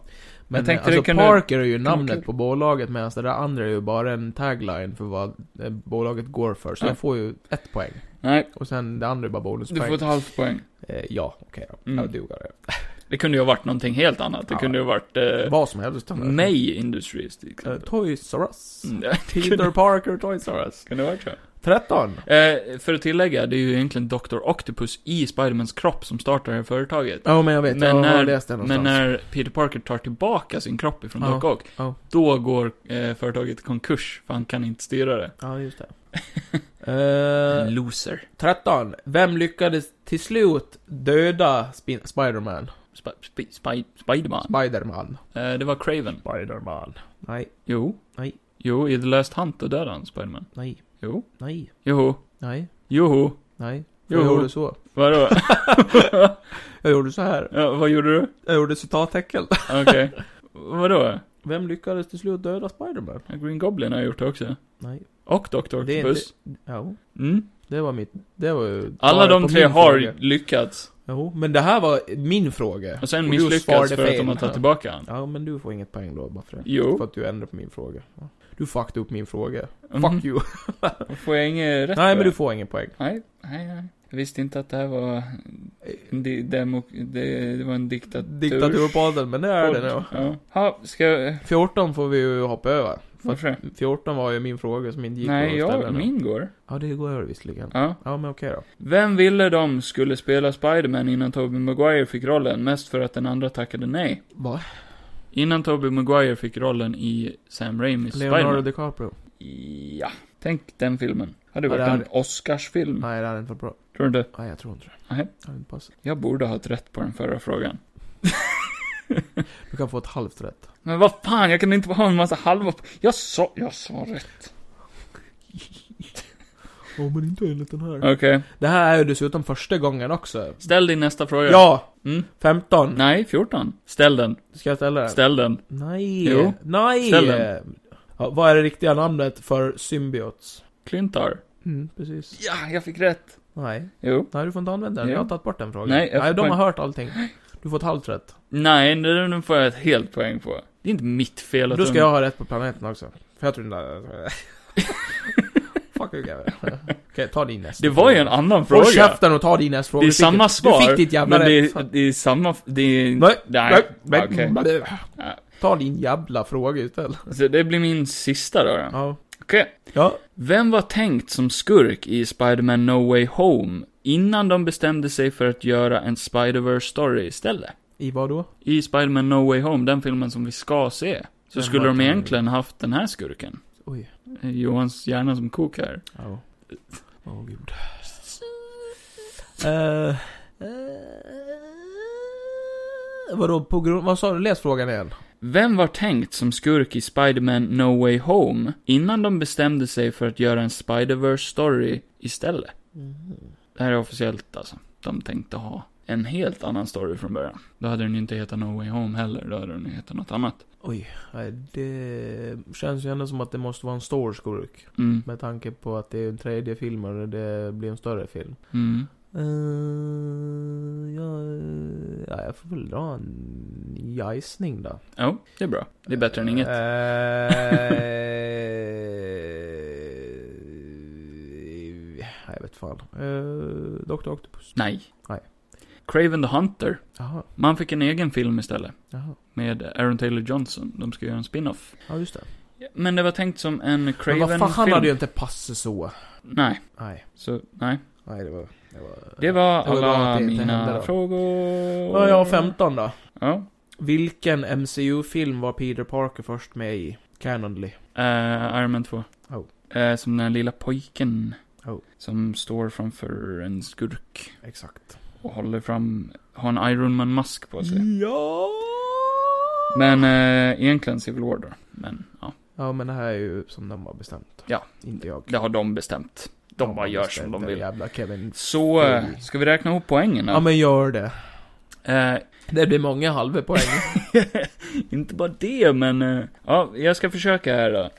B: Men
A: Jag tänkte
B: alltså,
A: det kunde-
B: Parker är ju
A: kunde-
B: namnet på bolaget medan det där andra är ju bara en tagline för vad eh, bolaget går för. Så
A: Ja.
B: jag får ju ett poäng.
A: Nej,
B: Och sen det andra är bara
A: du
B: bonuspoäng.
A: får ett halvt poäng.
B: Eh, ja, okej då.
A: Mm.
B: Jag dugar det.
A: Det kunde ju ha varit någonting helt annat. Det
B: Ja.
A: kunde ju ha varit eh,
B: Vad som helst.
A: May Industries, till
B: Eh,
A: exempel.
B: Toys R Us.
A: Mm, det
B: Peter
A: kunde-
B: Parker Toys R Us.
A: Kunde ha varit så.
B: 13.
A: Eh, för att tillägga, det är ju egentligen Dr. Octopus i Spidermans kropp som startar det här företaget.
B: Ja, men jag vet.
A: Men
B: jag har
A: när-
B: läst det någonstans.
A: Men när Peter Parker tar tillbaka sin kropp ifrån
B: Ja,
A: Doc Ock,
B: ja.
A: då går eh, företaget i konkurs, för han kan inte styra det.
B: Ja, just det. Eh,
A: loser.
B: 13. Vem lyckades till slut döda Spin- Spider-Man?
A: Sp sp sp Spiderman.
B: Spiderman.
A: Eh, det var Craven.
B: Spiderman. Nej,
A: Jo.
B: Nej.
A: Jo, i The Last Hunt då dödade han Spiderman.
B: nej,
A: Jo.
B: nej,
A: Joho.
B: nej,
A: Joho.
B: nej.
A: Jo.
B: Jag gjorde så.
A: Vadå?
B: Jag gjorde så här.
A: ja, vad gjorde du?
B: Jag gjorde citattecken.
A: Okej. Vadå?
B: Vem lyckades till slut döda Spiderman?
A: Green Goblin har gjort det också.
B: Nej.
A: Och Dr. Octopus.
B: Det är inte... Ja.
A: Mm.
B: Det var mitt... Det var ju...
A: Alla
B: svaret
A: de
B: på
A: tre
B: min
A: har
B: fråga.
A: lyckats.
B: Jo, men det här var min fråga.
A: Och sen
B: du
A: misslyckats
B: svarade
A: för att
B: fel.
A: de har tagit tillbaka han.
B: Ja, men du får inget poäng då bara för det.
A: Jo.
B: För att du ändrade på min fråga. Ja. Du fuckade upp min fråga.
A: Mhm.
B: Fuck you.
A: Får jag inget rätt
B: Nej,
A: för
B: men
A: det?
B: du får ingen poäng.
A: Nej, nej, nej. Jag visste inte att det här var... Det, demok, det, det var en diktatur.
B: Diktaturpodden, men det är det nu.
A: Ja. Ha, ska jag...
B: 14 får vi ju hoppa över. För att
A: Varför det?
B: 14 var ju min fråga som inte gick
A: Nej,
B: att
A: jag,
B: nu.
A: min går.
B: Ja, det går jag visserligen.
A: Ja.
B: Ja, men okej då.
A: Vem ville de skulle spela Spiderman innan Tobey Maguire fick rollen? Mest för att den andra tackade nej.
B: Va?
A: Innan Tobey Maguire fick rollen i Sam Raimis
B: Leonardo
A: Spiderman. Mm.
B: DiCaprio.
A: Ja. Tänk den filmen. Hade
B: Ja,
A: varit
B: det
A: en
B: hade-
A: Oscarsfilm.
B: Nej, det hade inte varit bra.
A: Tror du inte?
B: Nej, jag tror inte det.
A: Nej.
B: Det hade inte passat.
A: Jag borde ha haft rätt på den förra frågan.
B: Du kan få ett halvt rätt.
A: Men vad fan, jag kan inte ha en massa halva... Jag sa... Jag sa rätt.
B: Ja, men inte enligt den här.
A: Okej.
B: Det här är ju dessutom första gången också.
A: Ställ din nästa fråga.
B: Ja!
A: Mm.
B: 15.
A: Nej, 14. Ställ den.
B: Ska jag ställa den?
A: Ställ den.
B: Nej!
A: Jo.
B: Nej!
A: Ställ den.
B: Ja, vad är det riktiga namnet för symbiots?
A: Klyntar.
B: Mm, precis.
A: Ja, jag fick rätt.
B: Nej.
A: Jo.
B: Nej, du får inte använda den.
A: Jo.
B: Jag har tagit bort den frågan.
A: Nej, jag
B: Nej
A: får
B: de har
A: poäng.
B: hört allting. Du får ett halvt rätt.
A: Nej, nu nu får jag ett helt poäng på. Det är inte mitt fel att
B: Då ska
A: de-
B: jag ha rätt på planeten också. För jag tror inte... Fuck you Gavin. Okej, ta din nästa.
A: Det var ju en annan fråga.
B: fråga. Håll käften och ta din nästa fråga.
A: Det är
B: Du fick
A: samma
B: ditt-
A: svar.
B: Du fick ditt jävla
A: men det
B: rätt.
A: är, det är samma... f- Det är...
B: Nej,
A: Nej.
B: nej, nej,
A: Okej.
B: nej.
A: Nej.
B: Ta din jävla fråga istället.
A: Så det blir min sista då. då.
B: Ja.
A: Okej.
B: Ja.
A: Vem var tänkt som skurk i Spider-Man No Way Home innan de bestämde sig för att göra en Spider-Verse story istället?
B: I vad då?
A: I Spider-Man No Way Home, den filmen som vi ska se, så
B: Vem
A: skulle
B: var
A: de
B: det?
A: egentligen haft den här skurken.
B: Oj.
A: Eh, Johans hjärna som kok här.
B: Ja. Åh gud. Eh, eh, vadå, på grund... Vad sa du? Läs frågan igen.
A: Vem var tänkt som skurk i Spider-Man No Way Home innan de bestämde sig för att göra en Spider-Verse story istället? Det här är officiellt alltså. De tänkte ha en helt annan story från början. Då hade den ju inte hetat No Way Home heller, då hade den ju hetat något annat.
B: Oj. Nej, Det känns ju ändå som att det måste vara en stor skurk.
A: Mm.
B: Med tanke på att det är en tredje film och det blir en större film.
A: Mm.
B: Eh, ja, eh, ja, jag får väl dra en gissning då.
A: Jo, det är bra. Det är bättre än inget.
B: Eh, ja, jag vet fan. Uh, Dr. Octopus.
A: Nej.
B: Nej.
A: Craven the Hunter.
B: Jaha,
A: Man fick en egen film istället.
B: jaha.
A: Med Aaron Taylor Johnson. De ska göra en spin-off.
B: Ja, just det.
A: Men det var tänkt som en
B: Men
A: Craven-film.
B: vad fan, han hade ju inte passat så.
A: Nej,
B: Nej,
A: så nej.
B: nej det var... Det var...
A: Det var
B: Det var bra
A: alla
B: att det inte hände
A: mina
B: då.
A: frågor.
B: Ja, jag har 15 då.
A: Ja.
B: Vilken MCU-film var Peter Parker först med i? Canonly.
A: Eh, Iron Man 2.
B: Oh.
A: Eh, som den här lilla pojken.
B: Oh.
A: Som står framför en skurk
B: Exakt.
A: och håller fram, har en Iron Man-mask på sig.
B: Ja!
A: Men eh, egentligen Civil War då. Men ja,
B: Ja, men det här är ju som de har bestämt.
A: Ja.
B: Inte jag.
A: det har de bestämt. De bara
B: har
A: gör
B: bestämt
A: som de
B: det,
A: vill.
B: Jävla Kevin.
A: Så, eh, ska vi räkna ihop poängen
B: Ja.
A: då?
B: men gör det.
A: Eh,
B: Det blir många halva poäng.
A: inte bara det, men... eh, Ja, jag ska försöka här då.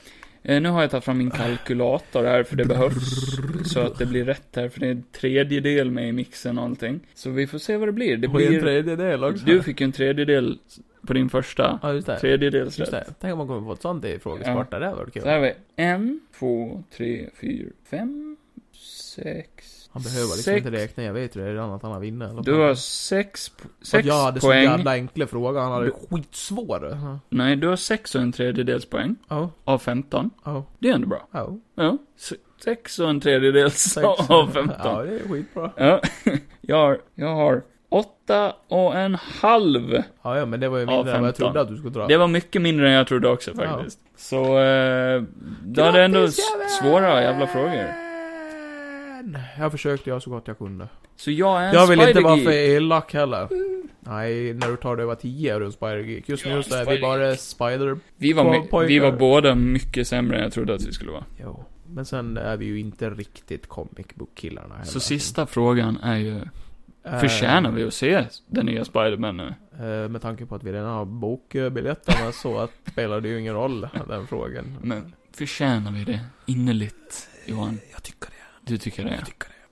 A: Eh, Nu har jag tagit fram min kalkylator här, för det behövs. Så att det blir rätt här, för det är en tredjedel med i mixen och allting. Så vi får se vad det blir. Det
B: Och en
A: blir...
B: tredjedel också.
A: Du fick ju en tredjedel på din första.
B: Ja, just det.
A: Tredjedels
B: Just
A: rätt.
B: det. Tänk om man kommer få ett sånt i frågesport. Det där var kul.
A: Så här har vi en, två, tre, fyra, fem, sex,
B: Han behöver liksom
A: sex.
B: inte räkna. Jag vet ju redan att han har vunnit. i alla
A: Du
B: fall.
A: har sex, po-
B: För att
A: sex
B: jag hade
A: poäng.
B: så jävla enkla frågor. Han hade
A: Du-
B: skitsvår. Ja.
A: Nej, du har sex och en tredjedels poäng
B: Ja.
A: av 15.
B: Ja.
A: Det är ändå bra.
B: Ja.
A: Ja, se- sex och en tredjedels
B: Sex.
A: av 15.
B: Ja, det är skitbra.
A: Ja, jag har, jag har åtta och en halv.
B: Ja, ja, men det var ju
A: Ja,
B: mindre än vad jag
A: 15.
B: trodde att du skulle dra.
A: Det var mycket mindre än jag trodde också
B: Ja.
A: faktiskt. Så, eh, du hade ändå s-
B: Grattis, Kevin!
A: svåra jävla frågor.
B: Jag försökte göra så gott jag kunde.
A: Så jag är en
B: Jag vill inte vara
A: Spider-Geek.
B: för elak heller. Nej, när du tar det var 10 runt Spider-Geek. Just
A: Ja,
B: nu så är vi
A: Spider-Geek.
B: bara Spider...
A: Vi var,
B: Bra
A: my- vi
B: pojkar.
A: var båda mycket sämre än jag trodde att vi skulle vara.
B: Jo. Men sen är vi ju inte riktigt comic book-killarna heller.
A: Så sista frågan är ju,
B: Eh,
A: förtjänar vi att se den nya Spider-Man nu?
B: eh, Med tanke på att vi redan har bokbiljetterna så att spelar det ju ingen roll, den frågan.
A: Men förtjänar vi det innerligt, Johan?
B: Jag tycker det.
A: Du tycker det?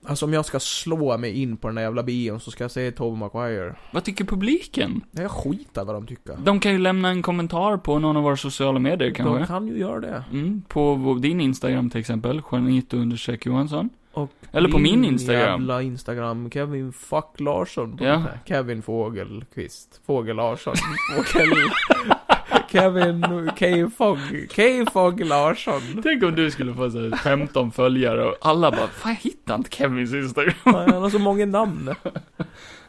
B: Alltså om jag ska slå mig in på den där jävla bion så ska jag säga Tobey Maguire.
A: Vad tycker publiken?
B: Nej, jag skiter vad de tycker.
A: De kan ju lämna en kommentar på någon av våra sociala medier
B: de
A: kanske.
B: kan ju göra det.
A: Mm, på vår- din Instagram till exempel, Juanito undersök Johansson.
B: Och
A: Eller på min
B: Din
A: Instagram.
B: jävla Instagram, Kevin Fuck Larsson. På
A: Ja.
B: den här. Kevin Fågelqvist. Fågel Larsson. Fågel... Kevin K. Fog... K. Fog Larsson.
A: Tänk om du skulle få så här 15 följare och alla bara, fan jag hittar inte Kevins Instagram.
B: Han har så många namn.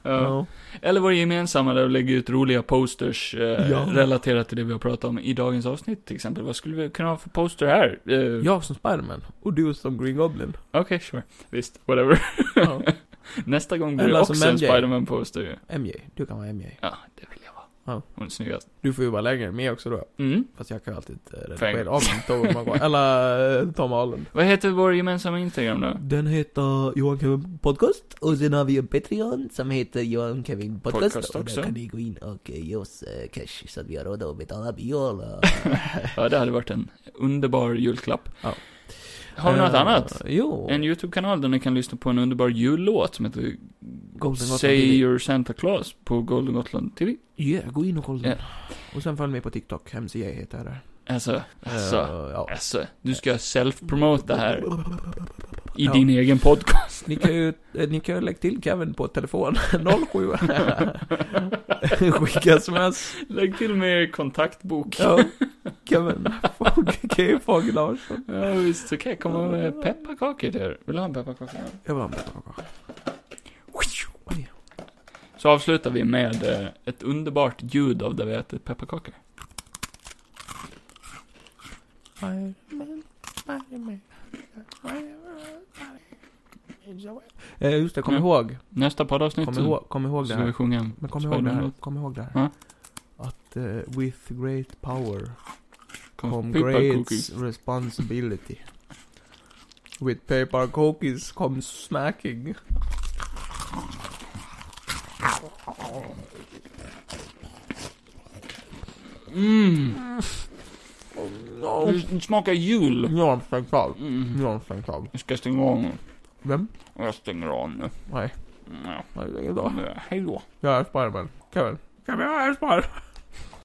A: Ja. Eller vår gemensamma där vi lägger ut roliga posters eh,
B: Ja.
A: relaterat till det vi har pratat om i dagens avsnitt till exempel. Vad skulle vi kunna ha för poster här? Eh,
B: Jag som Spiderman. Och du som Green Goblin.
A: Okej, sure. Visst, whatever.
B: Ja.
A: Nästa gång blir
B: Eller alltså
A: det
B: som
A: också en
B: MJ.
A: Spiderman-poster ju.
B: MJ. Du kan vara MJ.
A: Ja, det vill jag vara.
B: Ja.
A: Hon är snyggast.
B: Du får ju vara längre med också då.
A: Mm.
B: Fast jag kan ju alltid eh,
A: Fäng.
B: redigera om Tobey Maguire. Eller eh, Tom Holland.
A: Vad heter vår gemensamma Instagram då?
C: Den heter Johan Kevin Podcast och sen har vi en Patreon som heter Johan Kevin Podcast,
A: Podcast
C: och
A: också.
C: där kan ni gå in och eh, ge oss eh, cash så att vi har råd att betala biol och...
A: Ja, det hade varit en underbar julklapp.
B: Ja.
A: Har vi något
B: Eh,
A: annat?
B: Jo.
A: En YouTube-kanal där ni kan lyssna på en underbar jullåt som heter
B: Golden Gotland
A: Say
B: TV.
A: Your Santa Claus på Golden Gotland TV.
B: Yeah, gå in och kolla
A: Ja.
B: den. Och sen följ mig på TikTok, MCA heter jag där.
A: Alltså, alltså.
B: Eh, ja.
A: Alltså, du ska self-promota här i
B: Ja.
A: din egen podcast.
B: Ni kan ju, eh, ni kan ju lägga till Kevin på telefon 07. Skicka sms.
A: Lägg till med kontaktbok.
B: Ja. Kevin. Okej, Fagel Larsson.
A: Ja, visst, så kan jag komma med pepparkakor till er. Vill du ha en pepparkaka?
B: Jag var en pepparkaka. Oj.
A: Så avslutar vi med eh, ett underbart ljud av där vi äter pepparkakor.
B: Eh, just det, kom
A: Mm.
B: ihåg.
A: Nästa poddavsnitt
B: Kom
A: så-
B: ihåg, kom ihåg det
A: så ska vi
B: här.
A: sjunga en
B: Men kom ihåg det här.
A: Spiderman-låt.
B: Kom ihåg det här.
A: Ja.
B: Att eh, with great power
A: Kom
B: come
A: pepparkakor.
B: great responsibility. With paper cookies come smacking.
A: Mm,
B: Ja,
A: det smakar jul.
B: Nu har de stängt av. Nu
A: Mm.
B: har de stängt av.
A: Jag ska stänga av nu.
B: Vem?
A: Jag stänger av nu.
B: Nej.
A: Mm, ja.
B: Nej, det är inget bra.
A: Hej då.
B: Jag är Spiderman. Kevin. Kevin, jag är Spiderman.